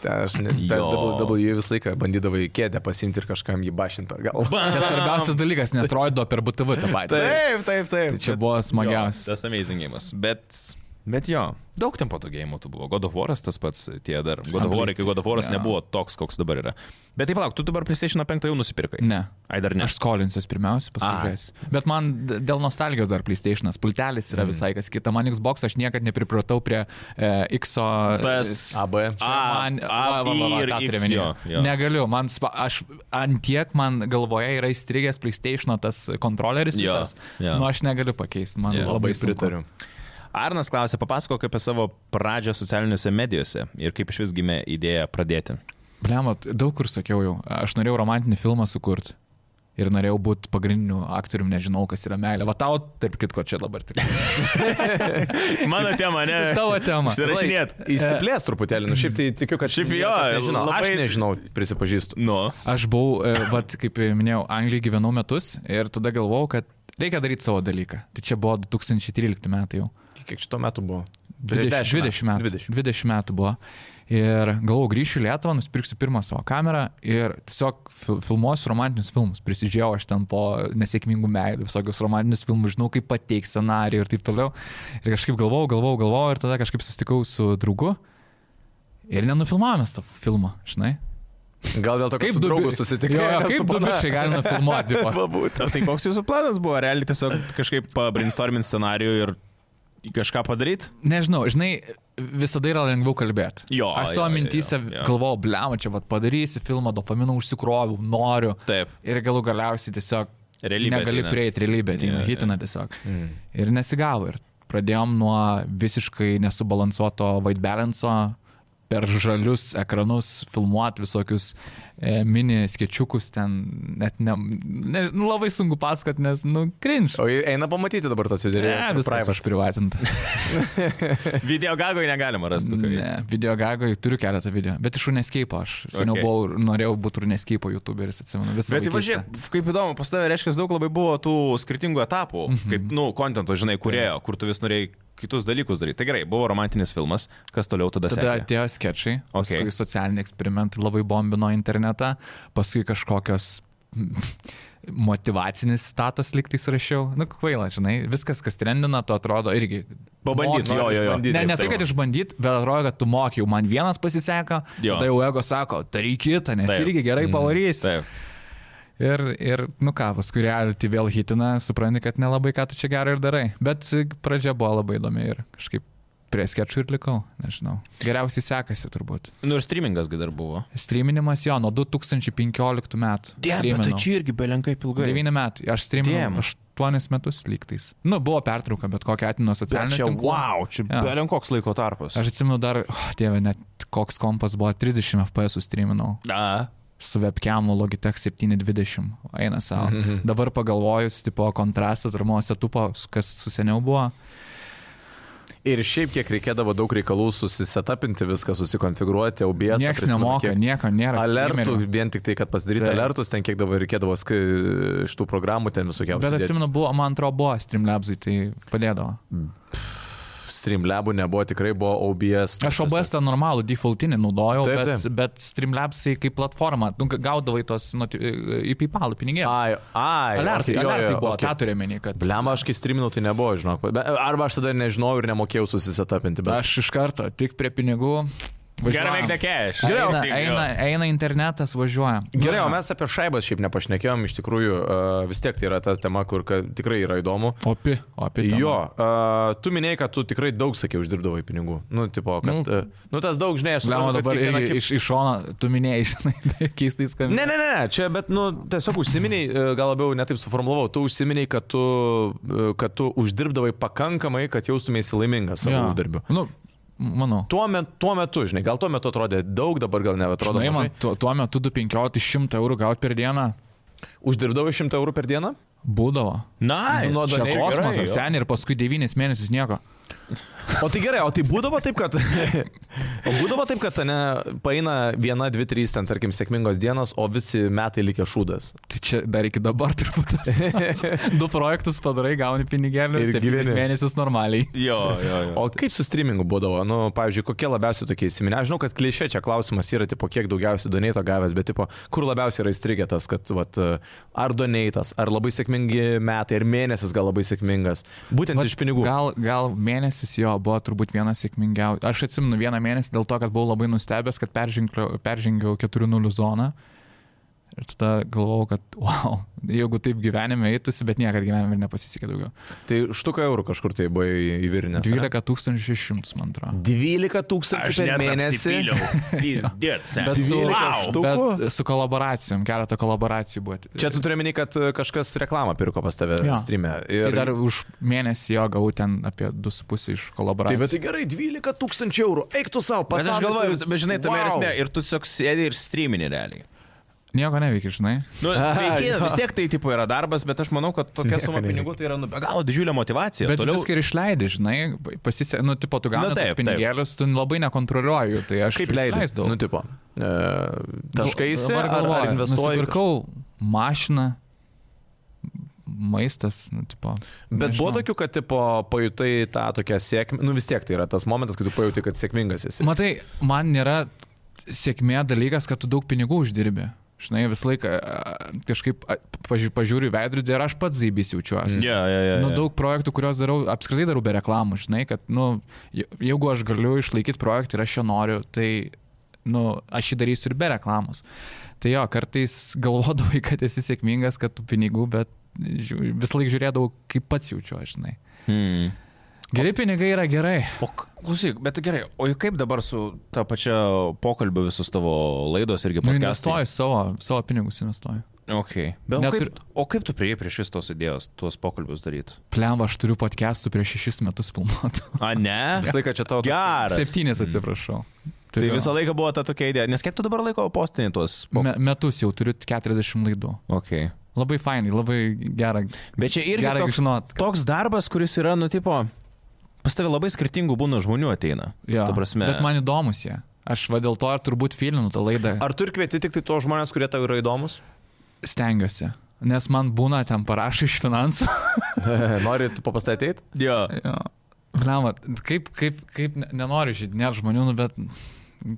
Speaker 3: Ten aš ne, per
Speaker 1: Jo.
Speaker 3: WWE visą laiką bandydavau į kėdę pasimti ir kažkam jį bašinti per galvą.
Speaker 2: Čia svarbiausias dalykas, nes rodo per BTV tą patį.
Speaker 1: Taip, taip, taip.
Speaker 2: Tai čia buvo smagiausias.
Speaker 1: Tas amazingėjimas. Bet, bet jo, daug ten patogėjimų tų buvo. God of Waras tas pats tie dar. God of War,
Speaker 2: Samblist.
Speaker 1: kai God of Waras
Speaker 2: Jo.
Speaker 1: nebuvo toks, koks dabar yra. Bet taip, lauk, tu dabar PlayStation 5 jau nusipirkai.
Speaker 2: Ne.
Speaker 1: Ai, dar ne.
Speaker 2: Aš skolinsiuos pirmiausia, paskui žaisiu. Bet man d- dėl nostalgijos dar PlayStation'as, pultelis
Speaker 1: Mm.
Speaker 2: yra visai kas kita. Man Xbox aš niekad nepripratau prie e, X'o.
Speaker 1: Tas
Speaker 3: AB.
Speaker 1: A,
Speaker 2: Man,
Speaker 1: A,
Speaker 2: va, va, va, va,
Speaker 1: ir
Speaker 2: tą
Speaker 1: X,
Speaker 2: turiu omeny.
Speaker 1: jo, jo.
Speaker 2: Negaliu, man, spa- aš antiek man galvoje yra įstrigęs PlayStation tas kontroleris
Speaker 1: Jo,
Speaker 2: visas.
Speaker 1: jo.
Speaker 2: Nu, aš negaliu pakeisti, man
Speaker 1: Jo,
Speaker 2: labai sunku.
Speaker 3: pritariu.
Speaker 1: Arnas klausė, papasakok apie savo pradžią socialiniuose medijose ir kaip iš vis gimė idėja pradėti.
Speaker 2: Blemat, daug kur sakiau jau, aš norėjau romantinį filmą sukurti. Ir norėjau būti pagrindiniu aktoriumi, nežinau, kas yra meilė. Va tau, tarp kitko, čia dabar tik.
Speaker 1: Mano tema, ne?
Speaker 2: Tavo tema.
Speaker 1: Užsirašinėt.
Speaker 3: Įsiplės truputėlį, nu šiaip tai tikiu, kad
Speaker 1: Šiaip jo,
Speaker 3: niekas nežino.
Speaker 1: labai-
Speaker 3: aš nežinau, prisipažįstu.
Speaker 1: Nu.
Speaker 2: Aš buvau, e, vat, kaip ir minėjau, Anglijoje gyvenau metus ir tada galvojau, kad reikia daryti savo dalyką. Tai čia buvo 2013 metai jau.
Speaker 3: Kiek šito metų buvo?
Speaker 2: 20, 20 metų. 20. 20 metų buvo. Ir galvoju, grįšiu į Lietuvą, nusipirksiu pirmą savo kamerą ir tiesiog fil- filmuosiu romantinius filmus. Prisidžiau aš ten po nesėkmingų meilių, visokius romantinius filmus, žinau, kaip pateikti scenarijų ir taip toliau. Ir kažkaip galvojau, galvojau, galvojau ir tada kažkaip susitikau su draugu ir nenufilmavome to filmo, žinai.
Speaker 3: Gal dėl to, kaip draugų susitikai?
Speaker 2: Jo, jo, kaip du bičiai galima filmuoti? tipo.
Speaker 1: Galbūt. Tai koks jūsų planas buvo? Realiai tiesiog kažkaip brainstormint scenarijų ir kažką padaryti?
Speaker 2: Nežinau, žinai, visada yra lengviau kalbėti.
Speaker 1: Jo,
Speaker 2: Aš savo
Speaker 1: jo, jo,
Speaker 2: mintyse
Speaker 1: jo.
Speaker 2: galvojau, blem, čia vat, padarysi filmą, dopamino užsikroviau, noriu.
Speaker 1: Taip.
Speaker 2: Ir galų galiausiai tiesiog
Speaker 1: Realybė
Speaker 2: negali
Speaker 1: ateina.
Speaker 2: prieiti realybę, tai
Speaker 1: Jo,
Speaker 2: yeah,
Speaker 1: jo.
Speaker 2: hitina yeah. tiesiog. Mm. Ir nesigavo. Ir pradėjom nuo visiškai nesubalansuoto white balance'o per žalius ekranus filmuoti visokius e, mini sketčiukus ten, net ne, ne, nu, labai sunku pasakot, nes, nu, krinš.
Speaker 3: O eina pamatyti dabar tos video.
Speaker 2: Ne, viskas užprivatinta.
Speaker 1: Video gagoje negalima rasti. kokio.
Speaker 2: Ne, video gagoje turiu keletą video, bet iš Runescape aš. Seniau
Speaker 1: Okay.
Speaker 2: okay. buvau, norėjau būti Runescape YouTuberis, atsimenu. Visą
Speaker 1: Bet tai
Speaker 2: vaikystę.
Speaker 1: važiuok, kaip įdomu, pas tavę reiškia, daug labai buvo tų skirtingų etapų, mm -hmm. kaip, nu, kontento, žinai, kurėjo, kur tu vis norėjai kitus dalykus daryti. Tai gerai, buvo romantinis filmas, kas toliau tada,
Speaker 2: Tada
Speaker 1: sekė?
Speaker 2: atėjo sketšai,
Speaker 1: Okay.
Speaker 2: paskui socialiniai eksperimentai labai bombino internetą, paskui kažkokios motivacinis status liktai surašiau. Nu, kvaila, žinai, viskas, kas trendina, tu atrodo irgi.
Speaker 1: Pabandyt,
Speaker 2: moki-
Speaker 1: jo, jo, jo.
Speaker 2: Ne, ne tai,
Speaker 1: Taip,
Speaker 2: kad
Speaker 1: taip.
Speaker 2: išbandyt, bet atrodo, kad tu mokiau, man vienas pasiseka,
Speaker 1: Jo.
Speaker 2: tai jau ego sako, daryk kitą,
Speaker 1: Taip. Mm,
Speaker 2: nes taip. irgi gerai pavarys.
Speaker 1: Taip.
Speaker 2: Ir, ir, nu ką, paskui reality vėl hitina, supranti, kad nelabai ką tu čia gero ir darai. Bet e, pradžia buvo labai įdomi ir kažkaip prie sketčių ir likau, nežinau. Geriausiai sekasi turbūt.
Speaker 1: Nu ir streamingas gi dar buvo.
Speaker 2: Streaminimas jo nuo 2015 metų. Streaminau.
Speaker 1: tai irgi belenkai ilgai.
Speaker 2: 9 metai. Aš
Speaker 1: Damn.
Speaker 2: streaminau 8 metus lygtais. Nu, buvo pertrauka, bet kokia atino
Speaker 1: Bet
Speaker 2: socialinė.
Speaker 1: čia, wow, čia
Speaker 2: Jo.
Speaker 1: belenkoks laiko tarpas.
Speaker 2: Aš atsimenu dar, oh, dieve, net koks kompas buvo, 30 FPS streaminau.
Speaker 1: Na,
Speaker 2: su webcamu Logitech 720 eina savo. Mhm. Dabar pagalvojus, tipo kontrastas ir mano setupo, kas su seniau buvo.
Speaker 3: Ir šiaip kiek reikėdavo daug reikalų susisetapinti viską, susikonfiguruoti, OBS.
Speaker 2: Niekas
Speaker 3: prisimenu,
Speaker 2: nemoka,
Speaker 3: kiek-
Speaker 2: nieko nėra.
Speaker 3: Alertų,
Speaker 2: streamerio.
Speaker 3: vien tik tai, kad pasidaryti
Speaker 2: Taip.
Speaker 3: alertus, ten kiek dabar reikėdavo sk- iš tų programų, ten visokiausių.
Speaker 2: Bet atsimenu, buvo, man atrodo, buvo streamlabsai, tai padėdavo.
Speaker 3: Streamlabų nebuvo, tikrai buvo OBS.
Speaker 2: Aš OBS tą normalų defaultinį naudojau,
Speaker 3: Taip,
Speaker 2: bet,
Speaker 3: taip.
Speaker 2: bet streamlabsai kaip platforma, nu, gaudavai tos noti- į PayPal pinigėlius.
Speaker 3: Ai, ai.
Speaker 2: Alertai,
Speaker 3: okay, jo, jo,
Speaker 2: alertai buvo,
Speaker 3: okay.
Speaker 2: tą turiu menį, kad...
Speaker 3: Blem, aš kai streaminau, tai nebuvo, žinok. Be- Arba aš tada nežinojau ir nemokėjau susisetapinti, bet
Speaker 2: Aš iš karto tik prie pinigų
Speaker 1: Gotta make the cash.
Speaker 2: Eina,
Speaker 1: Teisingai.
Speaker 2: eina, eina internetas, važiuoja.
Speaker 3: Gerai, o mes apie šaibas šiaip nepašnekėjom, iš tikrųjų a, vis tiek tai yra ta tema, kur ka, tikrai yra įdomu.
Speaker 2: Opi, opi. tema.
Speaker 3: Jo, a, tu minėjai, kad tu tikrai daug, sakiau, uždirbdavai pinigų. Nu, tipo, kad...
Speaker 2: Nu.
Speaker 3: a, Nu, tas daug, žinai, aš
Speaker 2: Lemo
Speaker 3: suprantu, kad
Speaker 2: dabar
Speaker 3: kiekviena
Speaker 2: irgi
Speaker 3: kaip-
Speaker 2: iš, iš šono, tu minėjai, žinai, taip keistai skamba.
Speaker 3: Ne, ne, ne, ne, čia, bet, nu, tiesiog užsiminiai, e, gal labiau netaip suformulavau, tu užsiminiai, kad tu, e, kad tu uždirbdavai pakankamai, kad jaustumėsi laimingas savo ja. uždarbiu.
Speaker 2: Nu, manau.
Speaker 3: Tuo, met, tuo metu, žinai, gal tuo metu atrodė daug, dabar gal nebeatrodo.
Speaker 2: Žinai, man
Speaker 3: mažai.
Speaker 2: tuo, tuo metu 215 eurų gauti per dieną
Speaker 3: Uždirbdavai 100 eurų per dieną?
Speaker 2: būdavo.
Speaker 1: Na,
Speaker 3: Nu, nuo
Speaker 2: Čia
Speaker 3: Gerai,
Speaker 2: kosmosas,
Speaker 3: jo.
Speaker 2: seniai ir paskui 9 mėnesius nieko.
Speaker 3: O tai gerai, o tai būdavo taip, kad... o būdavo taip, kad, ne, paina viena, dvi, trys, ten, tarkim, sėkmingos dienos, o visi metai likę šūdas.
Speaker 2: Tai čia dar iki dabar turbūt. tas pats. Du projektus padarai, gauni pinigėlių
Speaker 3: Ir
Speaker 2: ir 7
Speaker 3: gyveni.
Speaker 2: mėnesius normaliai.
Speaker 1: Jo, jo, jo.
Speaker 3: O kaip su streamingu būdavo? Nu, pavyzdžiui, kokie labiausiai tokie įsiminę? Aš žinau, kad klišė čia klausimas yra, tipo, kiek daugiausiai donėto gavęs, bet, tipo, kur labiausiai yra įstrigę tas, kad, vat, ar donėtas, ar labai sėkmingi metai, ar mėnesis gal labai sėkmingas. Būtent
Speaker 2: Vat
Speaker 3: Vat, iš pinigų. Gal...
Speaker 2: Gal, gal mėnesis jo buvo turbūt vienas sėkmingiausias. Aš atsimenu vieną mėnesį dėl to, kad buvau labai nustebęs, kad peržengliau- peržengiau 4-0 zoną. Ir tada galvojau, kad, wow, jeigu taip gyvenime eitųsi, bet niekada gyvenime ir nepasisekė daugiau.
Speaker 3: Tai štuka eurų kažkur tai buvo į- įvirinęs. ar ne?
Speaker 2: 12 600, man atrodo.
Speaker 3: 12 tūkstančių per mėnesį.
Speaker 1: Bet
Speaker 2: Bet su,
Speaker 3: Dvylika
Speaker 1: wow.
Speaker 3: štukų?
Speaker 2: bet su kolaboracijom, keletą kolaboracijų buvo.
Speaker 3: Čia tu turi meni, kad e, kažkas reklamą pirko pas tave
Speaker 2: Jo.
Speaker 3: ja. streamę. Ir...
Speaker 2: Tai dar už mėnesį jo gavau ten apie 2,5 iš
Speaker 3: Taip,
Speaker 2: kolaboracijų.
Speaker 3: bet tai gerai, 12 tūkstančių eurų. Eik tu savo, pats.
Speaker 1: Bet aš galvoju, bet žinai, tame wow.
Speaker 3: Wow.
Speaker 1: esmė ir tu tiesiog sėdi ir streamini realiai.
Speaker 2: Nieko neveikia, žinai.
Speaker 1: Nu, veiki, vis tiek tai tipo yra darbas, bet aš manau, kad tokia
Speaker 3: Nieko
Speaker 1: suma
Speaker 3: nereikia.
Speaker 1: pinigų tai yra nu, be galo didžiulė motivacija.
Speaker 2: Bet Toliau...
Speaker 1: Toliau,
Speaker 2: viską ir išleidai, žinai, pasisė, nu, tipo, tu gauni
Speaker 1: Nu,
Speaker 2: nu,
Speaker 1: taip,
Speaker 2: taip, pinigėlius, tu labai nekontroliuoji, jų, tai aš
Speaker 3: Kaip leidai?
Speaker 2: išleisdavau. Nu,
Speaker 3: Nu, tipo, e, taškaisi,
Speaker 2: Dabar
Speaker 3: ar, ar
Speaker 2: galvoju,
Speaker 3: investuoji?
Speaker 2: Nusipirkau mašiną, maistas, nu, tipo.
Speaker 3: Bet buvo
Speaker 2: nežinau.
Speaker 3: tokių, kad, tipo, pajutai tą tokią sėkmę. Nu, vis tiek tai yra tas momentas, kai tu pajutai, kad sėkmingas esi.
Speaker 2: Matai, man nėra sėkmė dalykas, kad tu daug pinigų uždirbi. Žinai, visą laiką a, kažkaip a, paži- pažiūriu į veidrodį ir aš pats zaibys jaučiuosi.
Speaker 3: Mm.
Speaker 1: Ja, ja, ja,
Speaker 2: Nu,
Speaker 1: ja.
Speaker 2: daug projektų, kuriuos darau, apskritai darau be reklamų, žinai, kad, nu, je- jeigu aš galiu išlaikyti projektą ir aš jo noriu, tai, nu, aš jį darysiu ir be reklamos. Tai jo, kartais galvodavai, kad esi sėkmingas, kad tu pinigų, bet žiū- visą laiką žiūrėdavau, kaip pats jaučiuosi, žinai.
Speaker 1: Hmm.
Speaker 2: Geri pinigai yra gerai.
Speaker 1: O
Speaker 2: Nu,
Speaker 1: k- klausyk, bet gerai, o juk kaip dabar su ta pačia pokalbiu visus tavo laidos irgi
Speaker 2: Nu,
Speaker 1: podcast'ai?
Speaker 2: investuoju savo, savo pinigus investuoju.
Speaker 1: Okay. Bet o,
Speaker 2: Net ir-
Speaker 1: kaip, o kaip tu prieėjai prie šis tos idėjos, tuos pokalbius daryti?
Speaker 2: Plemba, aš turiu podcastų prieš šešis metus filmuotų.
Speaker 1: A, ne?
Speaker 3: Visą laiką čia tau. toks-
Speaker 1: Geras.
Speaker 2: Septynis atsiprašau.
Speaker 1: Mhm. Tai
Speaker 2: Turiu.
Speaker 1: visą laiką buvo ta tokia idėja. Nes kiek tu dabar laiko postinį tuos? Po...
Speaker 2: Me, metus jau turiu 40 laidų.
Speaker 1: Okay.
Speaker 2: Labai fainai, labai gera.
Speaker 1: Bet čia irgi
Speaker 2: Gerai,
Speaker 1: toks,
Speaker 2: žinot.
Speaker 1: toks darbas, kuris yra, nu, tipo, pas tave labai skirtingų būna žmonių ateina.
Speaker 2: Jo,
Speaker 1: Ta prasme.
Speaker 2: Bet man įdomus jie. Aš va dėl to ir turbūt filminu tą laidą. Ar...
Speaker 3: Ar tu ir kvieti tik tai tos žmonės, kurie tau yra įdomus?
Speaker 2: Stengiuosi. Nes man būna ten parašai iš finansų.
Speaker 3: Nori papastatyti?
Speaker 1: Jo.
Speaker 2: Blema, kaip, kaip, kaip ne- nenoriu žydinėti žmonių, nu, bet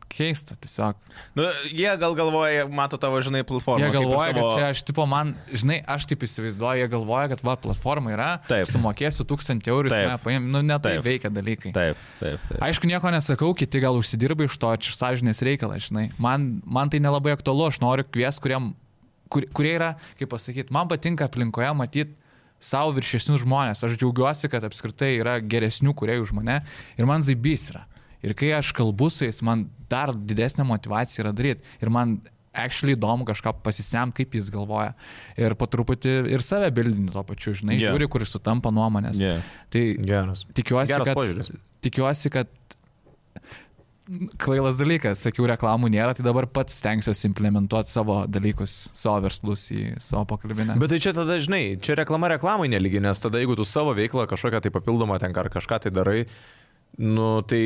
Speaker 2: keista tiesiog.
Speaker 1: Nu, jie gal galvoja, mato tavo, žinai, platformą.
Speaker 2: Jie
Speaker 1: nu, kaip ir
Speaker 2: galvoja,
Speaker 1: savo...
Speaker 2: kad čia aš, tipo, man, žinai, aš taip įsivaizduoju, jie galvoja, kad va, platforma yra,
Speaker 1: Taip.
Speaker 2: sumokėsiu tūkstantį eurų,
Speaker 1: Taip.
Speaker 2: jis mane paim, nu, netai
Speaker 1: Taip.
Speaker 2: veikia dalykai.
Speaker 1: Taip, taip, taip.
Speaker 2: Aišku, nieko nesakau, kiti gal užsidirba iš to, čia sąžinės reikalas, žinai. Man, man tai nelabai aktualu, aš noriu kvies, kuriem, kur, kurie yra, kaip pasakyti, man patinka aplinkoje matyti savo viršesnius žmonės. Aš džiaugiuosi, kad apskritai yra geresnių kuriejų už mane ir man zaibys yra. Ir kai aš kalbu su jais, man dar didesnė motivacija yra daryti. Ir man actually įdomu kažką pasisem, kaip jis galvoja. Ir po truputį ir save bildinį to pačiu, žinai,
Speaker 1: Yeah.
Speaker 2: yeah. žiūri, kuris sutampa nuomonės.
Speaker 1: Yeah.
Speaker 2: Tai
Speaker 3: Geras.
Speaker 2: Tikiuosi,
Speaker 3: Geras
Speaker 2: kad,
Speaker 3: požiūris.
Speaker 2: tikiuosi, kad kvailas dalykas, sakiau, reklamų nėra, tai dabar pats stengsiuosi implementuoti savo dalykus, savo verslus į savo pokalbinę.
Speaker 3: Bet tai čia tada, žinai, čia reklama reklamai nelygi, nes tada jeigu tu savo veiklą kažkokią tai papildomą ten ar kažką tai darai, nu tai,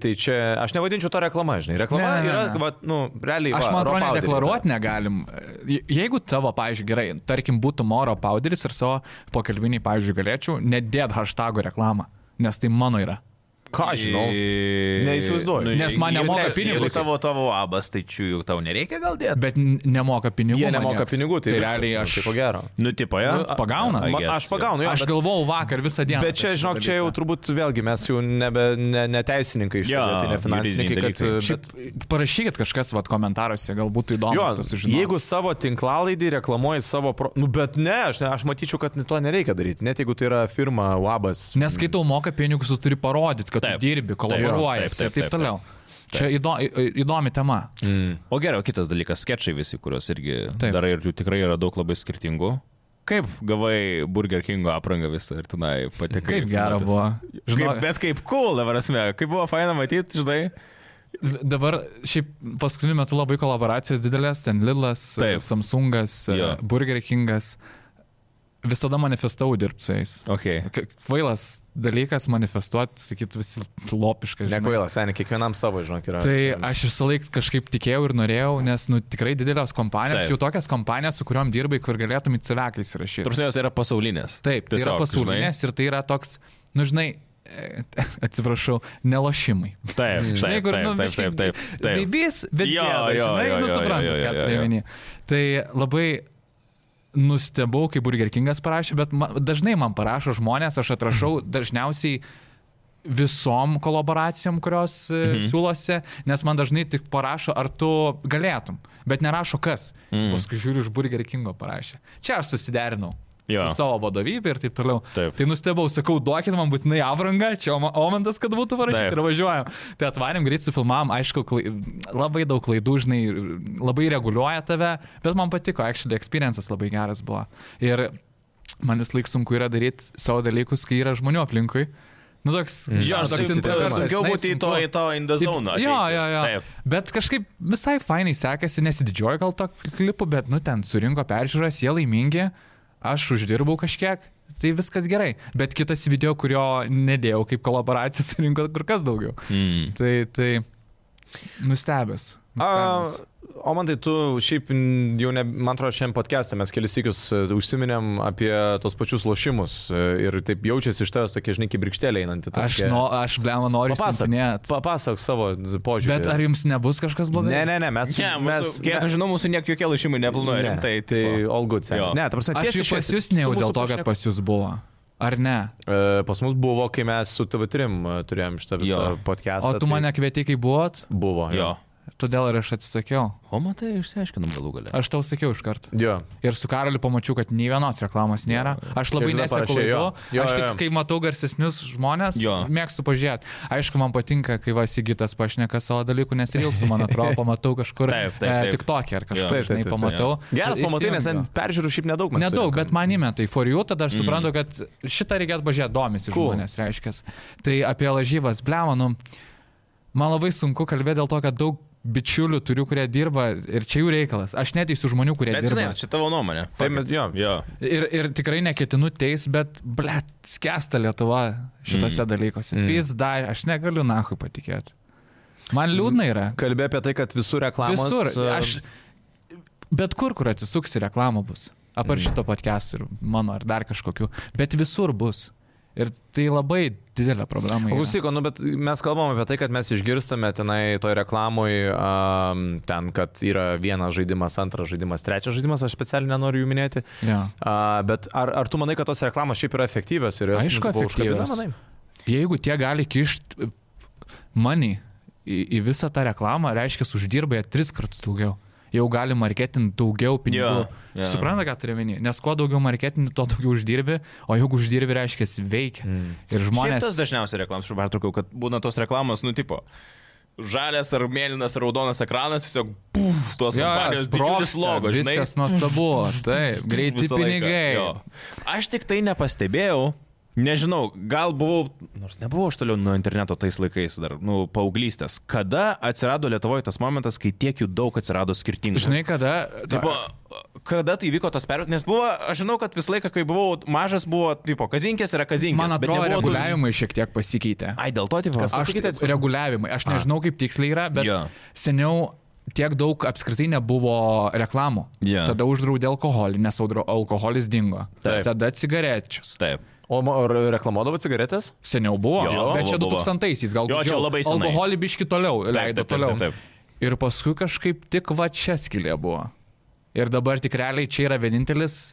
Speaker 3: tai čia, aš nevadinčiau to reklama, žinai, reklama
Speaker 2: Ne, ne,
Speaker 3: yra,
Speaker 2: ne.
Speaker 3: va, nu, realiai.
Speaker 2: Aš
Speaker 3: va,
Speaker 2: man atrodo,
Speaker 3: raw powdery,
Speaker 2: nedeklaruoti negalim. Je- Jeigu tavo, pavyzdžiui, gerai, tarkim, būtų moro powderis ir savo pokalbiniai, pavyzdžiui, galėčiau nedėt hashtagų reklamą, nes tai mano yra.
Speaker 3: Ką aš žinau? Neįsivaizduoju.
Speaker 2: Nes man
Speaker 1: jeigu
Speaker 2: nemoka
Speaker 1: teis- Jeigu
Speaker 2: pinigus.
Speaker 1: tavo tavo abas, tai čia jau tau nereikia gal dėti.
Speaker 2: Bet n- nemoka pinigų.
Speaker 3: Jie
Speaker 2: man
Speaker 3: nemoka
Speaker 2: nieks.
Speaker 3: pinigų, tai,
Speaker 2: tai
Speaker 3: viskas,
Speaker 2: realiai
Speaker 3: nu,
Speaker 2: aš...
Speaker 3: Tai ko gero.
Speaker 1: Nu, tipo, ja?
Speaker 3: Nu,
Speaker 2: pagauna.
Speaker 1: I
Speaker 3: Ma-
Speaker 1: guess,
Speaker 3: Aš pagaunu, jo.
Speaker 2: Aš
Speaker 3: bet-
Speaker 2: galvojau vakar visą dieną.
Speaker 3: Bet čia,
Speaker 2: apie šitą
Speaker 3: žinok, čia
Speaker 2: dalyką.
Speaker 3: jau turbūt vėlgi mes jau nebe ne, ne teisininkai iš
Speaker 1: Jo,
Speaker 3: tikrųjų, tai ne finansininkai,
Speaker 1: juridiniai
Speaker 3: kad...
Speaker 1: dalykai.
Speaker 3: Bet,
Speaker 2: Šiaip parašykit kažkas vat, komentaruose, galbūt įdomu
Speaker 3: jo,
Speaker 2: tas sužinoti.
Speaker 3: jeigu savo tinklalaidį reklamuoji savo... Pro... Nu, bet ne, aš, ne, aš matyčiau, kad to nereikia daryti, net jeigu tai yra firma Wabas.
Speaker 2: Nes kai tau moka pinigus, tu turi parodyti, kad
Speaker 1: Taip.
Speaker 2: tu dirbi, kolaboruoji ir
Speaker 1: Taip, taip,
Speaker 2: taip,
Speaker 1: taip, taip.
Speaker 2: toliau. Čia įdo, į- įdomi tema.
Speaker 1: O geriau, kitas dalykas, sketšai visi, kuriuos irgi
Speaker 2: Taip.
Speaker 1: Taip. darai ir jų tikrai yra daug labai skirtingų. Kaip gavai Burger Kingo aprangą visą ir tenai patekai?
Speaker 2: Kaip gera buvo.
Speaker 1: Žinau, bet kaip cool, dabar esmė, kaip buvo faina matyti, žinai.
Speaker 2: Dabar šiaip paskutiniu metu labai kolaboracijos didelės, ten Lidlas,
Speaker 1: Taip.
Speaker 2: Samsungas, e,
Speaker 1: Jo.
Speaker 2: Burger Kingas. Visada manifestau dirbti su jais.
Speaker 1: Okay.
Speaker 2: K- Kvailas dalykas manifestuoti, sakyt, visi lopiškas. žinai.
Speaker 3: Nekvaila, seniai, kiekvienam savo, žinok, yra.
Speaker 2: Tai aš visą laiką kažkaip tikėjau ir norėjau, nes nu, tikrai didelės kompanijos,
Speaker 1: Taip.
Speaker 2: jau tokias kompanijas, su kuriuom dirbai, kur galėtum į cevekliai įsirašyti.
Speaker 1: Tarsi jos yra pasaulinės.
Speaker 2: Taip, tai yra
Speaker 1: Tiesiog,
Speaker 2: pasaulinės ir tai yra toks, nu žinai, e, atsiprašau, nelošimai.
Speaker 1: žinai. Taip,
Speaker 2: Žinai,
Speaker 1: taip,
Speaker 2: kur, nu,
Speaker 1: taip, taip,
Speaker 2: biškį
Speaker 1: taip, taip, taip.
Speaker 2: Zaibys, bet
Speaker 1: Jo,
Speaker 2: jo, gėda,
Speaker 1: jo,
Speaker 2: žinai,
Speaker 1: jo,
Speaker 2: nu
Speaker 1: jo, jo,
Speaker 2: suprantat,
Speaker 1: jo,
Speaker 2: ką
Speaker 1: jo,
Speaker 2: turiu
Speaker 1: jo.
Speaker 2: omeny. Tai labai nustebau, kai Burger Kingas parašė, bet ma, dažnai man parašo žmonės, aš atrašau
Speaker 1: Mhm.
Speaker 2: dažniausiai visom kolaboracijom, kurios mhm. siūlosi, nes man dažnai tik parašo, ar tu galėtum, bet nerašo kas. Mhm. Paskui žiūriu, iš Burger Kingo parašė. Čia aš susiderinau.
Speaker 1: Jo.
Speaker 2: Jo. Su savo vadovybė ir taip toliau.
Speaker 1: Taip.
Speaker 2: Tai nustebau, sakau, duokit man būtinai avrangą, čia oma- momentas, kad būtų parašyta
Speaker 1: Taip.
Speaker 2: ir važiuojam. Tai atvarėm greit su filmam, aišku, klai, labai daug klaidų, žinai, labai reguliuoja tave, bet man patiko, actually, experiences labai geras buvo. Ir man vis laik sunku yra daryti savo dalykus, kai yra žmonių aplinkui. Nu, toks,
Speaker 1: Jo, aš
Speaker 2: toks
Speaker 1: toks
Speaker 2: introvertas,
Speaker 1: sunkiau
Speaker 2: žinai,
Speaker 1: būti į to,
Speaker 2: sunku.
Speaker 1: į to in the
Speaker 2: Taip,
Speaker 1: zone.
Speaker 2: Jo,
Speaker 1: ateiti.
Speaker 2: jo, jo.
Speaker 1: Taip.
Speaker 2: Bet kažkaip visai fainai sekasi, nesididžiuoju gal to klipu, bet nu ten surinko peržiūras, jie laimingi, aš uždirbau kažkiek, tai viskas gerai. Bet kitas video, kurio nedėjau kaip kolaboracija, surinko kur kas daugiau.
Speaker 1: Mm.
Speaker 3: Hmm.
Speaker 2: Tai, tai nustebęs.
Speaker 3: A,
Speaker 2: nustebęs.
Speaker 3: o man tai tu šiaip n- jau, ne, man atrodo, šiandien podcast'e mes kelis įkius užsiminėm apie tos pačius lošimus e, ir taip jaučiasi iš tavęs tokie, žinai, kibrikštėlė einanti.
Speaker 2: Aš, no, aš blema noriu
Speaker 3: Papasakok,
Speaker 2: pasakinėti.
Speaker 3: papasakok savo požiūrį.
Speaker 2: Bet ar jums nebus kažkas blogai?
Speaker 3: Ne, ne, ne, mes...
Speaker 1: Ne, mūsų, kiek aš žinau, mūsų niekiek jokie lašimai neplanuoja
Speaker 3: ne,
Speaker 1: rimtai.
Speaker 3: tai all good. seni.
Speaker 1: Jo.
Speaker 3: Ne, ta prasme,
Speaker 2: Aš
Speaker 3: tiesiai
Speaker 2: jau pas
Speaker 3: šviesiai.
Speaker 2: jūs nejau
Speaker 3: Tu
Speaker 2: dėl
Speaker 3: mūsų
Speaker 2: to, kad
Speaker 3: pašnek-
Speaker 2: pas jūs buvo. Ar ne?
Speaker 3: E, Pas mus buvo, kai mes su TV3 e, turėjom šitą visą
Speaker 1: Jo.
Speaker 3: podcastą. tai
Speaker 2: O tu mane kvietei, kai buvot,
Speaker 3: Buvo,
Speaker 1: Jo.
Speaker 3: jo.
Speaker 2: todėl ir aš atsisakiau.
Speaker 1: O matai, išsiaiškinam galų galę.
Speaker 2: Aš tau sakiau iš karto.
Speaker 3: Jo.
Speaker 2: Ir su Karaliu pamačiau, kad nei vienos reklamos nėra. Aš labai
Speaker 3: Ir tada
Speaker 2: neseku
Speaker 3: parašei,
Speaker 2: laidų.
Speaker 3: jo. Jo,
Speaker 2: Aš
Speaker 3: jo,
Speaker 2: tik,
Speaker 3: jo.
Speaker 2: kai matau garsesnius žmonės,
Speaker 1: Jo.
Speaker 2: mėgstu pažiūrėti. Aišku, man patinka, kai Vasigitas pašneka savo dalykų, nes Rilsų, man atrodo, pamatau kažkur
Speaker 1: Taip, taip, taip.
Speaker 2: tik tokį ar
Speaker 1: Jo.
Speaker 2: kažkur,
Speaker 1: Taip,
Speaker 3: taip, taip,
Speaker 2: žinai,
Speaker 3: taip,
Speaker 2: pamatau.
Speaker 3: Geras
Speaker 2: ir
Speaker 3: pamatai, nes
Speaker 2: įsijungiu.
Speaker 3: ten peržiūrų šiaip nedaug. mes
Speaker 2: Nedaug,
Speaker 3: surinkom.
Speaker 2: bet man įmetai for you, tada aš suprantu, kad šitą reikėtų pažiūrėti, domisi
Speaker 3: Mm. Cool.
Speaker 2: cool. žmonės, reiškia. Tai apie lažybas, blemonu, man labai sunku kalbėti dėl to, kad daug bičiulių turiu, kurie dirba ir čia jų reikalas. Aš neteisiu žmonių, kurie
Speaker 1: Bet
Speaker 2: dirba.
Speaker 1: žinai, čia tavo nuomonė.
Speaker 3: Taip,
Speaker 1: Fuck
Speaker 3: bet
Speaker 1: it.
Speaker 3: Tai jo.
Speaker 1: jo.
Speaker 2: Ir, ir tikrai neketinu teis, bet, ble, skęsta Lietuva šitose mm. dalykuose. Mm. Pizda, aš negaliu nahui patikėti. Man liūdna yra.
Speaker 3: Kalbė apie tai, kad visur reklamos.
Speaker 2: Visur.
Speaker 3: e,
Speaker 2: Aš, bet kur, kur atsisuksi, reklama bus. Apar mm. šito podcast'o ir mano, ar dar kažkokiu. Bet visur bus. Ir tai labai didelė problema.
Speaker 3: O
Speaker 2: yra.
Speaker 3: Klausyk, o nu, bet mes kalbam apie tai, kad mes išgirstame tenai toj reklamui, um, ten, kad yra vienas žaidimas, antras žaidimas, trečias žaidimas, aš specialiai nenoriu jų minėti.
Speaker 2: Jo.
Speaker 3: Uh, bet ar, ar tu manai, kad tos reklamos šiaip yra efektyvios ir jos
Speaker 2: Aišku,
Speaker 3: nu, tipo, užkabina,
Speaker 2: efektyvios.
Speaker 3: manai?
Speaker 2: Jeigu tie gali kišti money į, į visą tą reklamą, reiškia, uždirba jie tris kartus daugiau. Jau gali marketinti daugiau pinigų.
Speaker 1: Jo, jo.
Speaker 2: Supranta, ką turiu meni, nes kuo daugiau marketinti, tuo daugiau uždirbi, o jeigu uždirbi, reiškia, veikia. Mm. Ir
Speaker 1: Šiaip
Speaker 2: žmonės...
Speaker 1: tas dažniausiai reklamos, aš pertraukau, kad būna tos reklamos, nu, tipo, žalias ar mėlynas ar raudonas ekranas, tiesiog, puf, tos
Speaker 2: Jo, jo,
Speaker 1: kompanijos didžiulis
Speaker 2: sprogsta,
Speaker 1: logo, žinai.
Speaker 2: Viskas nuostabu, taip, greiti
Speaker 1: Visą laiką,
Speaker 2: pinigai.
Speaker 1: jo. Aš tik tai nepastebėjau. Nežinau, gal buvau, nors nebuvau aš toliau nuo interneto tais laikais dar, nu, paauglystės. Kada atsirado Lietuvoje tas momentas, kai tiek jų daug atsirado skirtingų?
Speaker 2: Žinai, kada...
Speaker 1: Tipo, kada tai vyko tas perėjimas? Nes buvo, aš žinau, kad visą laiką, kai buvau mažas, buvo, tipo, kazinkės yra kazinkės.
Speaker 2: man
Speaker 1: bet
Speaker 2: atrodo,
Speaker 1: nebuvo tų-
Speaker 2: reguliavimai šiek tiek pasikeitė.
Speaker 1: Ai, dėl to, tipo,
Speaker 3: Kas-
Speaker 2: Aš
Speaker 3: Pasakykite, atsiprašau.
Speaker 2: reguliavimai, aš nežinau, kaip tiksliai yra, bet
Speaker 1: Jo.
Speaker 2: seniau tiek daug apskritai nebuvo reklamų.
Speaker 1: Jo.
Speaker 2: Tada uždraudė alkoholį, nes audro- alkoholis dingo.
Speaker 1: Taip.
Speaker 2: Tada cigarečius.
Speaker 1: Taip.
Speaker 3: O ma- ar reklamuodavo cigaretės?
Speaker 2: Seniau buvo,
Speaker 1: Jo,
Speaker 2: jo, bet čia
Speaker 1: buvo, buvo.
Speaker 2: 2000-aisiais gal
Speaker 1: Jo, čia
Speaker 2: gudžiau.
Speaker 1: labai senai.
Speaker 2: Alkoholį biški toliau leido
Speaker 1: taip, taip,
Speaker 2: toliau.
Speaker 1: taip, taip.
Speaker 2: Ir paskui kažkaip tik va čia skilė buvo. Ir dabar tikreliai čia yra vienintelis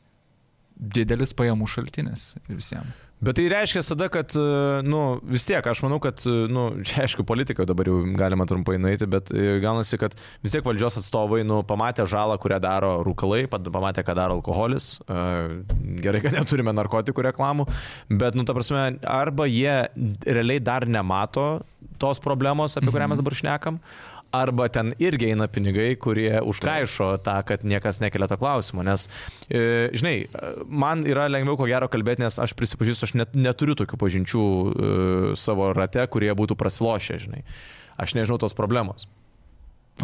Speaker 2: didelis pajamų šaltinis visiems.
Speaker 3: Bet tai reiškia tada, kad, e, nu, vis tiek, aš manau, kad, e, nu, čia, aišku, politikoje dabar jau galima trumpai nueiti, bet e, gaunasi, kad vis tiek valdžios atstovai, nu, pamatė žalą, kurią daro rūkalai, pat- pamatė, ką daro alkoholis, e, gerai, kad neturime narkotikų reklamų, bet, nu, ta prasme, arba jie realiai dar nemato tos problemos, apie kurią mes dabar šnekam. Arba ten irgi eina pinigai, kurie užkaišo tą, kad niekas nekelia to klausimo, nes E, žinai, e, man yra lengviau ko gero kalbėti, nes aš prisipažįstu, aš net, neturiu tokių pažinčių e, savo rate, kurie būtų prasilošę, žinai. Aš nežinau tos problemos.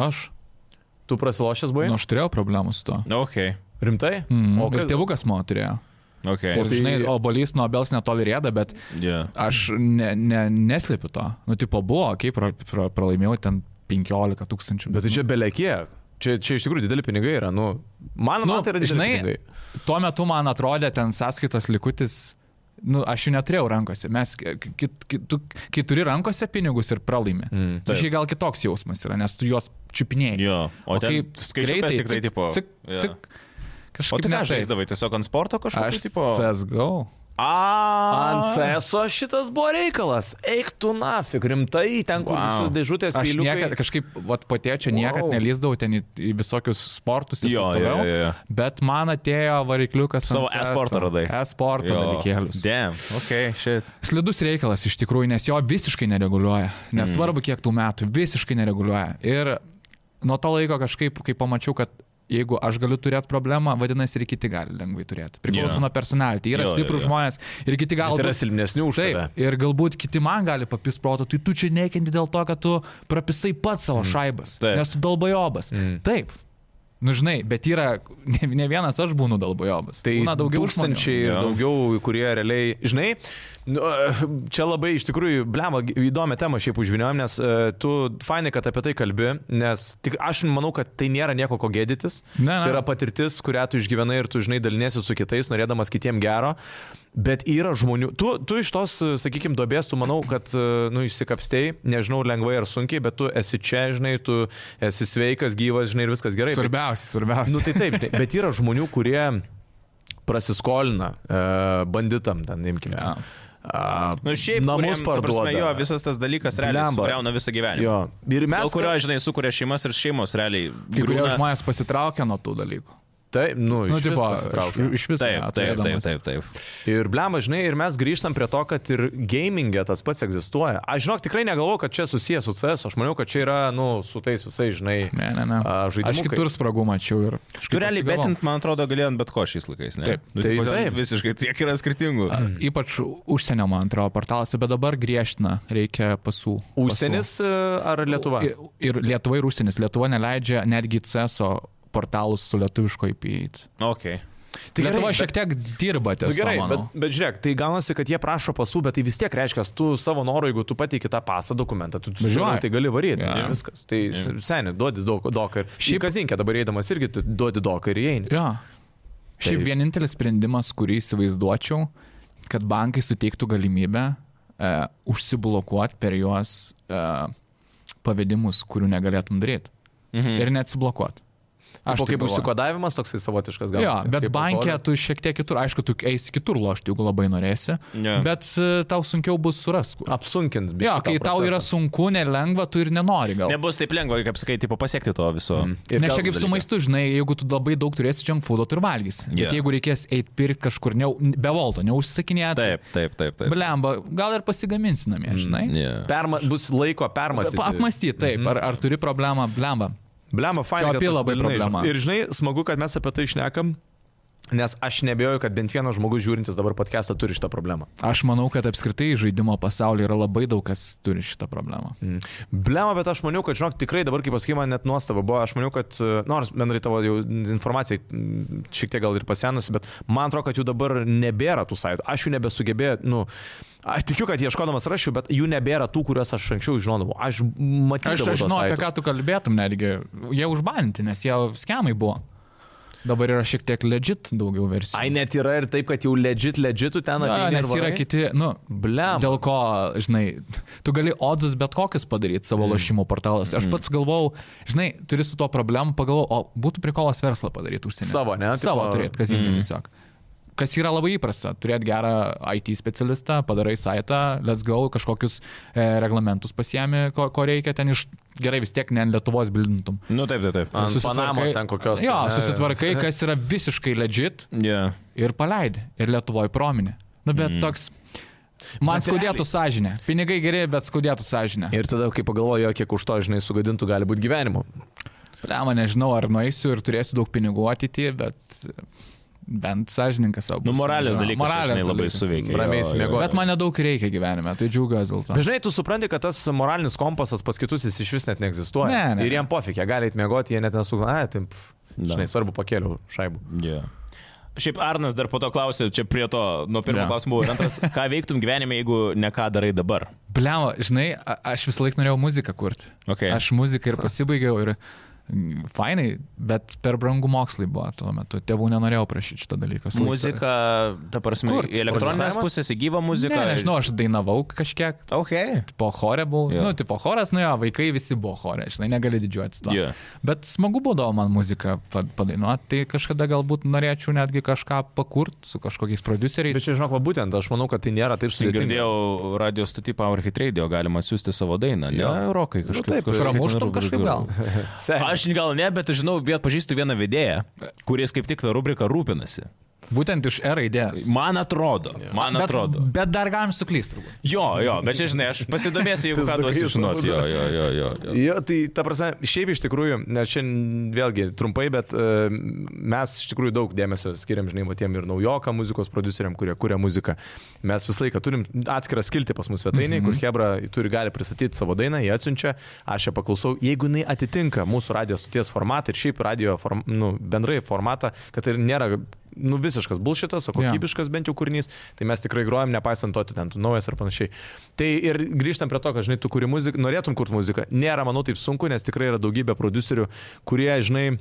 Speaker 2: Aš.
Speaker 3: Tu prasilošęs buvai?
Speaker 2: Nu,
Speaker 3: Nu,
Speaker 2: aš turėjau problemų su to.
Speaker 1: Na, okei.
Speaker 3: Rimtai?
Speaker 2: Mm,
Speaker 3: O
Speaker 2: o ir
Speaker 3: kas-
Speaker 2: tėvukas mano turėjo.
Speaker 1: Okei.
Speaker 2: Ir,
Speaker 3: tai-
Speaker 2: žinai, obolys nuo obels netoli rėda, bet
Speaker 1: Jo.
Speaker 2: aš ne, ne, neslėpiu to. Nu, tipo, buvo, kaip pra, pra, pralaimėjau ten 15 tūkstančių.
Speaker 3: Bet tai čia belekie. Čia, čia iš tikrųjų dideli pinigai yra. Nu, man,
Speaker 2: Nu,
Speaker 3: man tai yra dideli
Speaker 2: žinai,
Speaker 3: pinigai.
Speaker 2: Tuo metu man atrodė ten sąskaitos likutis, nu, aš jų neturėjau rankose. Mes, k- k- k- tu, kai turi rankose pinigus ir pralaimi.
Speaker 1: Taip.
Speaker 3: Mm.
Speaker 2: Tai šiai gal kitoks jausmas yra, nes tu juos čiupinėjai.
Speaker 1: Jo. O ten skaičiukas tik tai tipo.
Speaker 2: Cik,
Speaker 1: jo.
Speaker 2: cik,
Speaker 1: O
Speaker 2: kažkaip
Speaker 1: tai ką
Speaker 2: ne taip.
Speaker 1: žaisdavai, tiesiog ant sporto
Speaker 2: Aš
Speaker 1: kažkokio
Speaker 2: tipo...
Speaker 1: tai tipo?
Speaker 2: CSGO.
Speaker 1: A.
Speaker 3: Ant CS šitas buvo reikalas. Eik tu nafik, rimtai, ten kur
Speaker 1: Wow.
Speaker 3: wow. visus dėžutės
Speaker 2: Aš
Speaker 3: piliukai.
Speaker 2: niekad, kažkaip, vat, patėčio niekad
Speaker 3: Wow.
Speaker 2: nelyzdavau ten į, į visokius sportus ir
Speaker 1: Jo,
Speaker 2: taip
Speaker 1: jo,
Speaker 2: toliau.
Speaker 1: jo, jo.
Speaker 2: Bet man atėjo varikliukas.
Speaker 1: Savo
Speaker 2: ant
Speaker 1: e-sportą
Speaker 2: CS-o.
Speaker 1: radai.
Speaker 2: E-sporto dalykėlius.
Speaker 1: Damn. Okei, shit.
Speaker 2: Slidus reikalas iš tikrųjų, nes jo visiškai nereguliuoja.
Speaker 1: Mm.
Speaker 2: Nesvarbu, kiek tų metų, visiškai nereguliuoja. Ir nuo to laiko kažkaip, kai pamačiau, kad jeigu aš galiu turėti problemą, vadinasi ir kiti gali lengvai turėti. Priklauso
Speaker 1: Jo.
Speaker 2: nuo personality. Yra
Speaker 1: Jo, jo,
Speaker 2: stiprus
Speaker 1: jo.
Speaker 2: žmonės ir kiti gal...
Speaker 3: Tai yra silpnesnių už tave.
Speaker 2: Taip, ir galbūt kiti man gali papis proto, tai tu čia nekinti dėl to, kad tu prapisai pats savo mm. šaibas,
Speaker 1: Taip.
Speaker 2: Taip. nes tu dalbajobas. Mm. Taip. Nu žinai, bet yra, ne, ne vienas aš būnu dalbajobas.
Speaker 3: Tai
Speaker 2: Būna daugiau žmonių.
Speaker 3: tūkstančiai ir
Speaker 1: Jo.
Speaker 3: daugiau, kurie realiai, žinai, nu, e, čia labai iš tikrųjų, blema, įdomią temą šiaip užviniojom, nes e, tu fainai, kad apie tai kalbi, nes tik aš manau, kad tai nėra nieko ko gėdytis.
Speaker 2: Ne, ne.
Speaker 3: Tai yra patirtis, kurią tu išgyvenai ir tu, žinai, daliniesi su kitais, norėdamas kitiem gero. Bet yra žmonių, tu, tu iš tos, sakykime, dobės, tu manau, kad, e, nu, išsikapstėjai, nežinau, lengvai ar sunkiai, bet tu esi čia, žinai, tu esi sveikas, gyvas, žinai, ir viskas gerai. Tai Bet
Speaker 2: Svarbiausia, svarbiausia.
Speaker 3: Nu tai taip, tai- bet yra žmonių, kurie prasiskolina e, banditam, ten imkime.
Speaker 2: Jo.
Speaker 3: A,
Speaker 1: Nu, šiaip,
Speaker 3: namus
Speaker 1: kuriem, ta prasme,
Speaker 3: parduoda.
Speaker 1: Jo, visas tas dalykas realiai
Speaker 3: Blemba.
Speaker 1: sugriauna visą gyvenimą.
Speaker 3: jo. Ir
Speaker 1: Dėl
Speaker 3: mes,
Speaker 1: kurio, žinai, sukuria šeimas ir šeimos realiai.
Speaker 2: Kai kurie
Speaker 1: griūna.
Speaker 2: žmonės pasitraukia nuo tų dalykų.
Speaker 3: taip, nu,
Speaker 2: Nu,
Speaker 3: iš
Speaker 2: tipo,
Speaker 3: tipo,
Speaker 2: iš, iš viso.
Speaker 1: Taip, taip, taip, taip, taip.
Speaker 3: Ir blema, žinai, ir mes grįžtam prie to, kad ir gamingė tas pats egzistuoja. Aš žinok, tikrai negalvoju, kad čia susijęs su CS, aš maniau, kad čia yra, nu, su tais visais, žinai.
Speaker 2: Ne, ne, ne.
Speaker 3: A, žaidimukai.
Speaker 2: Aš kitur spragų mačiau ir...
Speaker 1: Tu realiai betint, man atrodo, galėjant bet ko šiais laikais, ne?
Speaker 2: Taip.
Speaker 1: Nu,
Speaker 3: Taip,
Speaker 1: tipo,
Speaker 3: taip.
Speaker 1: Visiškai tiek yra skirtingų.
Speaker 2: Ypač užsienio, man atrodo, portaluose, bet dabar griežtina, reikia pasų. pasų.
Speaker 3: Užsienis e, ar Lietuva?
Speaker 2: Ir, ir Lietuva ir užsienis. Lietuva neleidžia netgi CESO portalus su lietuviško IP. įeiti.
Speaker 1: Okei.
Speaker 3: Tai
Speaker 2: Lietuva
Speaker 3: gerai,
Speaker 2: šiek tiek dirba ties
Speaker 3: Nu, gerai,
Speaker 2: to,
Speaker 3: bet,
Speaker 2: manau.
Speaker 3: bet žiūrėk, tai gaunasi, kad jie prašo pasų, bet tai vis tiek reiškia, tu savo noru, jeigu tu pateiki tą pasą dokumentą, tu, tu
Speaker 2: Važiuoji.
Speaker 3: žinai, tai gali varyti.
Speaker 2: Jo.
Speaker 3: Yeah. Viskas. Tai yeah. seniai, duodi daug doką.
Speaker 2: Šiaip-
Speaker 3: Šiaip kazinkė dabar eidamas irgi tu duodi doką ir įeini.
Speaker 2: Jo. Šiaip
Speaker 3: Taip.
Speaker 2: vienintelis sprendimas, kurį įsivaizduočiau, kad bankai suteiktų galimybę e, užsiblokuoti per juos e, pavedimus, kurių negalėtum daryti. Mhm. Ir neatsiblokuoti.
Speaker 3: Aš
Speaker 2: taip
Speaker 3: kaip
Speaker 2: galvoju.
Speaker 3: užsikodavimas toksai savotiškas
Speaker 2: Jo,
Speaker 3: gaunasi.
Speaker 2: bet
Speaker 3: kaip
Speaker 2: bankė
Speaker 3: alkoholio.
Speaker 2: tu šiek tiek kitur, aišku, tu eisi kitur lošti, jeigu labai norėsi,
Speaker 1: Jo.
Speaker 2: bet e, tau sunkiau bus surasti. kur.
Speaker 3: apsunkins, bet.
Speaker 2: Jo, kai tau yra sunku, nelengva, tu ir nenori gal.
Speaker 1: Nebus taip lengva, kaip sakai, tipo pasiekti to viso.
Speaker 2: Nes čia kaip su maistu, žinai, jeigu tu labai daug turėsi junk foodo, tu ir valgys.
Speaker 1: Jo.
Speaker 2: Yeah. Bet jeigu reikės eiti pirkti kažkur ne, be volto, neužsisakinėti.
Speaker 1: Taip, taip, taip, taip.
Speaker 2: Blemba, gal ir pasigaminsi namie, žinai. Mm,
Speaker 1: Yeah.
Speaker 3: Perma, bus laiko permastyti.
Speaker 2: Apmastyti, taip, ar, ar turi problemą, blemba.
Speaker 3: Blema, fainai.
Speaker 2: Čia
Speaker 3: kad
Speaker 2: opi labai
Speaker 3: pasidalinai.
Speaker 2: problema.
Speaker 3: Ir žinai, smagu, kad mes apie tai išnekam, nes aš nebejoju, kad bent vienas žmogus žiūrintis dabar podcastą turi šitą problemą.
Speaker 2: Aš manau, kad apskritai žaidimo pasaulyje yra labai daug kas turi šitą problemą.
Speaker 3: Blema, bet aš maniau, kad, žinok, tikrai dabar, kai pasakyma, net nuostaba buvo, aš maniau, kad, e, nors bendrai tavo jau informacija mm, šiek tiek gal ir pasenusi, bet man atrodo, kad jų dabar nebėra tų saitų. Aš jų nebesugebėjau, nu, aš tikiu, kad ieškodamas rašiau, bet jų nebėra tų, kuriuos aš anksčiau žinodavau. Aš matydavau.
Speaker 2: Aš, aš
Speaker 3: tuos
Speaker 2: žinau, apie
Speaker 3: saitus.
Speaker 2: ką tu kalbėtum netgi. Jie užbaninti, nes jie skemai buvo. Dabar yra šiek tiek legit daugiau versijų.
Speaker 3: Ai, net yra ir taip, kad jau legit, legitų ten
Speaker 2: Na, tai
Speaker 3: ateina.
Speaker 2: nes yra kiti, nu,
Speaker 3: Blem.
Speaker 2: Dėl ko, žinai, tu gali odzus bet kokius padaryti savo
Speaker 3: Mm.
Speaker 2: lošimo portaluose. Aš pats galvau, žinai, turi su to problemų, pagalvojau, o būtų prikolas verslą padaryti užsienį.
Speaker 3: Savo, ne?
Speaker 2: Savo
Speaker 3: Tipo- Mm.
Speaker 2: turėti, kas įtin tiesiog. Kas yra labai įprasta, turėti gerą IT specialistą, padarai saitą, let's go, kažkokius e, reglamentus pasiemi, ko, ko reikia ten iš, gerai vis tiek ne ant Lietuvos bildintum.
Speaker 1: Nu taip, taip, taip.
Speaker 3: Ant Panamos ten kokios,
Speaker 2: Jo,
Speaker 3: tai, ne?
Speaker 2: susitvarkai, kas yra visiškai legit,
Speaker 1: Yeah.
Speaker 2: ir paleidai. Ir Lietuvoje prominė. Nu, bet mm. toks. Man skaudėtų sąžinę. Pinigai geri, bet skaudėtų sąžinę.
Speaker 3: Ir tada, kai pagalvoju, kiek už to, žinai, sugadintų gali būti gyvenimu.
Speaker 2: Plema, nežinau, ar nueisiu ir turėsiu daug pinigų ateityje, bet bent sąžininkas savo.
Speaker 1: Nu,
Speaker 2: būsiu,
Speaker 1: moralės
Speaker 2: nežinau.
Speaker 1: dalykas, moralės žinai, labai
Speaker 2: dalykas.
Speaker 1: suveikia.
Speaker 3: Ramiai išsimiegot.
Speaker 2: Bet man nedaug reikia gyvenime, tai džiaugiuosi dėl to.
Speaker 3: Bet žinai, tu supranti, kad tas moralinis kompasas pas kitus jis iš vis net neegzistuoja.
Speaker 2: Ne, ne.
Speaker 3: Ir jiem pofik, jie gali atmėgoti, jie net nesugalvoja, ai, taip,
Speaker 1: Da.
Speaker 3: žinai, svarbu pakeliu šaibų.
Speaker 1: Yeah. Šiaip Arnas dar po to klausė, čia prie to, nuo pirmo
Speaker 2: Jo.
Speaker 1: yeah. klausimo, ir antras, ką veiktum gyvenime, jeigu ne ką darai dabar?
Speaker 2: Plema, žinai, a- aš visą laiką norėjau muziką kurti.
Speaker 1: Okay.
Speaker 2: Aš muziką ir pasibaigiau ir mm, fainai, bet per brangų mokslai buvo tuo metu. Tėvų nenorėjau prašyti šitą dalyką. Visą laiką-
Speaker 1: Muzika, ta prasme,
Speaker 2: Kur?
Speaker 1: į elektroninės
Speaker 3: Prodiusavimas?
Speaker 1: pusės, į gyvą muziką.
Speaker 2: Ne, nežinau, aš dainavau kažkiek,
Speaker 1: Okay.
Speaker 2: tipo chore buvau.
Speaker 1: Jo.
Speaker 2: Yeah. Nu, tipo choras, nu jo, vaikai visi buvo chore, žinai, negali didžiuotis to.
Speaker 1: Jo.
Speaker 2: Bet smagu būdavo man muziką pa- padainuot, tai kažkada galbūt norėčiau netgi kažką pakurt su
Speaker 3: Bet
Speaker 2: kažkokiais produceriais.
Speaker 3: čia, žinok, va, būtent, aš manau, kad tai nėra taip sudėtinga.
Speaker 1: Girdėjau radio stotį Power Hit Radio, galima siūsti savo dainą. Ne,
Speaker 3: Jo.
Speaker 1: Rokai kažkaip.
Speaker 3: Nu taip,
Speaker 1: kažkaip
Speaker 2: pramuštum kažkaip gal.
Speaker 3: Se-
Speaker 1: Aš gal ne, bet žinau, vėl pažįstu vieną vedėją, kuris kaip tik tą rubriką rūpinasi.
Speaker 2: Būtent iš R raidės.
Speaker 1: Man atrodo, man atrodo.
Speaker 2: E Bet, bet dar galim suklysti, turbūt.
Speaker 1: Jo, jo, bet čia žinai, aš pasidamėsiu, jeigu ką duosiu
Speaker 3: Pizdukai
Speaker 1: žinoti. Jo, jo, jo, jo. jo.
Speaker 3: Jo, tai ta prasme, šiaip iš tikrųjų, nes čia vėlgi trumpai, bet e, mes iš tikrųjų daug dėmesio skiriam, žinai, va, tiem ir naujokam muzikos produceriam, kurie kuria muziką. Mes visą laiką turim atskirą skilti pas mūsų svetainį, mm -hmm. kur Hebra turi gali pristatyti savo dainą, jie atsiunčia, aš ją paklausau, jeigu jinai atitinka mūsų radio stoties formatą ir šiaip radio form, nu, bendrai formatą, kad tai nėra nu, visiškas bulšitas, o
Speaker 2: Jo.
Speaker 3: kokybiškas kokybiškas bent jau kūrinys, tai mes tikrai grojam, nepaisant to, tu ten tu naujas ir panašiai. Tai ir grįžtam prie to, kad, žinai, tu kuri muziką, norėtum kurti muziką. Nėra, manau, taip sunku, nes tikrai yra daugybė producerių, kurie, žinai,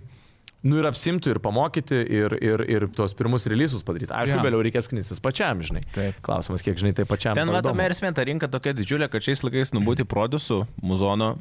Speaker 3: Nu ir apsimtų, ir pamokyti, ir, ir, ir tuos pirmus releasus padaryti. Aišku,
Speaker 2: Jo.
Speaker 3: vėliau reikės knysis pačiam, žinai.
Speaker 2: Taip.
Speaker 3: Klausimas, kiek, žinai, tai pačiam.
Speaker 1: Ten
Speaker 3: tau įdomu.
Speaker 1: matome ir smėta rinka tokia didžiulė, kad šiais laikais nubūti produsų, muzono,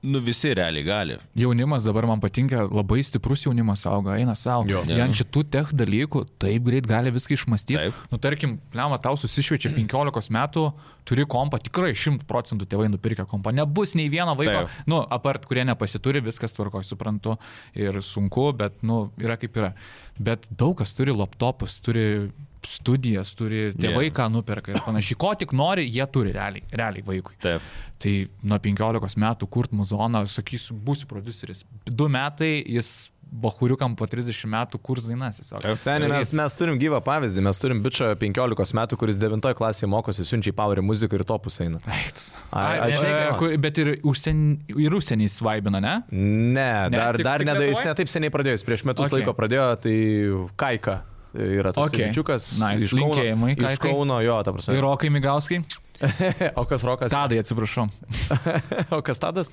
Speaker 1: nu visi realiai gali.
Speaker 2: Jaunimas dabar man patinka, labai stiprus jaunimas auga, eina savo.
Speaker 3: Jo.
Speaker 2: Jie ant šitų tech dalykų taip greit gali viską išmastyti.
Speaker 1: Taip.
Speaker 2: Nu, tarkim, lema, tau susišviečia 15 metų, turi kompą, tikrai 100 procentų tėvai nupirkę kompą. Nebus nei vieno vaiko,
Speaker 1: Taip.
Speaker 2: nu, apart, kurie nepasituri, viskas tvarko, suprantu, ir sunku, bet, nu, yra kaip yra. Bet daug kas turi laptopus, turi studijas, turi tėvai,
Speaker 1: Jo.
Speaker 2: ką nuperka ir panašiai. Ko tik nori, jie turi realiai, realiai vaikui.
Speaker 1: Taip.
Speaker 2: Tai nuo 15 metų kurt muzoną, sakysiu, būsiu produceris. Du metai jis bahuriukam po 30 metų kurs dainas tiesiog.
Speaker 3: Seniai, mes,
Speaker 2: Darys.
Speaker 3: mes turim gyvą pavyzdį, mes turim bičią 15 metų, kuris 9 klasėje mokosi, siunčia į Power muziką ir topus eina.
Speaker 2: Eiktus.
Speaker 3: Ai,
Speaker 2: Ai,
Speaker 3: aš-
Speaker 2: žinai, kur- Bet ir, užsien, ir užsienį svaibina, ne?
Speaker 3: Ne,
Speaker 2: Ne,
Speaker 3: dar,
Speaker 2: tik-
Speaker 3: dar
Speaker 2: tik
Speaker 3: nedai, jis
Speaker 2: Lietuvoj?
Speaker 3: netaip seniai pradėjo, jis prieš metus
Speaker 2: Okay.
Speaker 3: okay. laiko pradėjo, tai Kaika yra toks
Speaker 2: Okay.
Speaker 3: okay. bičiukas.
Speaker 2: Nice.
Speaker 3: Iš Kauno,
Speaker 2: Linkėjimai
Speaker 3: iš
Speaker 2: Kaikai.
Speaker 3: Kauno, jo, ta prasme.
Speaker 2: Ir Rokai Migauskai.
Speaker 3: o kas Rokas?
Speaker 2: Tadai, atsiprašau.
Speaker 3: o kas Tadas?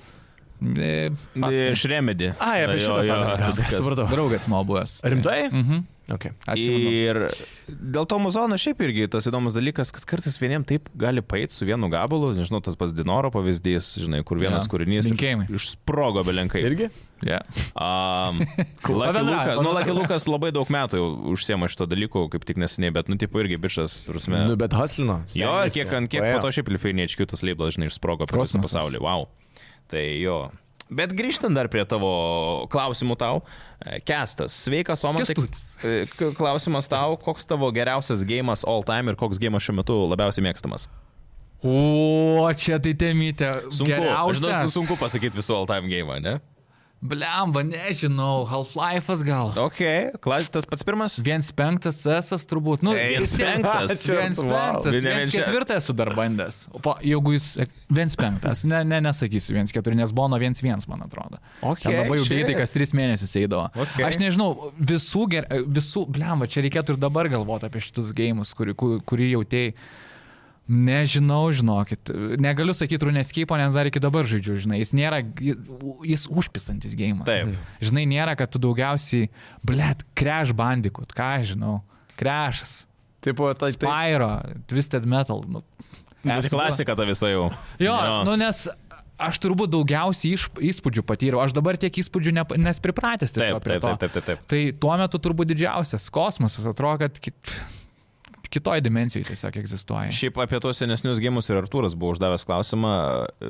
Speaker 2: E, pasakok.
Speaker 1: Iš remedį.
Speaker 3: Ai, apie šitą Tadą. Supratau.
Speaker 2: Draugas mano buvęs.
Speaker 3: Rimtai?
Speaker 2: Mhm.
Speaker 3: Okay.
Speaker 2: Atsimenu.
Speaker 1: Ir dėl to muzono šiaip irgi tas įdomus dalykas, kad kartais vieniem taip gali paėti su vienu gabalu, nežinau, tas pats Dinoro pavyzdys, žinai, kur vienas ja.
Speaker 2: Jo.
Speaker 1: kūrinys
Speaker 2: Linkėjimai.
Speaker 1: išsprogo belenkai.
Speaker 3: Irgi?
Speaker 2: Yeah.
Speaker 1: Um, Lucky Lukas,
Speaker 2: Pabendrauk,
Speaker 1: nu, Lucky
Speaker 2: pabendrauk.
Speaker 1: Lukas labai daug metų jau užsiema šito dalyko, kaip tik neseniai, bet, nu, tipo, irgi bišas, rusme.
Speaker 3: Nu, bet Haslino.
Speaker 1: Jo, ir kiek, ant kiek po to šiaip Lifiniečių tas leiblas, žinai, išsprogo per visą
Speaker 2: Kosmosas.
Speaker 1: pasaulį. Wow. Tai jo. Bet grįžtant dar prie tavo klausimų tau, e, Kestas, sveikas, Omas.
Speaker 2: Kęstutis.
Speaker 1: Klausimas tau, koks tavo geriausias gėjimas all time ir koks gėjimas šiuo metu labiausiai mėgstamas?
Speaker 2: O, čia tai temytė.
Speaker 1: Sunku, aš žinau,
Speaker 2: Geriausias.
Speaker 1: sunku pasakyti visų all time gėjimą, ne?
Speaker 2: Blemba, nežinau. Half-Life'as gal.
Speaker 1: Ok, klasės tas pats pirmas?
Speaker 2: Viens penktas esas turbūt. Nu,
Speaker 1: Ei,
Speaker 2: vis tiek-
Speaker 1: penktas.
Speaker 2: Viens penktas.
Speaker 1: Vien- vien
Speaker 2: Viens
Speaker 1: čia.
Speaker 2: ketvirtas esu dar bandęs. O po- jeigu jis. Viens penktas. Ne, ne, nesakysiu viens keturi, nes buvo nuo viens viens, man atrodo.
Speaker 1: Okei,
Speaker 2: Ten labai jau
Speaker 1: shit.
Speaker 2: greitai kas tris mėnesius eidavo.
Speaker 1: Okei.
Speaker 2: Aš nežinau, visų, ger... visų, blemba, čia reikėtų ir dabar galvoti apie šitus gėjimus, kurį, ku- kurį jautėjai. Nežinau, žinokit. Negaliu sakyti runeskypo, nes dar iki dabar žaidžiu, žinai. Jis nėra, jis užpisantis gėjimas.
Speaker 1: Taip.
Speaker 2: Žinai, nėra, kad tu daugiausiai, blėt, kreš bandikut, ką aš žinau, krešas,
Speaker 3: Taip, tai, tai
Speaker 2: pyro, twisted metal. Nu.
Speaker 1: Nes
Speaker 2: Esu-
Speaker 1: klasika ta visa jau.
Speaker 2: Jo, no. nu nes aš turbūt daugiausiai iš, įspūdžių patyriau, aš dabar tiek įspūdžių ne, nes pripratęs tiesiog
Speaker 1: Taip,
Speaker 2: prie
Speaker 1: taip,
Speaker 2: to.
Speaker 1: taip, taip, taip, taip.
Speaker 2: Tai tuo metu turbūt didžiausias kosmosas atrodo, kad kit, kitoj dimensijoje tiesiog egzistuoja.
Speaker 1: Šiaip apie tos senesnius gėjimus ir Artūras buvo uždavęs klausimą, e,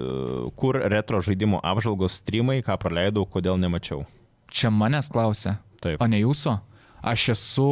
Speaker 1: kur retro žaidimų apžvalgos streamai, ką praleidau, kodėl nemačiau.
Speaker 2: Čia manęs klausia,
Speaker 1: Taip.
Speaker 2: o ne jūsų. Aš esu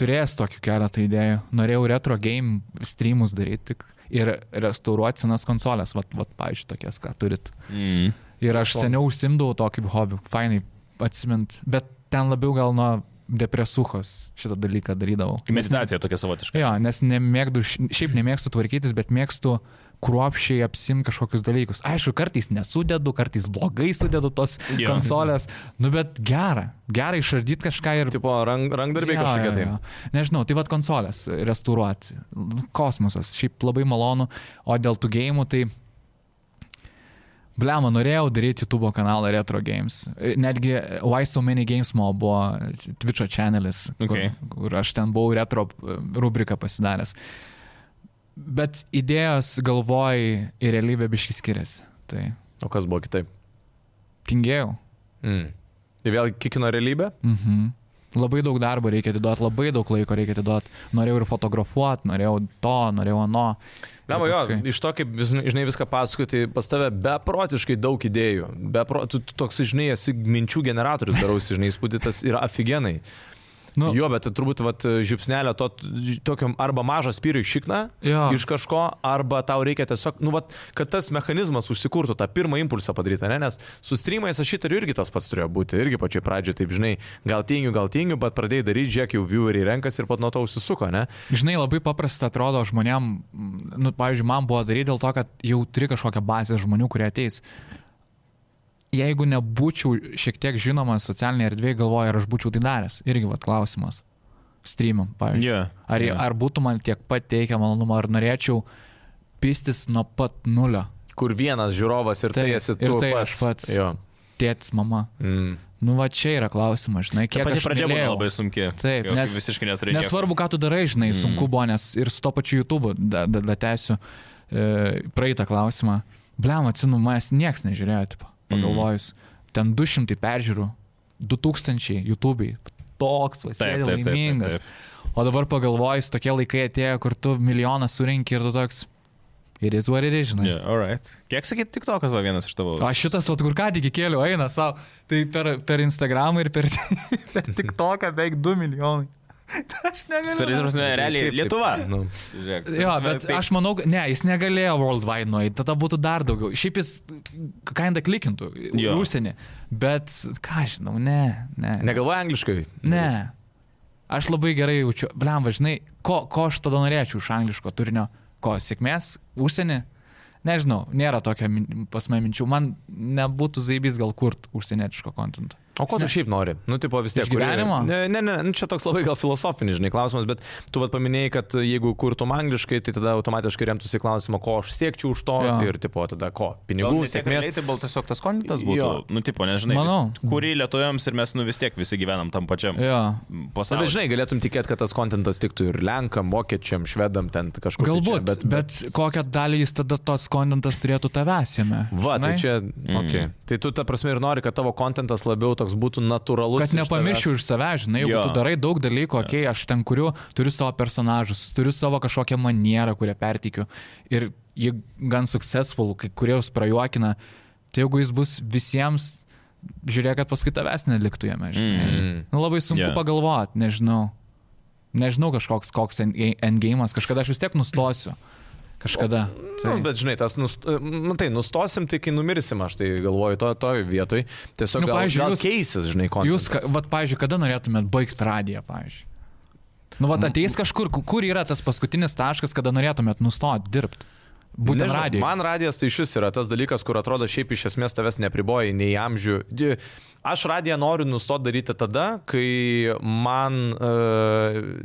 Speaker 2: turėjęs tokių keletą idėjų. Norėjau retro game streamus daryti tik ir restauruoti senas konsolės, vat, vat pavyzdžiui, tokias, ką turit.
Speaker 1: Mm.
Speaker 2: Ir aš seniau užsimdavau to kaip hobių, fainai atsimint, bet ten labiau gal nuo depresuchos šitą dalyką darydavau.
Speaker 1: Meditacija tokia savotiška.
Speaker 2: Jo, nes nemėgdu, šiaip nemėgstu tvarkytis, bet mėgstu kruopšiai apsim kažkokius dalykus. Aišku, kartais nesudedu, kartais blogai sudedu tos
Speaker 1: Jo.
Speaker 2: jo. konsolės, nu bet gera, gera išardyti kažką ir...
Speaker 3: tipo rank, rankdarbiai
Speaker 2: Jo,
Speaker 3: kažkokie
Speaker 2: jo,
Speaker 3: tai.
Speaker 2: jo. Nežinau, tai vad konsolės restauruoti. Kosmosas, šiaip labai malonu, o dėl tų gėjimų tai... Blema, norėjau daryti YouTube kanalą Retro Games. Netgi Why So Many Games Mo buvo Twitch'o channelis,
Speaker 1: Okay.
Speaker 2: kur, kur aš ten buvau retro e, rubriką pasidaręs. Bet idėjos galvoj ir realybė biški skiriasi. Tai
Speaker 3: O kas buvo kitaip?
Speaker 2: tingėjau.
Speaker 3: Mm. Tai vėl kikino realybę?
Speaker 2: Mhm. Labai daug darbo reikia atiduoti, labai daug laiko reikia atiduoti. Norėjau ir fotografuoti, norėjau to, norėjau ano.
Speaker 3: Na,
Speaker 2: Ir
Speaker 3: jo,
Speaker 2: paskui-
Speaker 3: iš to, kaip vis- žinai viską pasakoju, tai pas tave beprotiškai daug idėjų. Bepro, tu, tu toks, žinai, esi minčių generatorius, darausi, žinai, įspūdytas ir aфиgenai. Nu.
Speaker 2: Nu,
Speaker 3: Jo, bet turbūt vat, žipsnelio to, tokiam arba mažą spyrių šikną
Speaker 2: Jo.
Speaker 3: iš kažko, arba tau reikia tiesiog, nu, vat, kad tas mechanizmas užsikurtų, tą pirmą impulsą padarytą, ne? nes su streamais aš įtariu irgi tas pats turėjo būti, irgi pačioj pradžioje, taip žinai, gal tingiu, gal tingiu, bet pradėjai daryti, žiūrėk, jau vieweriai renkas ir pat nuo to užsisuko, ne?
Speaker 2: Žinai, labai paprasta atrodo žmonėm, mm, nu, pavyzdžiui, man buvo daryti dėl to, kad jau turi kažkokią bazę žmonių, kurie ateis. Jeigu nebūčiau šiek tiek žinomas socialinėje erdvėje, galvoju, ar aš būčiau tai daręs. Irgi vat klausimas. Streamam, pavyzdžiui.
Speaker 1: Yeah.
Speaker 2: Ar, yeah. ar būtų man tiek pat teikia malonumo, ar norėčiau pistis nuo pat nulio.
Speaker 3: Kur vienas žiūrovas ir tai,
Speaker 2: Taip,
Speaker 3: tai esi
Speaker 2: ir
Speaker 3: tu
Speaker 2: tai
Speaker 3: pats.
Speaker 2: aš pats.
Speaker 3: Jo.
Speaker 2: Tėtis, mama.
Speaker 3: Mm.
Speaker 2: Nu, va čia yra klausimas, žinai,
Speaker 1: Ta
Speaker 2: kiek
Speaker 1: Pati
Speaker 2: aš
Speaker 1: pradžia buvo
Speaker 2: mylėjau.
Speaker 1: labai sunki.
Speaker 2: Taip,
Speaker 1: Jau
Speaker 2: nes-
Speaker 1: visiškai neturėjau.
Speaker 2: Nesvarbu, ką tu darai, žinai,
Speaker 1: Mm.
Speaker 2: sunku buvo, nes ir su to pačiu YouTube datesiu e, praeitą klausimą. Bliam, atsinu, manęs niekas nežiūrėjo, tipo, pagalvojus, mm. ten 200 peržiūrų, 2000 YouTube'ai, toks,
Speaker 1: Taip,
Speaker 2: vasėdė
Speaker 1: taip, taip, taip,
Speaker 2: laimingas.
Speaker 1: taip.
Speaker 2: O dabar pagalvojus, tokie laikai atėjo, kur tu milijoną surinki ir tu toks, ir jis varė, žinai.
Speaker 1: Yeah, all right. Kiek sakyt, tik tokas buvo vienas iš tavo.
Speaker 2: Aš šitas, vat, kur ką tik įkėliau, eina savo. Tai per, per Instagramą ir per, per TikToką beveik 2 milijonai. Tai aš negaliu.
Speaker 1: Sarai, tarsi, realiai
Speaker 3: Kaip taip?
Speaker 1: Lietuva.
Speaker 3: Nu.
Speaker 1: Žiūrėk,
Speaker 2: Jo, bet
Speaker 1: tai-
Speaker 2: aš manau, ne, jis negalėjo worldwide nueiti, tada būtų dar daugiau. Šiaip jis kinda klikintų į
Speaker 1: Jo.
Speaker 2: užsienį, bet ką aš žinau, ne, ne.
Speaker 3: Negalvoji angliškai?
Speaker 2: Ne. Aš labai gerai jaučiu, blem, važinai, ko, ko aš tada norėčiau iš angliško turinio, ko sėkmės, užsienį. Nežinau, nėra tokio min- pas mane minčių. Man nebūtų zaibys gal kurt užsienietiško kontentą.
Speaker 3: O ko tu šiaip nori? Nu, tipo vis tiek.
Speaker 2: Iš
Speaker 3: kuri-
Speaker 2: gyvenimo?
Speaker 3: Ne, ne, ne, nu, čia toks labai gal filosofinis, žinai, klausimas, bet tu vad paminėjai, kad jeigu kurtum angliškai, tai tada automatiškai remtųsi klausimą, ko aš siekčiau už to
Speaker 2: Jo.
Speaker 3: ir, tipo, tada ko?
Speaker 1: Gal ne
Speaker 3: Pinigų,
Speaker 1: tiek
Speaker 3: sėkmės.
Speaker 1: realiai, Tai buvo tiesiog tas kontinentas būtų. Jo.
Speaker 3: Jo.
Speaker 1: Nu, tipo, nežinai.
Speaker 2: Manau.
Speaker 1: Vis, kurį lietuviams ir mes, nu, vis tiek visi gyvenam tam pačiam
Speaker 2: Jo.
Speaker 3: Na,
Speaker 1: pasaulyje.
Speaker 3: bet žinai, galėtum tikėti, kad tas kontentas tiktų ir lenkam, vokiečiam, švedam, ten kažkur. tai čia,
Speaker 2: Galbūt, bet, bet, bet kokią dalį jis tada tos kontentas turėtų tavęs jame.
Speaker 3: Va, tai
Speaker 2: žinai?
Speaker 3: čia, okay. tai tu ta prasme ir nori, kad tavo kontentas labiau toks būtų natūralus.
Speaker 2: Kad
Speaker 3: iš
Speaker 2: nepamirščiau iš savęs, žinai, jeigu
Speaker 1: Jo.
Speaker 2: tu darai daug dalykų, okei, okay, aš ten kuriu, turiu savo personažus, turiu savo kažkokią manierą, kurią pertikiu. Ir jie gan successful, kai kurios prajuokina, tai jeigu jis bus visiems, žiūrėk, kad paskui tavęs neliktų jame, žinai.
Speaker 3: Mm.
Speaker 2: Nu, labai sunku
Speaker 1: Jo.
Speaker 2: yeah. pagalvoti, nežinau. Nežinau kažkoks, koks endgame'as, kažkada aš vis tiek nustosiu. Kažkada.
Speaker 3: Tai. Nu, bet žinai, tas, nust, nu, tai nustosim, tai kai numirsim, aš tai galvoju, to, toj vietoj. Tiesiog
Speaker 2: Nu,
Speaker 3: nu, gal,
Speaker 2: pavyzdžiui,
Speaker 3: gal
Speaker 2: jūs-
Speaker 3: keisis, žinai,
Speaker 2: Jūs, ka-
Speaker 3: kontentas.
Speaker 2: vat, pavyzdžiui, kada norėtumėt baigti radiją, pavyzdžiui? Nu, vat ateis kažkur, ku- kur yra tas paskutinis taškas, kada norėtumėt nustoti dirbti? Būtent
Speaker 3: Nežinau,
Speaker 2: radijai.
Speaker 3: Man radijas tai iš vis yra tas dalykas, kur atrodo šiaip iš esmės tavęs nepriboja nei amžių. Di- Aš radiją noriu nustoti daryti tada, kai man e,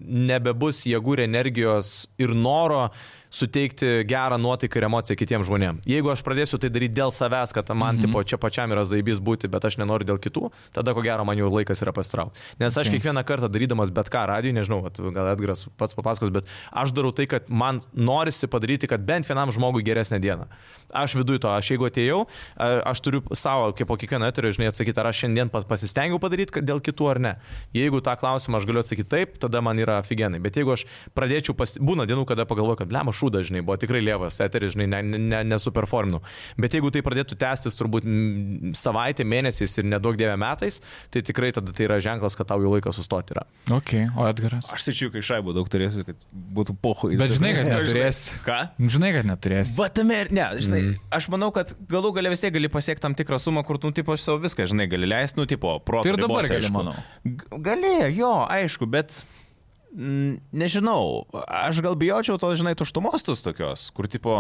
Speaker 3: nebebus jėgų ir energijos ir noro suteikti gerą nuotaiką ir emociją kitiems žmonėms. Jeigu aš pradėsiu tai daryti dėl savęs, kad man mhm. tipo, čia pačiam yra zaibys būti, bet aš nenoriu dėl kitų, tada ko gero man jau laikas yra pastraukti. Nes aš okay. kiekvieną kartą darydamas bet ką radijui, nežinau, vat, gal Edgaras pats papasakos, bet aš darau tai, kad man norisi padaryti, kad bent vienam žmogui geresnė diena. Aš viduj to, aš jeigu atėjau, a- aš turiu savo, kaip po kiekvieno eterio, žinai, atsakyti, ar aš šiandien pat pasistengiau padaryti kad dėl kitų ar ne. Jeigu tą klausimą aš galiu atsakyti taip, tada man yra aфиgenai. Bet jeigu aš pradėčiau, pas... būna dienų, kada pagalvoju, kad lemo šūda, žinai, buvo tikrai lievas, eteris, žinai, ne- ne- ne- nesuperforminu. Bet jeigu tai pradėtų tęstis turbūt mm, savaitę, mėnesiais ir nedaug dievę metais, tai tikrai tada tai yra ženklas, kad tau jau laikas sustoti yra.
Speaker 2: Ok, o Edgaras.
Speaker 1: Aš tai čia, kai šaibų daug turėsiu, kad būtų pohui.
Speaker 2: Bet žinai, kad
Speaker 1: Žinai,
Speaker 2: neturėsi.
Speaker 1: Ką?
Speaker 2: Nu, Žinai, kad neturėsi.
Speaker 1: Vatame ir ne, žinai,
Speaker 3: Mhm.
Speaker 1: mm. aš manau, kad galų gale vis tiek gali pasiekti tam tikrą sumą, kur, nu, tipo, aš savo viską, žinai, gali leisti, nu, tipo, protas.
Speaker 2: Tai ir dabar gali, manau.
Speaker 1: Galėjo, jo, aišku, bet mm, nežinau, aš gal bijočiau to, žinai, tuštumos tos tokios, kur, tipo,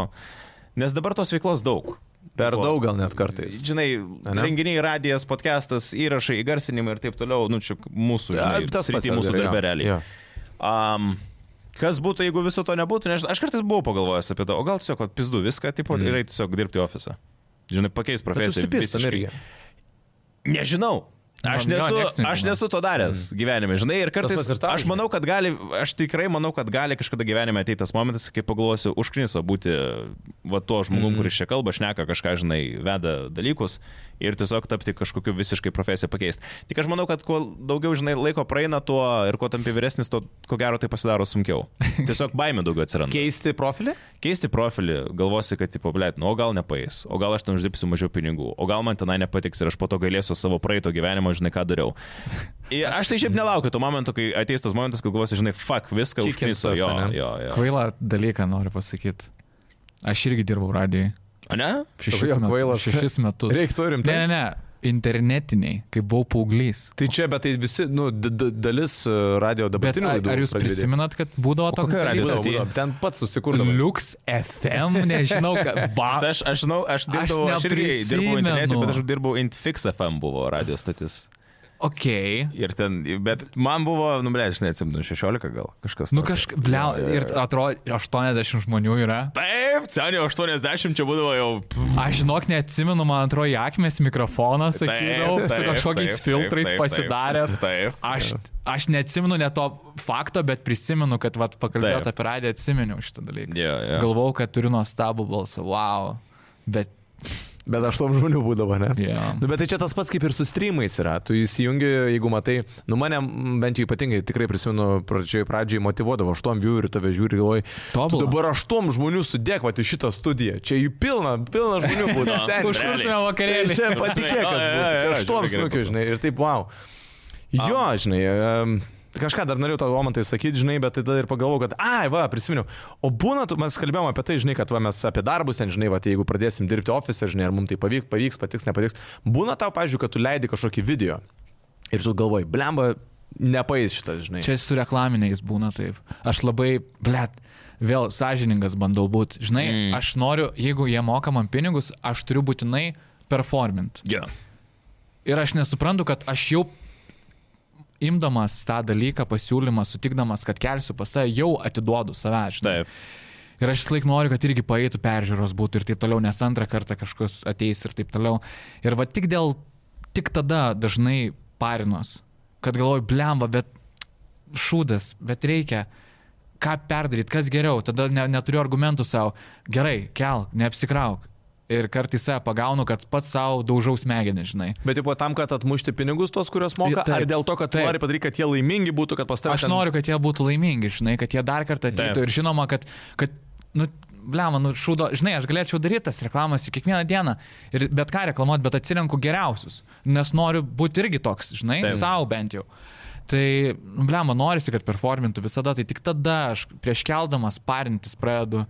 Speaker 1: nes dabar tos veiklos daug.
Speaker 3: Per
Speaker 1: Tipo,
Speaker 3: daug gal net kartais.
Speaker 1: Žinai,
Speaker 3: Ane?
Speaker 1: renginiai, radijas, podcastas, įrašai, įgarsinimai ir taip toliau, nu, čia mūsų, žinai,
Speaker 3: tas
Speaker 1: srity,
Speaker 3: pats
Speaker 1: mūsų
Speaker 3: Edgarai, jo.
Speaker 1: darbė realiai.
Speaker 3: Jo.
Speaker 1: Um, kas būtų, jeigu viso to nebūtų, nežinau, aš kartais buvau pagalvojęs apie to, o gal tiesiog vat, pizdu viską, tipo, mm. ir eiti tiesiog dirbti į ofisą. Žinai, pakeis
Speaker 3: Mhm. Bet
Speaker 1: profesiją.
Speaker 3: Užsipilstam
Speaker 1: visiškai.
Speaker 3: irgi.
Speaker 1: Nežinau. Aš
Speaker 2: Man jo
Speaker 1: nesu,
Speaker 2: nieks nežino.
Speaker 1: aš nesu to daręs mm. gyvenime, žinai, ir kartais
Speaker 3: pats ir tau,
Speaker 1: aš
Speaker 3: žinai.
Speaker 1: manau, kad gali, aš tikrai manau, kad gali kažkada gyvenime ateiti tas momentas, kai pagalvosiu, užkniso būti va tuo žmogum, mm. kuris čia kalba, šneka, kažką, žinai, veda dalykus ir tiesiog tapti kažkokiu visiškai profesiją pakeisti. Tik aš manau, kad kuo daugiau, žinai, laiko praeina tuo ir kuo tampi vyresnis, tuo ko gero tai pasidaro sunkiau. Tiesiog baimė daugiau atsiranda
Speaker 3: Keisti profilį?
Speaker 1: keisti profilį, galvosi, kad, tipo, blėt, nu, o gal nepaės, o gal aš ten uždirbsiu mažiau pinigų, o gal man tenai nepatiks ir aš po to galėsiu savo praeito gyvenimo, žinai, ką dariau. Ir aš tai šiaip nelaukiu to momento, kai ateis tas momentas, kad galvosi, žinai, fuck, viską
Speaker 3: Kick
Speaker 1: užkniso. Jo,
Speaker 3: yourself, ane?
Speaker 1: jo, jo.
Speaker 2: Kvailą dalyką noriu pasakyti. Aš irgi dirbau radijai.
Speaker 1: A ne?
Speaker 2: Šešis,
Speaker 3: Jo,
Speaker 2: metu,
Speaker 3: kvailas.
Speaker 2: šešis metus.
Speaker 3: Reiktų rimtai.
Speaker 2: Ne, ne, ne. Internetiniai, kai buvau paauglys.
Speaker 3: Tai čia, bet tai visi, nu, d- d- dalis e, radio
Speaker 2: Bet
Speaker 3: dabartinių
Speaker 2: ar,
Speaker 3: laidų.
Speaker 2: ar jūs
Speaker 3: pradedi.
Speaker 2: prisimenat, kad būdavo toks
Speaker 1: kokioj radijo
Speaker 2: dalykas?
Speaker 1: stoty?
Speaker 3: Būdavo, būdavo. Ten pats susikurdavau.
Speaker 2: Liuks FM, nežinau, ką.
Speaker 1: Nes
Speaker 2: Ba.
Speaker 1: Aš, aš žinau, aš dirbau, aš, aš irgi dirbau
Speaker 2: neprisimenu.
Speaker 1: internete, bet aš dirbau Intfix FM buvo radio stotis.
Speaker 2: Ok.
Speaker 1: Ir ten, bet man buvo, nu, blėt, žinai, atsimenu, 16 gal kažkas.
Speaker 2: Nu
Speaker 1: tokio.
Speaker 2: kažkaip, bleu, ir atrodo, 80 žmonių yra.
Speaker 1: Taip, seniai 80 čia būdavo jau. pff,
Speaker 2: Aš žinok, neatsimenu, man atrodo, jakmės mikrofoną,
Speaker 1: taip,
Speaker 2: sakydavau, su
Speaker 1: taip,
Speaker 2: kažkokiais
Speaker 1: taip, taip,
Speaker 2: filtrais
Speaker 1: taip, taip,
Speaker 2: pasidaręs.
Speaker 1: Taip.
Speaker 2: Aš, aš neatsimenu net to fakto, bet prisimenu, kad vat, pakalbėjot
Speaker 1: Taip.
Speaker 2: apie radiją, atsimenu šitą dalyką.
Speaker 1: Jo, jo.
Speaker 2: Galvau, kad turiu nuostabų balsą, wow. Bet
Speaker 3: Bet aš tom žmonių būdavo, ne?
Speaker 2: Jo.
Speaker 3: Nu, bet tai čia tas pats kaip ir su streamais yra. Tu įsijungi, jeigu matai, nu mane m, bent jau ypatingai, tikrai prisimenu, pradžiai, pradžiai motivuodavo, aštuom jų ir tave žiūri, galvoji, tu
Speaker 2: Tobula.
Speaker 3: dabar aštuom žmonių sudėkvat į šitą studiją. Čia jų pilna, pilna žmonių būtų. seni.
Speaker 1: už-
Speaker 2: užkurtume
Speaker 1: realiai.
Speaker 3: Tai
Speaker 2: vakarėlį.
Speaker 3: Čia
Speaker 1: Jo,
Speaker 3: patikėk,
Speaker 1: jo,
Speaker 3: kas
Speaker 1: jo,
Speaker 3: būtų.
Speaker 1: jo,
Speaker 3: Čia
Speaker 1: žiūrėk,
Speaker 3: aštuom
Speaker 1: gerai
Speaker 3: snukiu, žinai, ir taip, wow. Jo, žinai. em, Kažką dar norėjau tavo momentai sakyti, žinai, bet tai tada ir pagalvojau, kad, ai, va, prisiminiau. O būna, tu- mes kalbėjom apie tai, žinai, kad va, mes apie darbus, ten, žinai, va, tai jeigu pradėsim dirbti ofise, žinai, ar mums tai pavyks, pavyks, patiks, nepatiks. Būna tau, pažiūrėjau, kad tu leidi kažkokį video ir tu galvoji, blemba, nepaės šitas, žinai.
Speaker 2: Čia su reklaminiais būna taip. Aš labai, blėt, vėl sąžiningas bandau būti. Žinai, mm. aš noriu, jeigu jie moka man pinigus, aš turiu būtinai performint.
Speaker 1: Yeah.
Speaker 2: Ir aš nesuprantu, kad aš jau imdamas tą dalyką, pasiūlymą, sutikdamas, kad kelsiu pas tą, jau atiduodu save. žinai.
Speaker 1: Taip.
Speaker 2: Ir aš vis laik noriu, kad irgi paėtų peržiūros būtų ir taip toliau, nes antrą kartą kažkas ateis ir taip toliau. Ir va tik dėl, tik tada dažnai parinos, kad galvoju, blemba, bet šūdas, bet reikia. Ką perdaryti, kas geriau, tada ne, neturiu argumentų savo. Gerai, kelk, neapsikrauk. Ir kartais save pagaunu, kad pats savo daužau smegenį, žinai.
Speaker 3: Bet jau tam, kad atmušti pinigus tuos, kuriuos moka,
Speaker 2: Taip,
Speaker 3: ar dėl to, kad tu
Speaker 2: taip.
Speaker 3: nori padaryti, kad jie laimingi būtų, kad pas tavęs...
Speaker 2: Aš noriu, kad jie būtų laimingi, žinai, kad jie dar kartą ateitų
Speaker 1: Taip.
Speaker 2: ir žinoma, kad, kad nu, blema, nu, šūdo, žinai, aš galėčiau daryti tas reklamas į kiekvieną dieną ir bet ką reklamuoti, bet atsirenku geriausius, nes noriu būti irgi toks, žinai,
Speaker 1: Taip.
Speaker 2: savo bent jau. Tai, nu, blema, norisi, kad performintų visada, tai tik tada aš prieš keldamas parintis pradedu.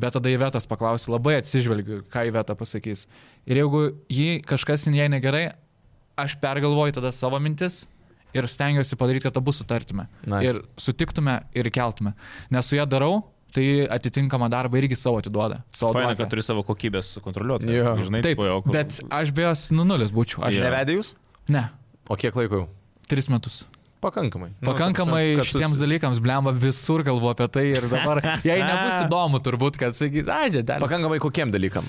Speaker 2: Bet tada į vietos paklausiu, labai atsižvelgiu, ką į vietą pasakys. Ir jeigu jį kažkas jai negerai, aš pergalvoju tada savo mintis ir stengiuosi padaryti, kad abu sutartume.
Speaker 3: Nice.
Speaker 2: Ir sutiktume ir keltume. Nes su ja darau, tai atitinkamą darbą irgi savo atiduoda. Savo
Speaker 1: Faina,
Speaker 2: duotą.
Speaker 1: kad turi savo kokybės kontroliuoti.
Speaker 3: Jo.
Speaker 1: Žinai,
Speaker 2: Taip,
Speaker 1: tipo, jo, kur-
Speaker 2: bet aš be jos nu nulis būčiau. Aš,
Speaker 1: Jo.
Speaker 3: Nevedė jūs?
Speaker 2: Ne,
Speaker 3: O kiek laiko jau?
Speaker 2: tris metus.
Speaker 3: Pakankamai. Nu,
Speaker 2: Pakankamai
Speaker 3: ta
Speaker 2: nu,
Speaker 3: prasme, kad
Speaker 2: šitiems
Speaker 3: susi-
Speaker 2: dalykams, blemba, visur galvo apie tai ir dabar, jei nebus įdomu, turbūt, kad sakyt, ai, dėdelis.
Speaker 3: Pakankamai kokiem dalykam.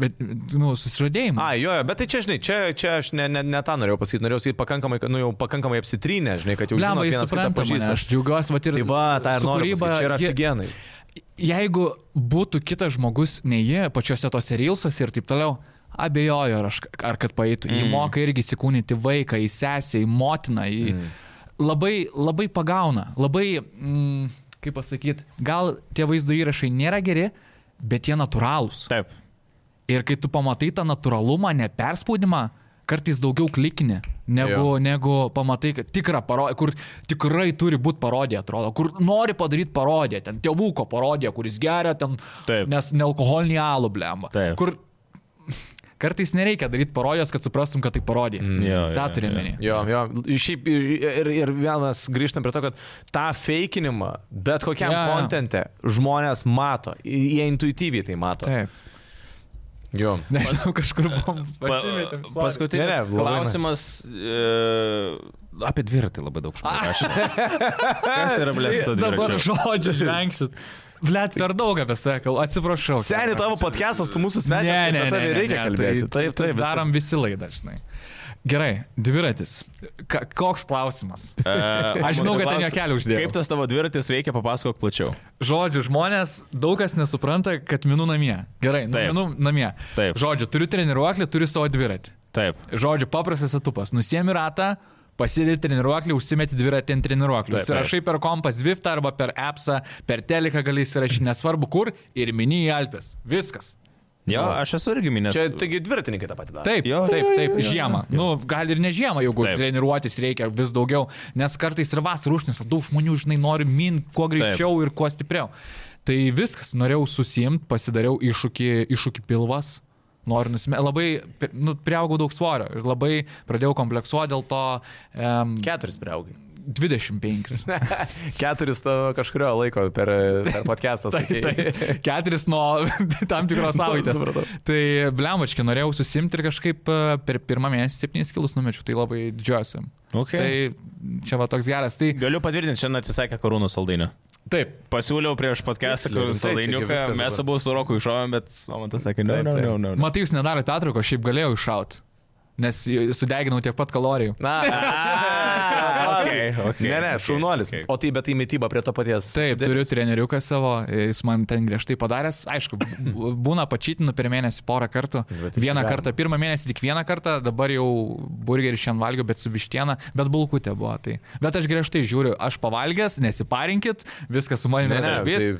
Speaker 2: Bet, nu, susižadėjimą.
Speaker 3: A, jo, jo, bet tai čia, žinai, čia, čia aš ne, ne, ne tą norėjau pasakyti, norėjau sakyti pakankamai, kad, nu, jau pakankamai apsitrynę, žinai, kad jau
Speaker 2: Blemba,
Speaker 3: žinot
Speaker 2: jis
Speaker 3: vienas kitą
Speaker 2: supranta mane,
Speaker 3: pažįsta.
Speaker 2: aš džiaugiuosi, va ir...
Speaker 3: Tai va, tai ir
Speaker 2: su
Speaker 3: noriu.
Speaker 2: kūryba
Speaker 3: Pasakyt, čia yra
Speaker 2: ji-
Speaker 3: aфиgenai.
Speaker 2: jeigu būtų kitas žmogus, ne jie, pačiuose tose reilsuose ir taip toliau, abejoju, ar, aš, ar kad paėtų. Mm. Jį moka irgi įsikūnyti į vaiką, į sesę, į motiną. Į... Mm. Labai, labai pagauna, labai, mm, kaip pasakyti, gal tie vaizdo įrašai nėra geri, bet jie natūralūs.
Speaker 1: Taip.
Speaker 2: Ir kai tu pamatai tą natūralumą, neperspaudimą, kartais daugiau klikinė, negu,
Speaker 3: Jo.
Speaker 2: negu pamatai, kad tikrą parodiją, kur tikrai turi būti parodija, atrodo, kur nori padaryti parodiją, ten tėvuko parodija, kuris geria ten,
Speaker 1: Taip.
Speaker 2: nes nealkoholinį alų blemba.
Speaker 1: Taip.
Speaker 2: Kur kartais nereikia daryti parodijos, kad suprastum, kad tai parodija. Mm.
Speaker 1: Jo,
Speaker 2: Tą
Speaker 1: jo,
Speaker 2: turiu
Speaker 1: jo.
Speaker 2: menį.
Speaker 3: Jo, jo, šiaip ir, ir, ir vėl mes grįžtam prie to, kad tą feikinimą, bet kokiam
Speaker 2: Jo,
Speaker 3: ja,
Speaker 2: jo.
Speaker 3: kontente žmonės mato, jie intuityviai tai mato.
Speaker 2: Taip.
Speaker 3: Jo.
Speaker 2: Nežinau, kažkur buvom.
Speaker 1: Pa,
Speaker 2: pasimetėm, sorry.
Speaker 1: paskutinis
Speaker 3: Ne,
Speaker 1: ne,
Speaker 3: ne,
Speaker 1: ne,
Speaker 3: labai
Speaker 1: klausimas e, apie dviratį labai daug žmonių rašė. Kas yra blės to
Speaker 2: Dabar
Speaker 1: dviračio?
Speaker 2: žodžiu, žvengsit. Blet, per daug apie sakau, atsiprašau.
Speaker 3: Seniai tavo podcastas, tu mūsų svečias,
Speaker 2: Ne, ne,
Speaker 3: apie
Speaker 2: ne,
Speaker 3: tave
Speaker 2: ne,
Speaker 3: reikia
Speaker 2: ne,
Speaker 3: kalbėti.
Speaker 2: Tai,
Speaker 3: Taip, taip,
Speaker 2: Darom visi laidą, žinai. Gerai, dviratis. Ka, koks klausimas? Aš žinau, kad ten juokelių uždėjau.
Speaker 1: E, Kaip tas tavo dviratis veikia, papasakok plačiau.
Speaker 2: Žodžiu, žmonės daug kas nesupranta, kad minu namie. Gerai, nu,
Speaker 1: Taip.
Speaker 2: minu namie.
Speaker 1: Taip.
Speaker 2: Žodžiu, turiu treniruoklį, turiu savo dviratį.
Speaker 1: Taip.
Speaker 2: Žodžiu, paprastas atupas. Nusiemi ratą, pasidėti treniruoklį, užsimeti dviratį ant treniruoklį.
Speaker 1: Taip, taip.
Speaker 2: Užsirašai per kompą Zwiftą arba per appsą, per teleką gali įsirašyti, nesvarbu kur, ir mini į Alpes. Viskas.
Speaker 1: Jo, aš esu irgi minęs.
Speaker 3: Čia tai- taigi dviratininkai tą patį daro.
Speaker 2: Taip,
Speaker 1: Jo,
Speaker 2: jo,
Speaker 1: jo,
Speaker 2: taip,
Speaker 1: jo,
Speaker 2: taip,
Speaker 1: jo, jo.
Speaker 2: žiemą. Nu, gal ir ne žiemą, jeigu
Speaker 1: Taip.
Speaker 2: taip. treniruotis reikia vis daugiau, nes kartais ir vasarą užnis, daug žmonių, žinai, nori min kuo greičiau ir kuo stipriau. Tai viskas, norėjau susimti, pasidariau iššūkį, iššūkį pilvas. Noriu nusimesti, labai pri- nu, priaugau daug svorio ir labai pradėjau kompleksuoti dėl to um,
Speaker 3: Keturis priaugai.
Speaker 2: 25.
Speaker 3: Keturis tavo kažkurio laiko per, per podcastą.
Speaker 2: Taip, taip. Tai Keturis nuo tam tikros savaitės.
Speaker 3: Supratau.
Speaker 2: Tai blemačkė, norėjau susimti ir kažkaip e, per pirmą mėnesį septynis kilus numečiau, tai labai didžiuosi.
Speaker 1: Okay.
Speaker 2: Tai čia va toks geras. Tai
Speaker 1: Tai... Galiu patvirtinti, šiandien atsisakė karūnų saldainių.
Speaker 2: taip,
Speaker 1: Pasiūliau prieš podcastą
Speaker 3: Tiksliai,
Speaker 1: karūnų
Speaker 3: rimtai, čia gi
Speaker 1: saldainių,
Speaker 3: viskas
Speaker 1: mes
Speaker 3: dabar.
Speaker 1: abu su Roku iššovėm, bet Mamantas sakė, ne,
Speaker 3: Taip,
Speaker 1: ne,
Speaker 3: taip.
Speaker 1: ne, ne.
Speaker 2: matai, jūs nedarote atrauko, šiaip galėjau iššaut, nes sudeginau tiek pat kalorijų.
Speaker 3: Na,
Speaker 1: okei, okei,
Speaker 3: ne, ne,
Speaker 1: okei,
Speaker 3: šaunuolis.
Speaker 1: okei.
Speaker 3: O tai bet tai mytyba prie to paties.
Speaker 2: Taip,
Speaker 3: sudėt-
Speaker 2: turiu treneriuką savo, jis man ten griežtai padaręs. Aišku, b- būna pačytinu per mėnesį porą kartų.
Speaker 3: Bet
Speaker 2: Vieną
Speaker 3: galima.
Speaker 2: kartą, pirmą mėnesį tik vieną kartą, dabar jau burgerį šiandien valgiau, bet su vištiena, bet bulkutė buvo. Tai. Bet aš griežtai žiūriu, aš pavalgęs, nesiparinkit, viskas su manimi
Speaker 3: Ne, ne,
Speaker 2: yra vis.
Speaker 3: tai-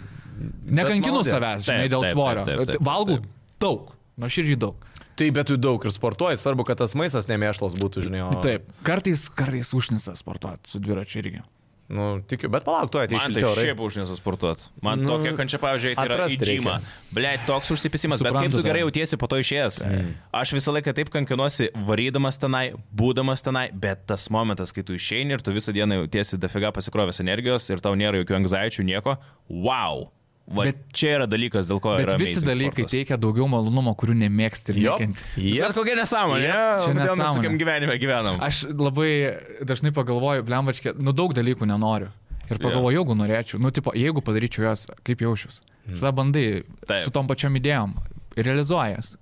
Speaker 2: Nekankinu
Speaker 3: bet
Speaker 2: savęs, žinai,
Speaker 1: Taip,
Speaker 2: dėl
Speaker 1: taip,
Speaker 2: svorio.
Speaker 1: taip, taip, taip,
Speaker 2: Valgau
Speaker 1: taip.
Speaker 2: daug, nuoširdžiai daug.
Speaker 3: Taip, tai bet tu daug ir sportuoji, svarbu, kad tas maistas nemėšlas būtų, žinai. O...
Speaker 2: Taip, kartais, kartais užnisas sportuoti su dviračiu irgi.
Speaker 3: Nu, tikiu, bet palauk, tu atėjai
Speaker 1: Man tai šiaip už nesusportuot. Man nu,
Speaker 3: Nu,
Speaker 1: tokia kančia, pavyzdžiui, eiti yra
Speaker 3: atrast
Speaker 1: į džimą.
Speaker 3: reikia.
Speaker 1: Ble, toks užsipisimas, bet kaip
Speaker 2: Suprantu
Speaker 1: tu gerai
Speaker 2: tave. Mm.
Speaker 1: jautiesi po to išėjęs. Aš visą laiką taip kankinuosi, varydamas tenai, būdamas tenai, bet tas momentas, kai tu išeini ir tu visą dieną jautiesi dafiga pasikrovęs energijos ir tau nėra jokių anksaičių, nieko, wow. Va, bet
Speaker 2: Bet-
Speaker 1: čia yra dalykas, dėl ko...
Speaker 2: Bet
Speaker 1: yra
Speaker 2: visi
Speaker 1: amazing
Speaker 2: dalykai
Speaker 1: sportas.
Speaker 2: teikia daugiau malonumo, kurių nemėgsti ir
Speaker 3: Jop.
Speaker 2: niekinti.
Speaker 1: Bet
Speaker 3: Jep.
Speaker 1: kokia nesąmonė.
Speaker 3: Jo,
Speaker 1: Yeah, kodėl
Speaker 2: čia
Speaker 1: mes
Speaker 2: nesąmonė.
Speaker 1: tokiam gyvenime gyvenam?
Speaker 2: Aš labai dažnai pagalvoju, blembačkė, nu daug dalykų nenoriu. Ir pagalvoju, yeah. jeigu norėčiau, nu, tipo, jeigu padaryčiau jas, kaip jaučiuosi. Mm. Tada bandai
Speaker 1: Taip.
Speaker 2: Taip. su tom pačiom idėjom, realizuojas.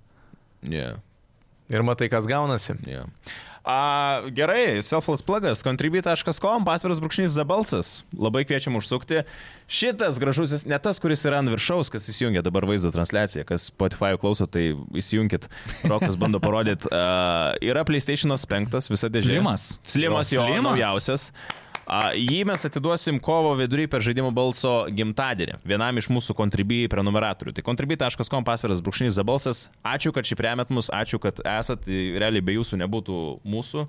Speaker 1: Yeah.
Speaker 3: Ir matai, kas gaunasi.
Speaker 1: Yeah. A, gerai, selfless plugas, contribute.com, pasviras brūkšnys zabalsas. Labai kviečiam užsukti. Šitas gražusis, ne tas, kuris yra ant viršaus, kas įsijungia dabar vaizdo transliaciją, kas Spotify klauso, tai įsijunkit. Rokas bando parodyti. A, yra PlayStation 5, visa dėžė.
Speaker 2: Slimas.
Speaker 1: Slimas jo,
Speaker 2: Slimas.
Speaker 1: Slimas. naujausias. A, jį mes atiduosim kovo vidury per žaidimų balso gimtadienį vienam iš mūsų kontribijai prenumeratorių. Tai kontribijai.com pasviras brūkšnys za balsas. Ačiū, kad šį priemet mus, ačiū, kad esat. Tai Realiai be jūsų nebūtų mūsų.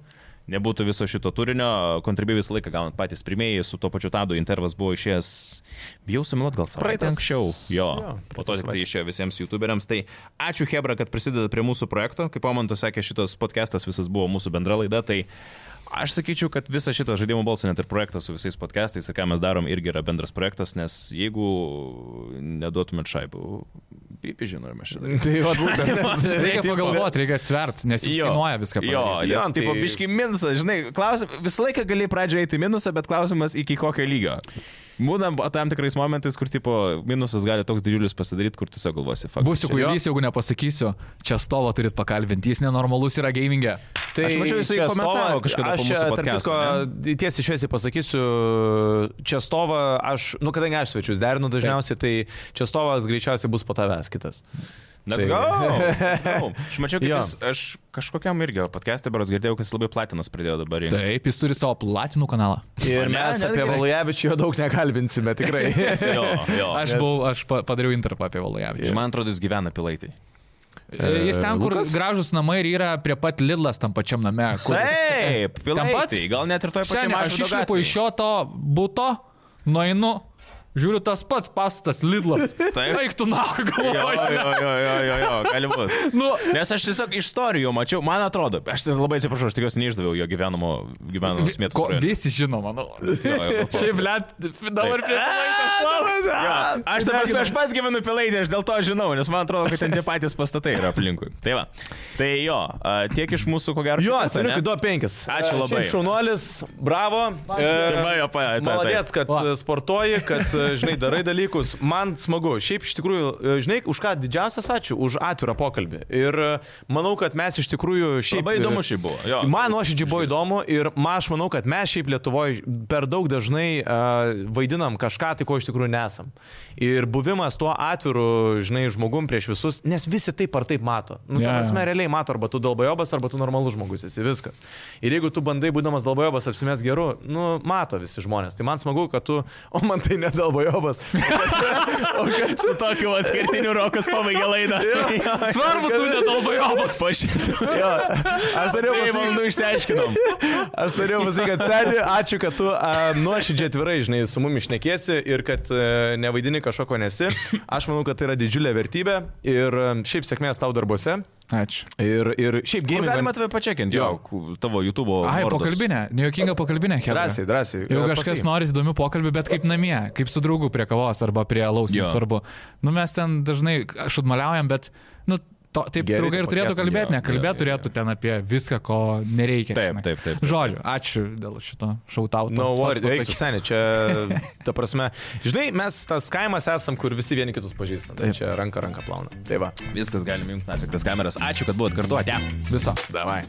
Speaker 1: Nebūtų viso šito turinio, kontribijai visą laiką gaunat patys pirmieji, su to pačiu Tadu intervas buvo išėjęs, bijau sumiluot gal savaitę
Speaker 3: Praeitas-
Speaker 1: anksčiau. Jo,
Speaker 3: jo,
Speaker 1: jo po to
Speaker 3: praeitą
Speaker 1: tik tai
Speaker 3: savaitę.
Speaker 1: išėjo visiems YouTuberiams. Tai ačiū Hebra, kad prisideda prie mūsų projekto. Kaip Omantas sakė, šitas podcastas visas buvo mūsų bendra laida. Tai Aš sakyčiau, kad visą šitą žaidimų balsą, net ir projektą su visais podcastais ir ką mes darom, irgi yra bendras projektas, nes jeigu neduotumėt šaibų, pipi žinome šitą.
Speaker 3: Tai jau būtent.
Speaker 2: Reikia pagalvoti, reikia atsvert, nes jis kainuoja viską.
Speaker 1: Jo,
Speaker 2: padaryt.
Speaker 1: jo,
Speaker 3: Jo,
Speaker 1: tai
Speaker 3: tai-
Speaker 1: biški minusas, žinai, klausim, visą laiką gali pradžioje eiti į minusą, bet klausimas iki kokio lygio. Būnam tam tikrais momentais, kur tipo, minusas gali toks didžiulis pasidaryti, kur tiesiog galvosi, faktas.
Speaker 2: Būsiu kvailys, jeigu nepasakysiu, čia stovą turit pakalbinti, jis nenormalus yra gamingė.
Speaker 1: Aš mačiau, jisai
Speaker 3: Čestovą-
Speaker 1: komentavo kažkada po
Speaker 3: Tai aš,
Speaker 1: mūsų
Speaker 3: tarp
Speaker 1: podcasto,
Speaker 3: kitko, Tiesiai šviesiai pasakysiu, Čestovą, aš, nu kadangi aš svečius derinu dažniausiai, tai Čestovas greičiausiai bus po tavęs kitas.
Speaker 1: Let's
Speaker 3: Tai-
Speaker 1: go! Let's go. Aš mačiau, kad
Speaker 3: Jo.
Speaker 1: jis, aš kažkokiam irgi podcast'e beros girdėjau, kad jis labai platinas pradėjo dabar rinkti.
Speaker 2: Taip, jis turi savo platinų kanalą.
Speaker 3: Ir
Speaker 1: O ne,
Speaker 3: mes
Speaker 1: netgi-
Speaker 3: apie Valujevičių jo daug nekalbinsime, tikrai.
Speaker 1: Jo, jo.
Speaker 2: Tai. Aš, buvau, aš pa- padariau interpą apie Valojavį.
Speaker 1: Man atrodo, jis gyvena pilaitai.
Speaker 2: Jis ten, kur
Speaker 3: Lukas?
Speaker 2: gražus namai ir yra prie pat Lidlas tam pačiam name. Kur...
Speaker 1: Taip, pilaitai. Gal net ir toje pačioje
Speaker 2: Seniai, aš
Speaker 1: mažoje
Speaker 2: išlipu iš šio to būto, nueinu, žiūriu tas pats pastatas Lidlas.
Speaker 1: Taip.
Speaker 2: Eik tu nahu,
Speaker 1: Jo,
Speaker 2: galvoju.
Speaker 1: jo, jo, jo, jo, jo, gali būti.
Speaker 2: Nu,
Speaker 1: Nes aš tiesiog iš istorijų mačiau, man atrodo, aš tai labai atsiprašau, aš tikiuosi neišdaviau jo gyvenamo, gyvenamo
Speaker 2: vi,
Speaker 1: smėtos.
Speaker 2: ko, visi žino, manau. Šiaip, blėt, dabar prie laikas lauks.
Speaker 1: Jo, aš dabar prasme, aš pats gyvenu pilaitį, aš dėl to žinau, nes man atrodo, kad ten tie patys pastatai yra aplinkui. Tai va. Tai jo, a, tiek iš mūsų, ko gero.
Speaker 3: Jo,
Speaker 1: šiandien,
Speaker 3: Seniukai,
Speaker 1: ne?
Speaker 3: duo penkis.
Speaker 1: Ačiū
Speaker 3: E,
Speaker 1: labai.
Speaker 3: šiaip Šaunuolis, bravo. E,
Speaker 1: Čia va, jo, pa- tai- tai.
Speaker 3: Maladėts, kad
Speaker 2: Va.
Speaker 3: e, sportuoji, kad, e, žinai, darai dalykus. Man smagu. Šiaip iš tikrųjų, e, žinai, už ką didžiausias ačiū, už atvirą pokalbį. Ir e, manau, kad mes iš tikrųjų šiaip...
Speaker 1: Labai įdomu šiaip buvo, jo.
Speaker 3: Man nuoširdžiai buvo įdomu ir ma, aš manau, kad mes šiaip Lietuvoje per daug dažnai uh, vaidinam kažką, tai ko iš tikrųjų nesam. Ir buvimas tuo atviru, žinai, žmogum prieš visus, nes visi taip ar taip mato. Nu,
Speaker 2: Jo,
Speaker 3: yeah.
Speaker 2: jo.
Speaker 3: prasme, realiai mato, arba tu dalbajobas, arba tu normalus žmogus esi, viskas. Ir jeigu tu bandai, būdamas dalbajobas, apsimės geru, nu, mato visi žmonės. Tai man smagu, kad tu, o man tai nedalbajobas.
Speaker 1: Su tokiu atskirtiniu rokas pabaigė laidą.
Speaker 2: Svarbu, tu nedalbai obas.
Speaker 1: Po šitą.
Speaker 3: Jo, aš norėjau
Speaker 1: Tai
Speaker 3: pasakyti,
Speaker 1: valandų išsiaiškinom.
Speaker 3: Aš norėjau pasakyti, kad seniai, ačiū, kad tu a, nuoširdžiai atvirai, žinai, su mumis šnekėsi ir kad a, nevaidini kažko nesi. Aš manau, kad tai yra didžiulė vertybė ir a, šiaip sėkmės tau darbuose.
Speaker 2: Ačiū.
Speaker 3: Ir, ir šiaip
Speaker 1: Kur
Speaker 3: gėmė.
Speaker 1: galima tave pačiakinti, jo,
Speaker 3: Jo.
Speaker 1: ku- tavo YouTube.
Speaker 2: Ai,
Speaker 1: vardas.
Speaker 2: pokalbinė, nejuokinga pokalbinė, Helga.
Speaker 3: Drąsiai, drąsiai.
Speaker 2: Jeigu
Speaker 3: e,
Speaker 2: kažkas
Speaker 3: pasakyk.
Speaker 2: nori įdomių pokalbių, bet kaip namie, kaip su draugu prie kavos arba prie alaus,
Speaker 1: Jo.
Speaker 2: nesvarbu. Nu, mes ten dažnai šudmaliaujam, bet, nu, to, taip
Speaker 3: Gerai,
Speaker 2: draugai ir
Speaker 3: tai
Speaker 2: turėtų
Speaker 3: pakęsim,
Speaker 1: jo,
Speaker 2: kalbėti,
Speaker 1: jo,
Speaker 2: nekalbėti
Speaker 1: jo,
Speaker 2: turėtų ten apie viską, ko nereikia.
Speaker 1: Taip,
Speaker 2: žinai.
Speaker 1: taip, taip, taip.
Speaker 2: Žodžiu, ačiū dėl šito šautauto.
Speaker 3: Na, no, word, eik, seniai, čia, ta prasme, žinai, mes tas kaimas esam, kur visi vieni kitus pažįstam. Tai
Speaker 2: Taip.
Speaker 3: čia ranka ranką plauna. Tai va.
Speaker 1: Viskas galim jungti, nafiktas kameras. Ačiū, kad buvot kartu. Ate.
Speaker 2: Viso.
Speaker 3: Davai.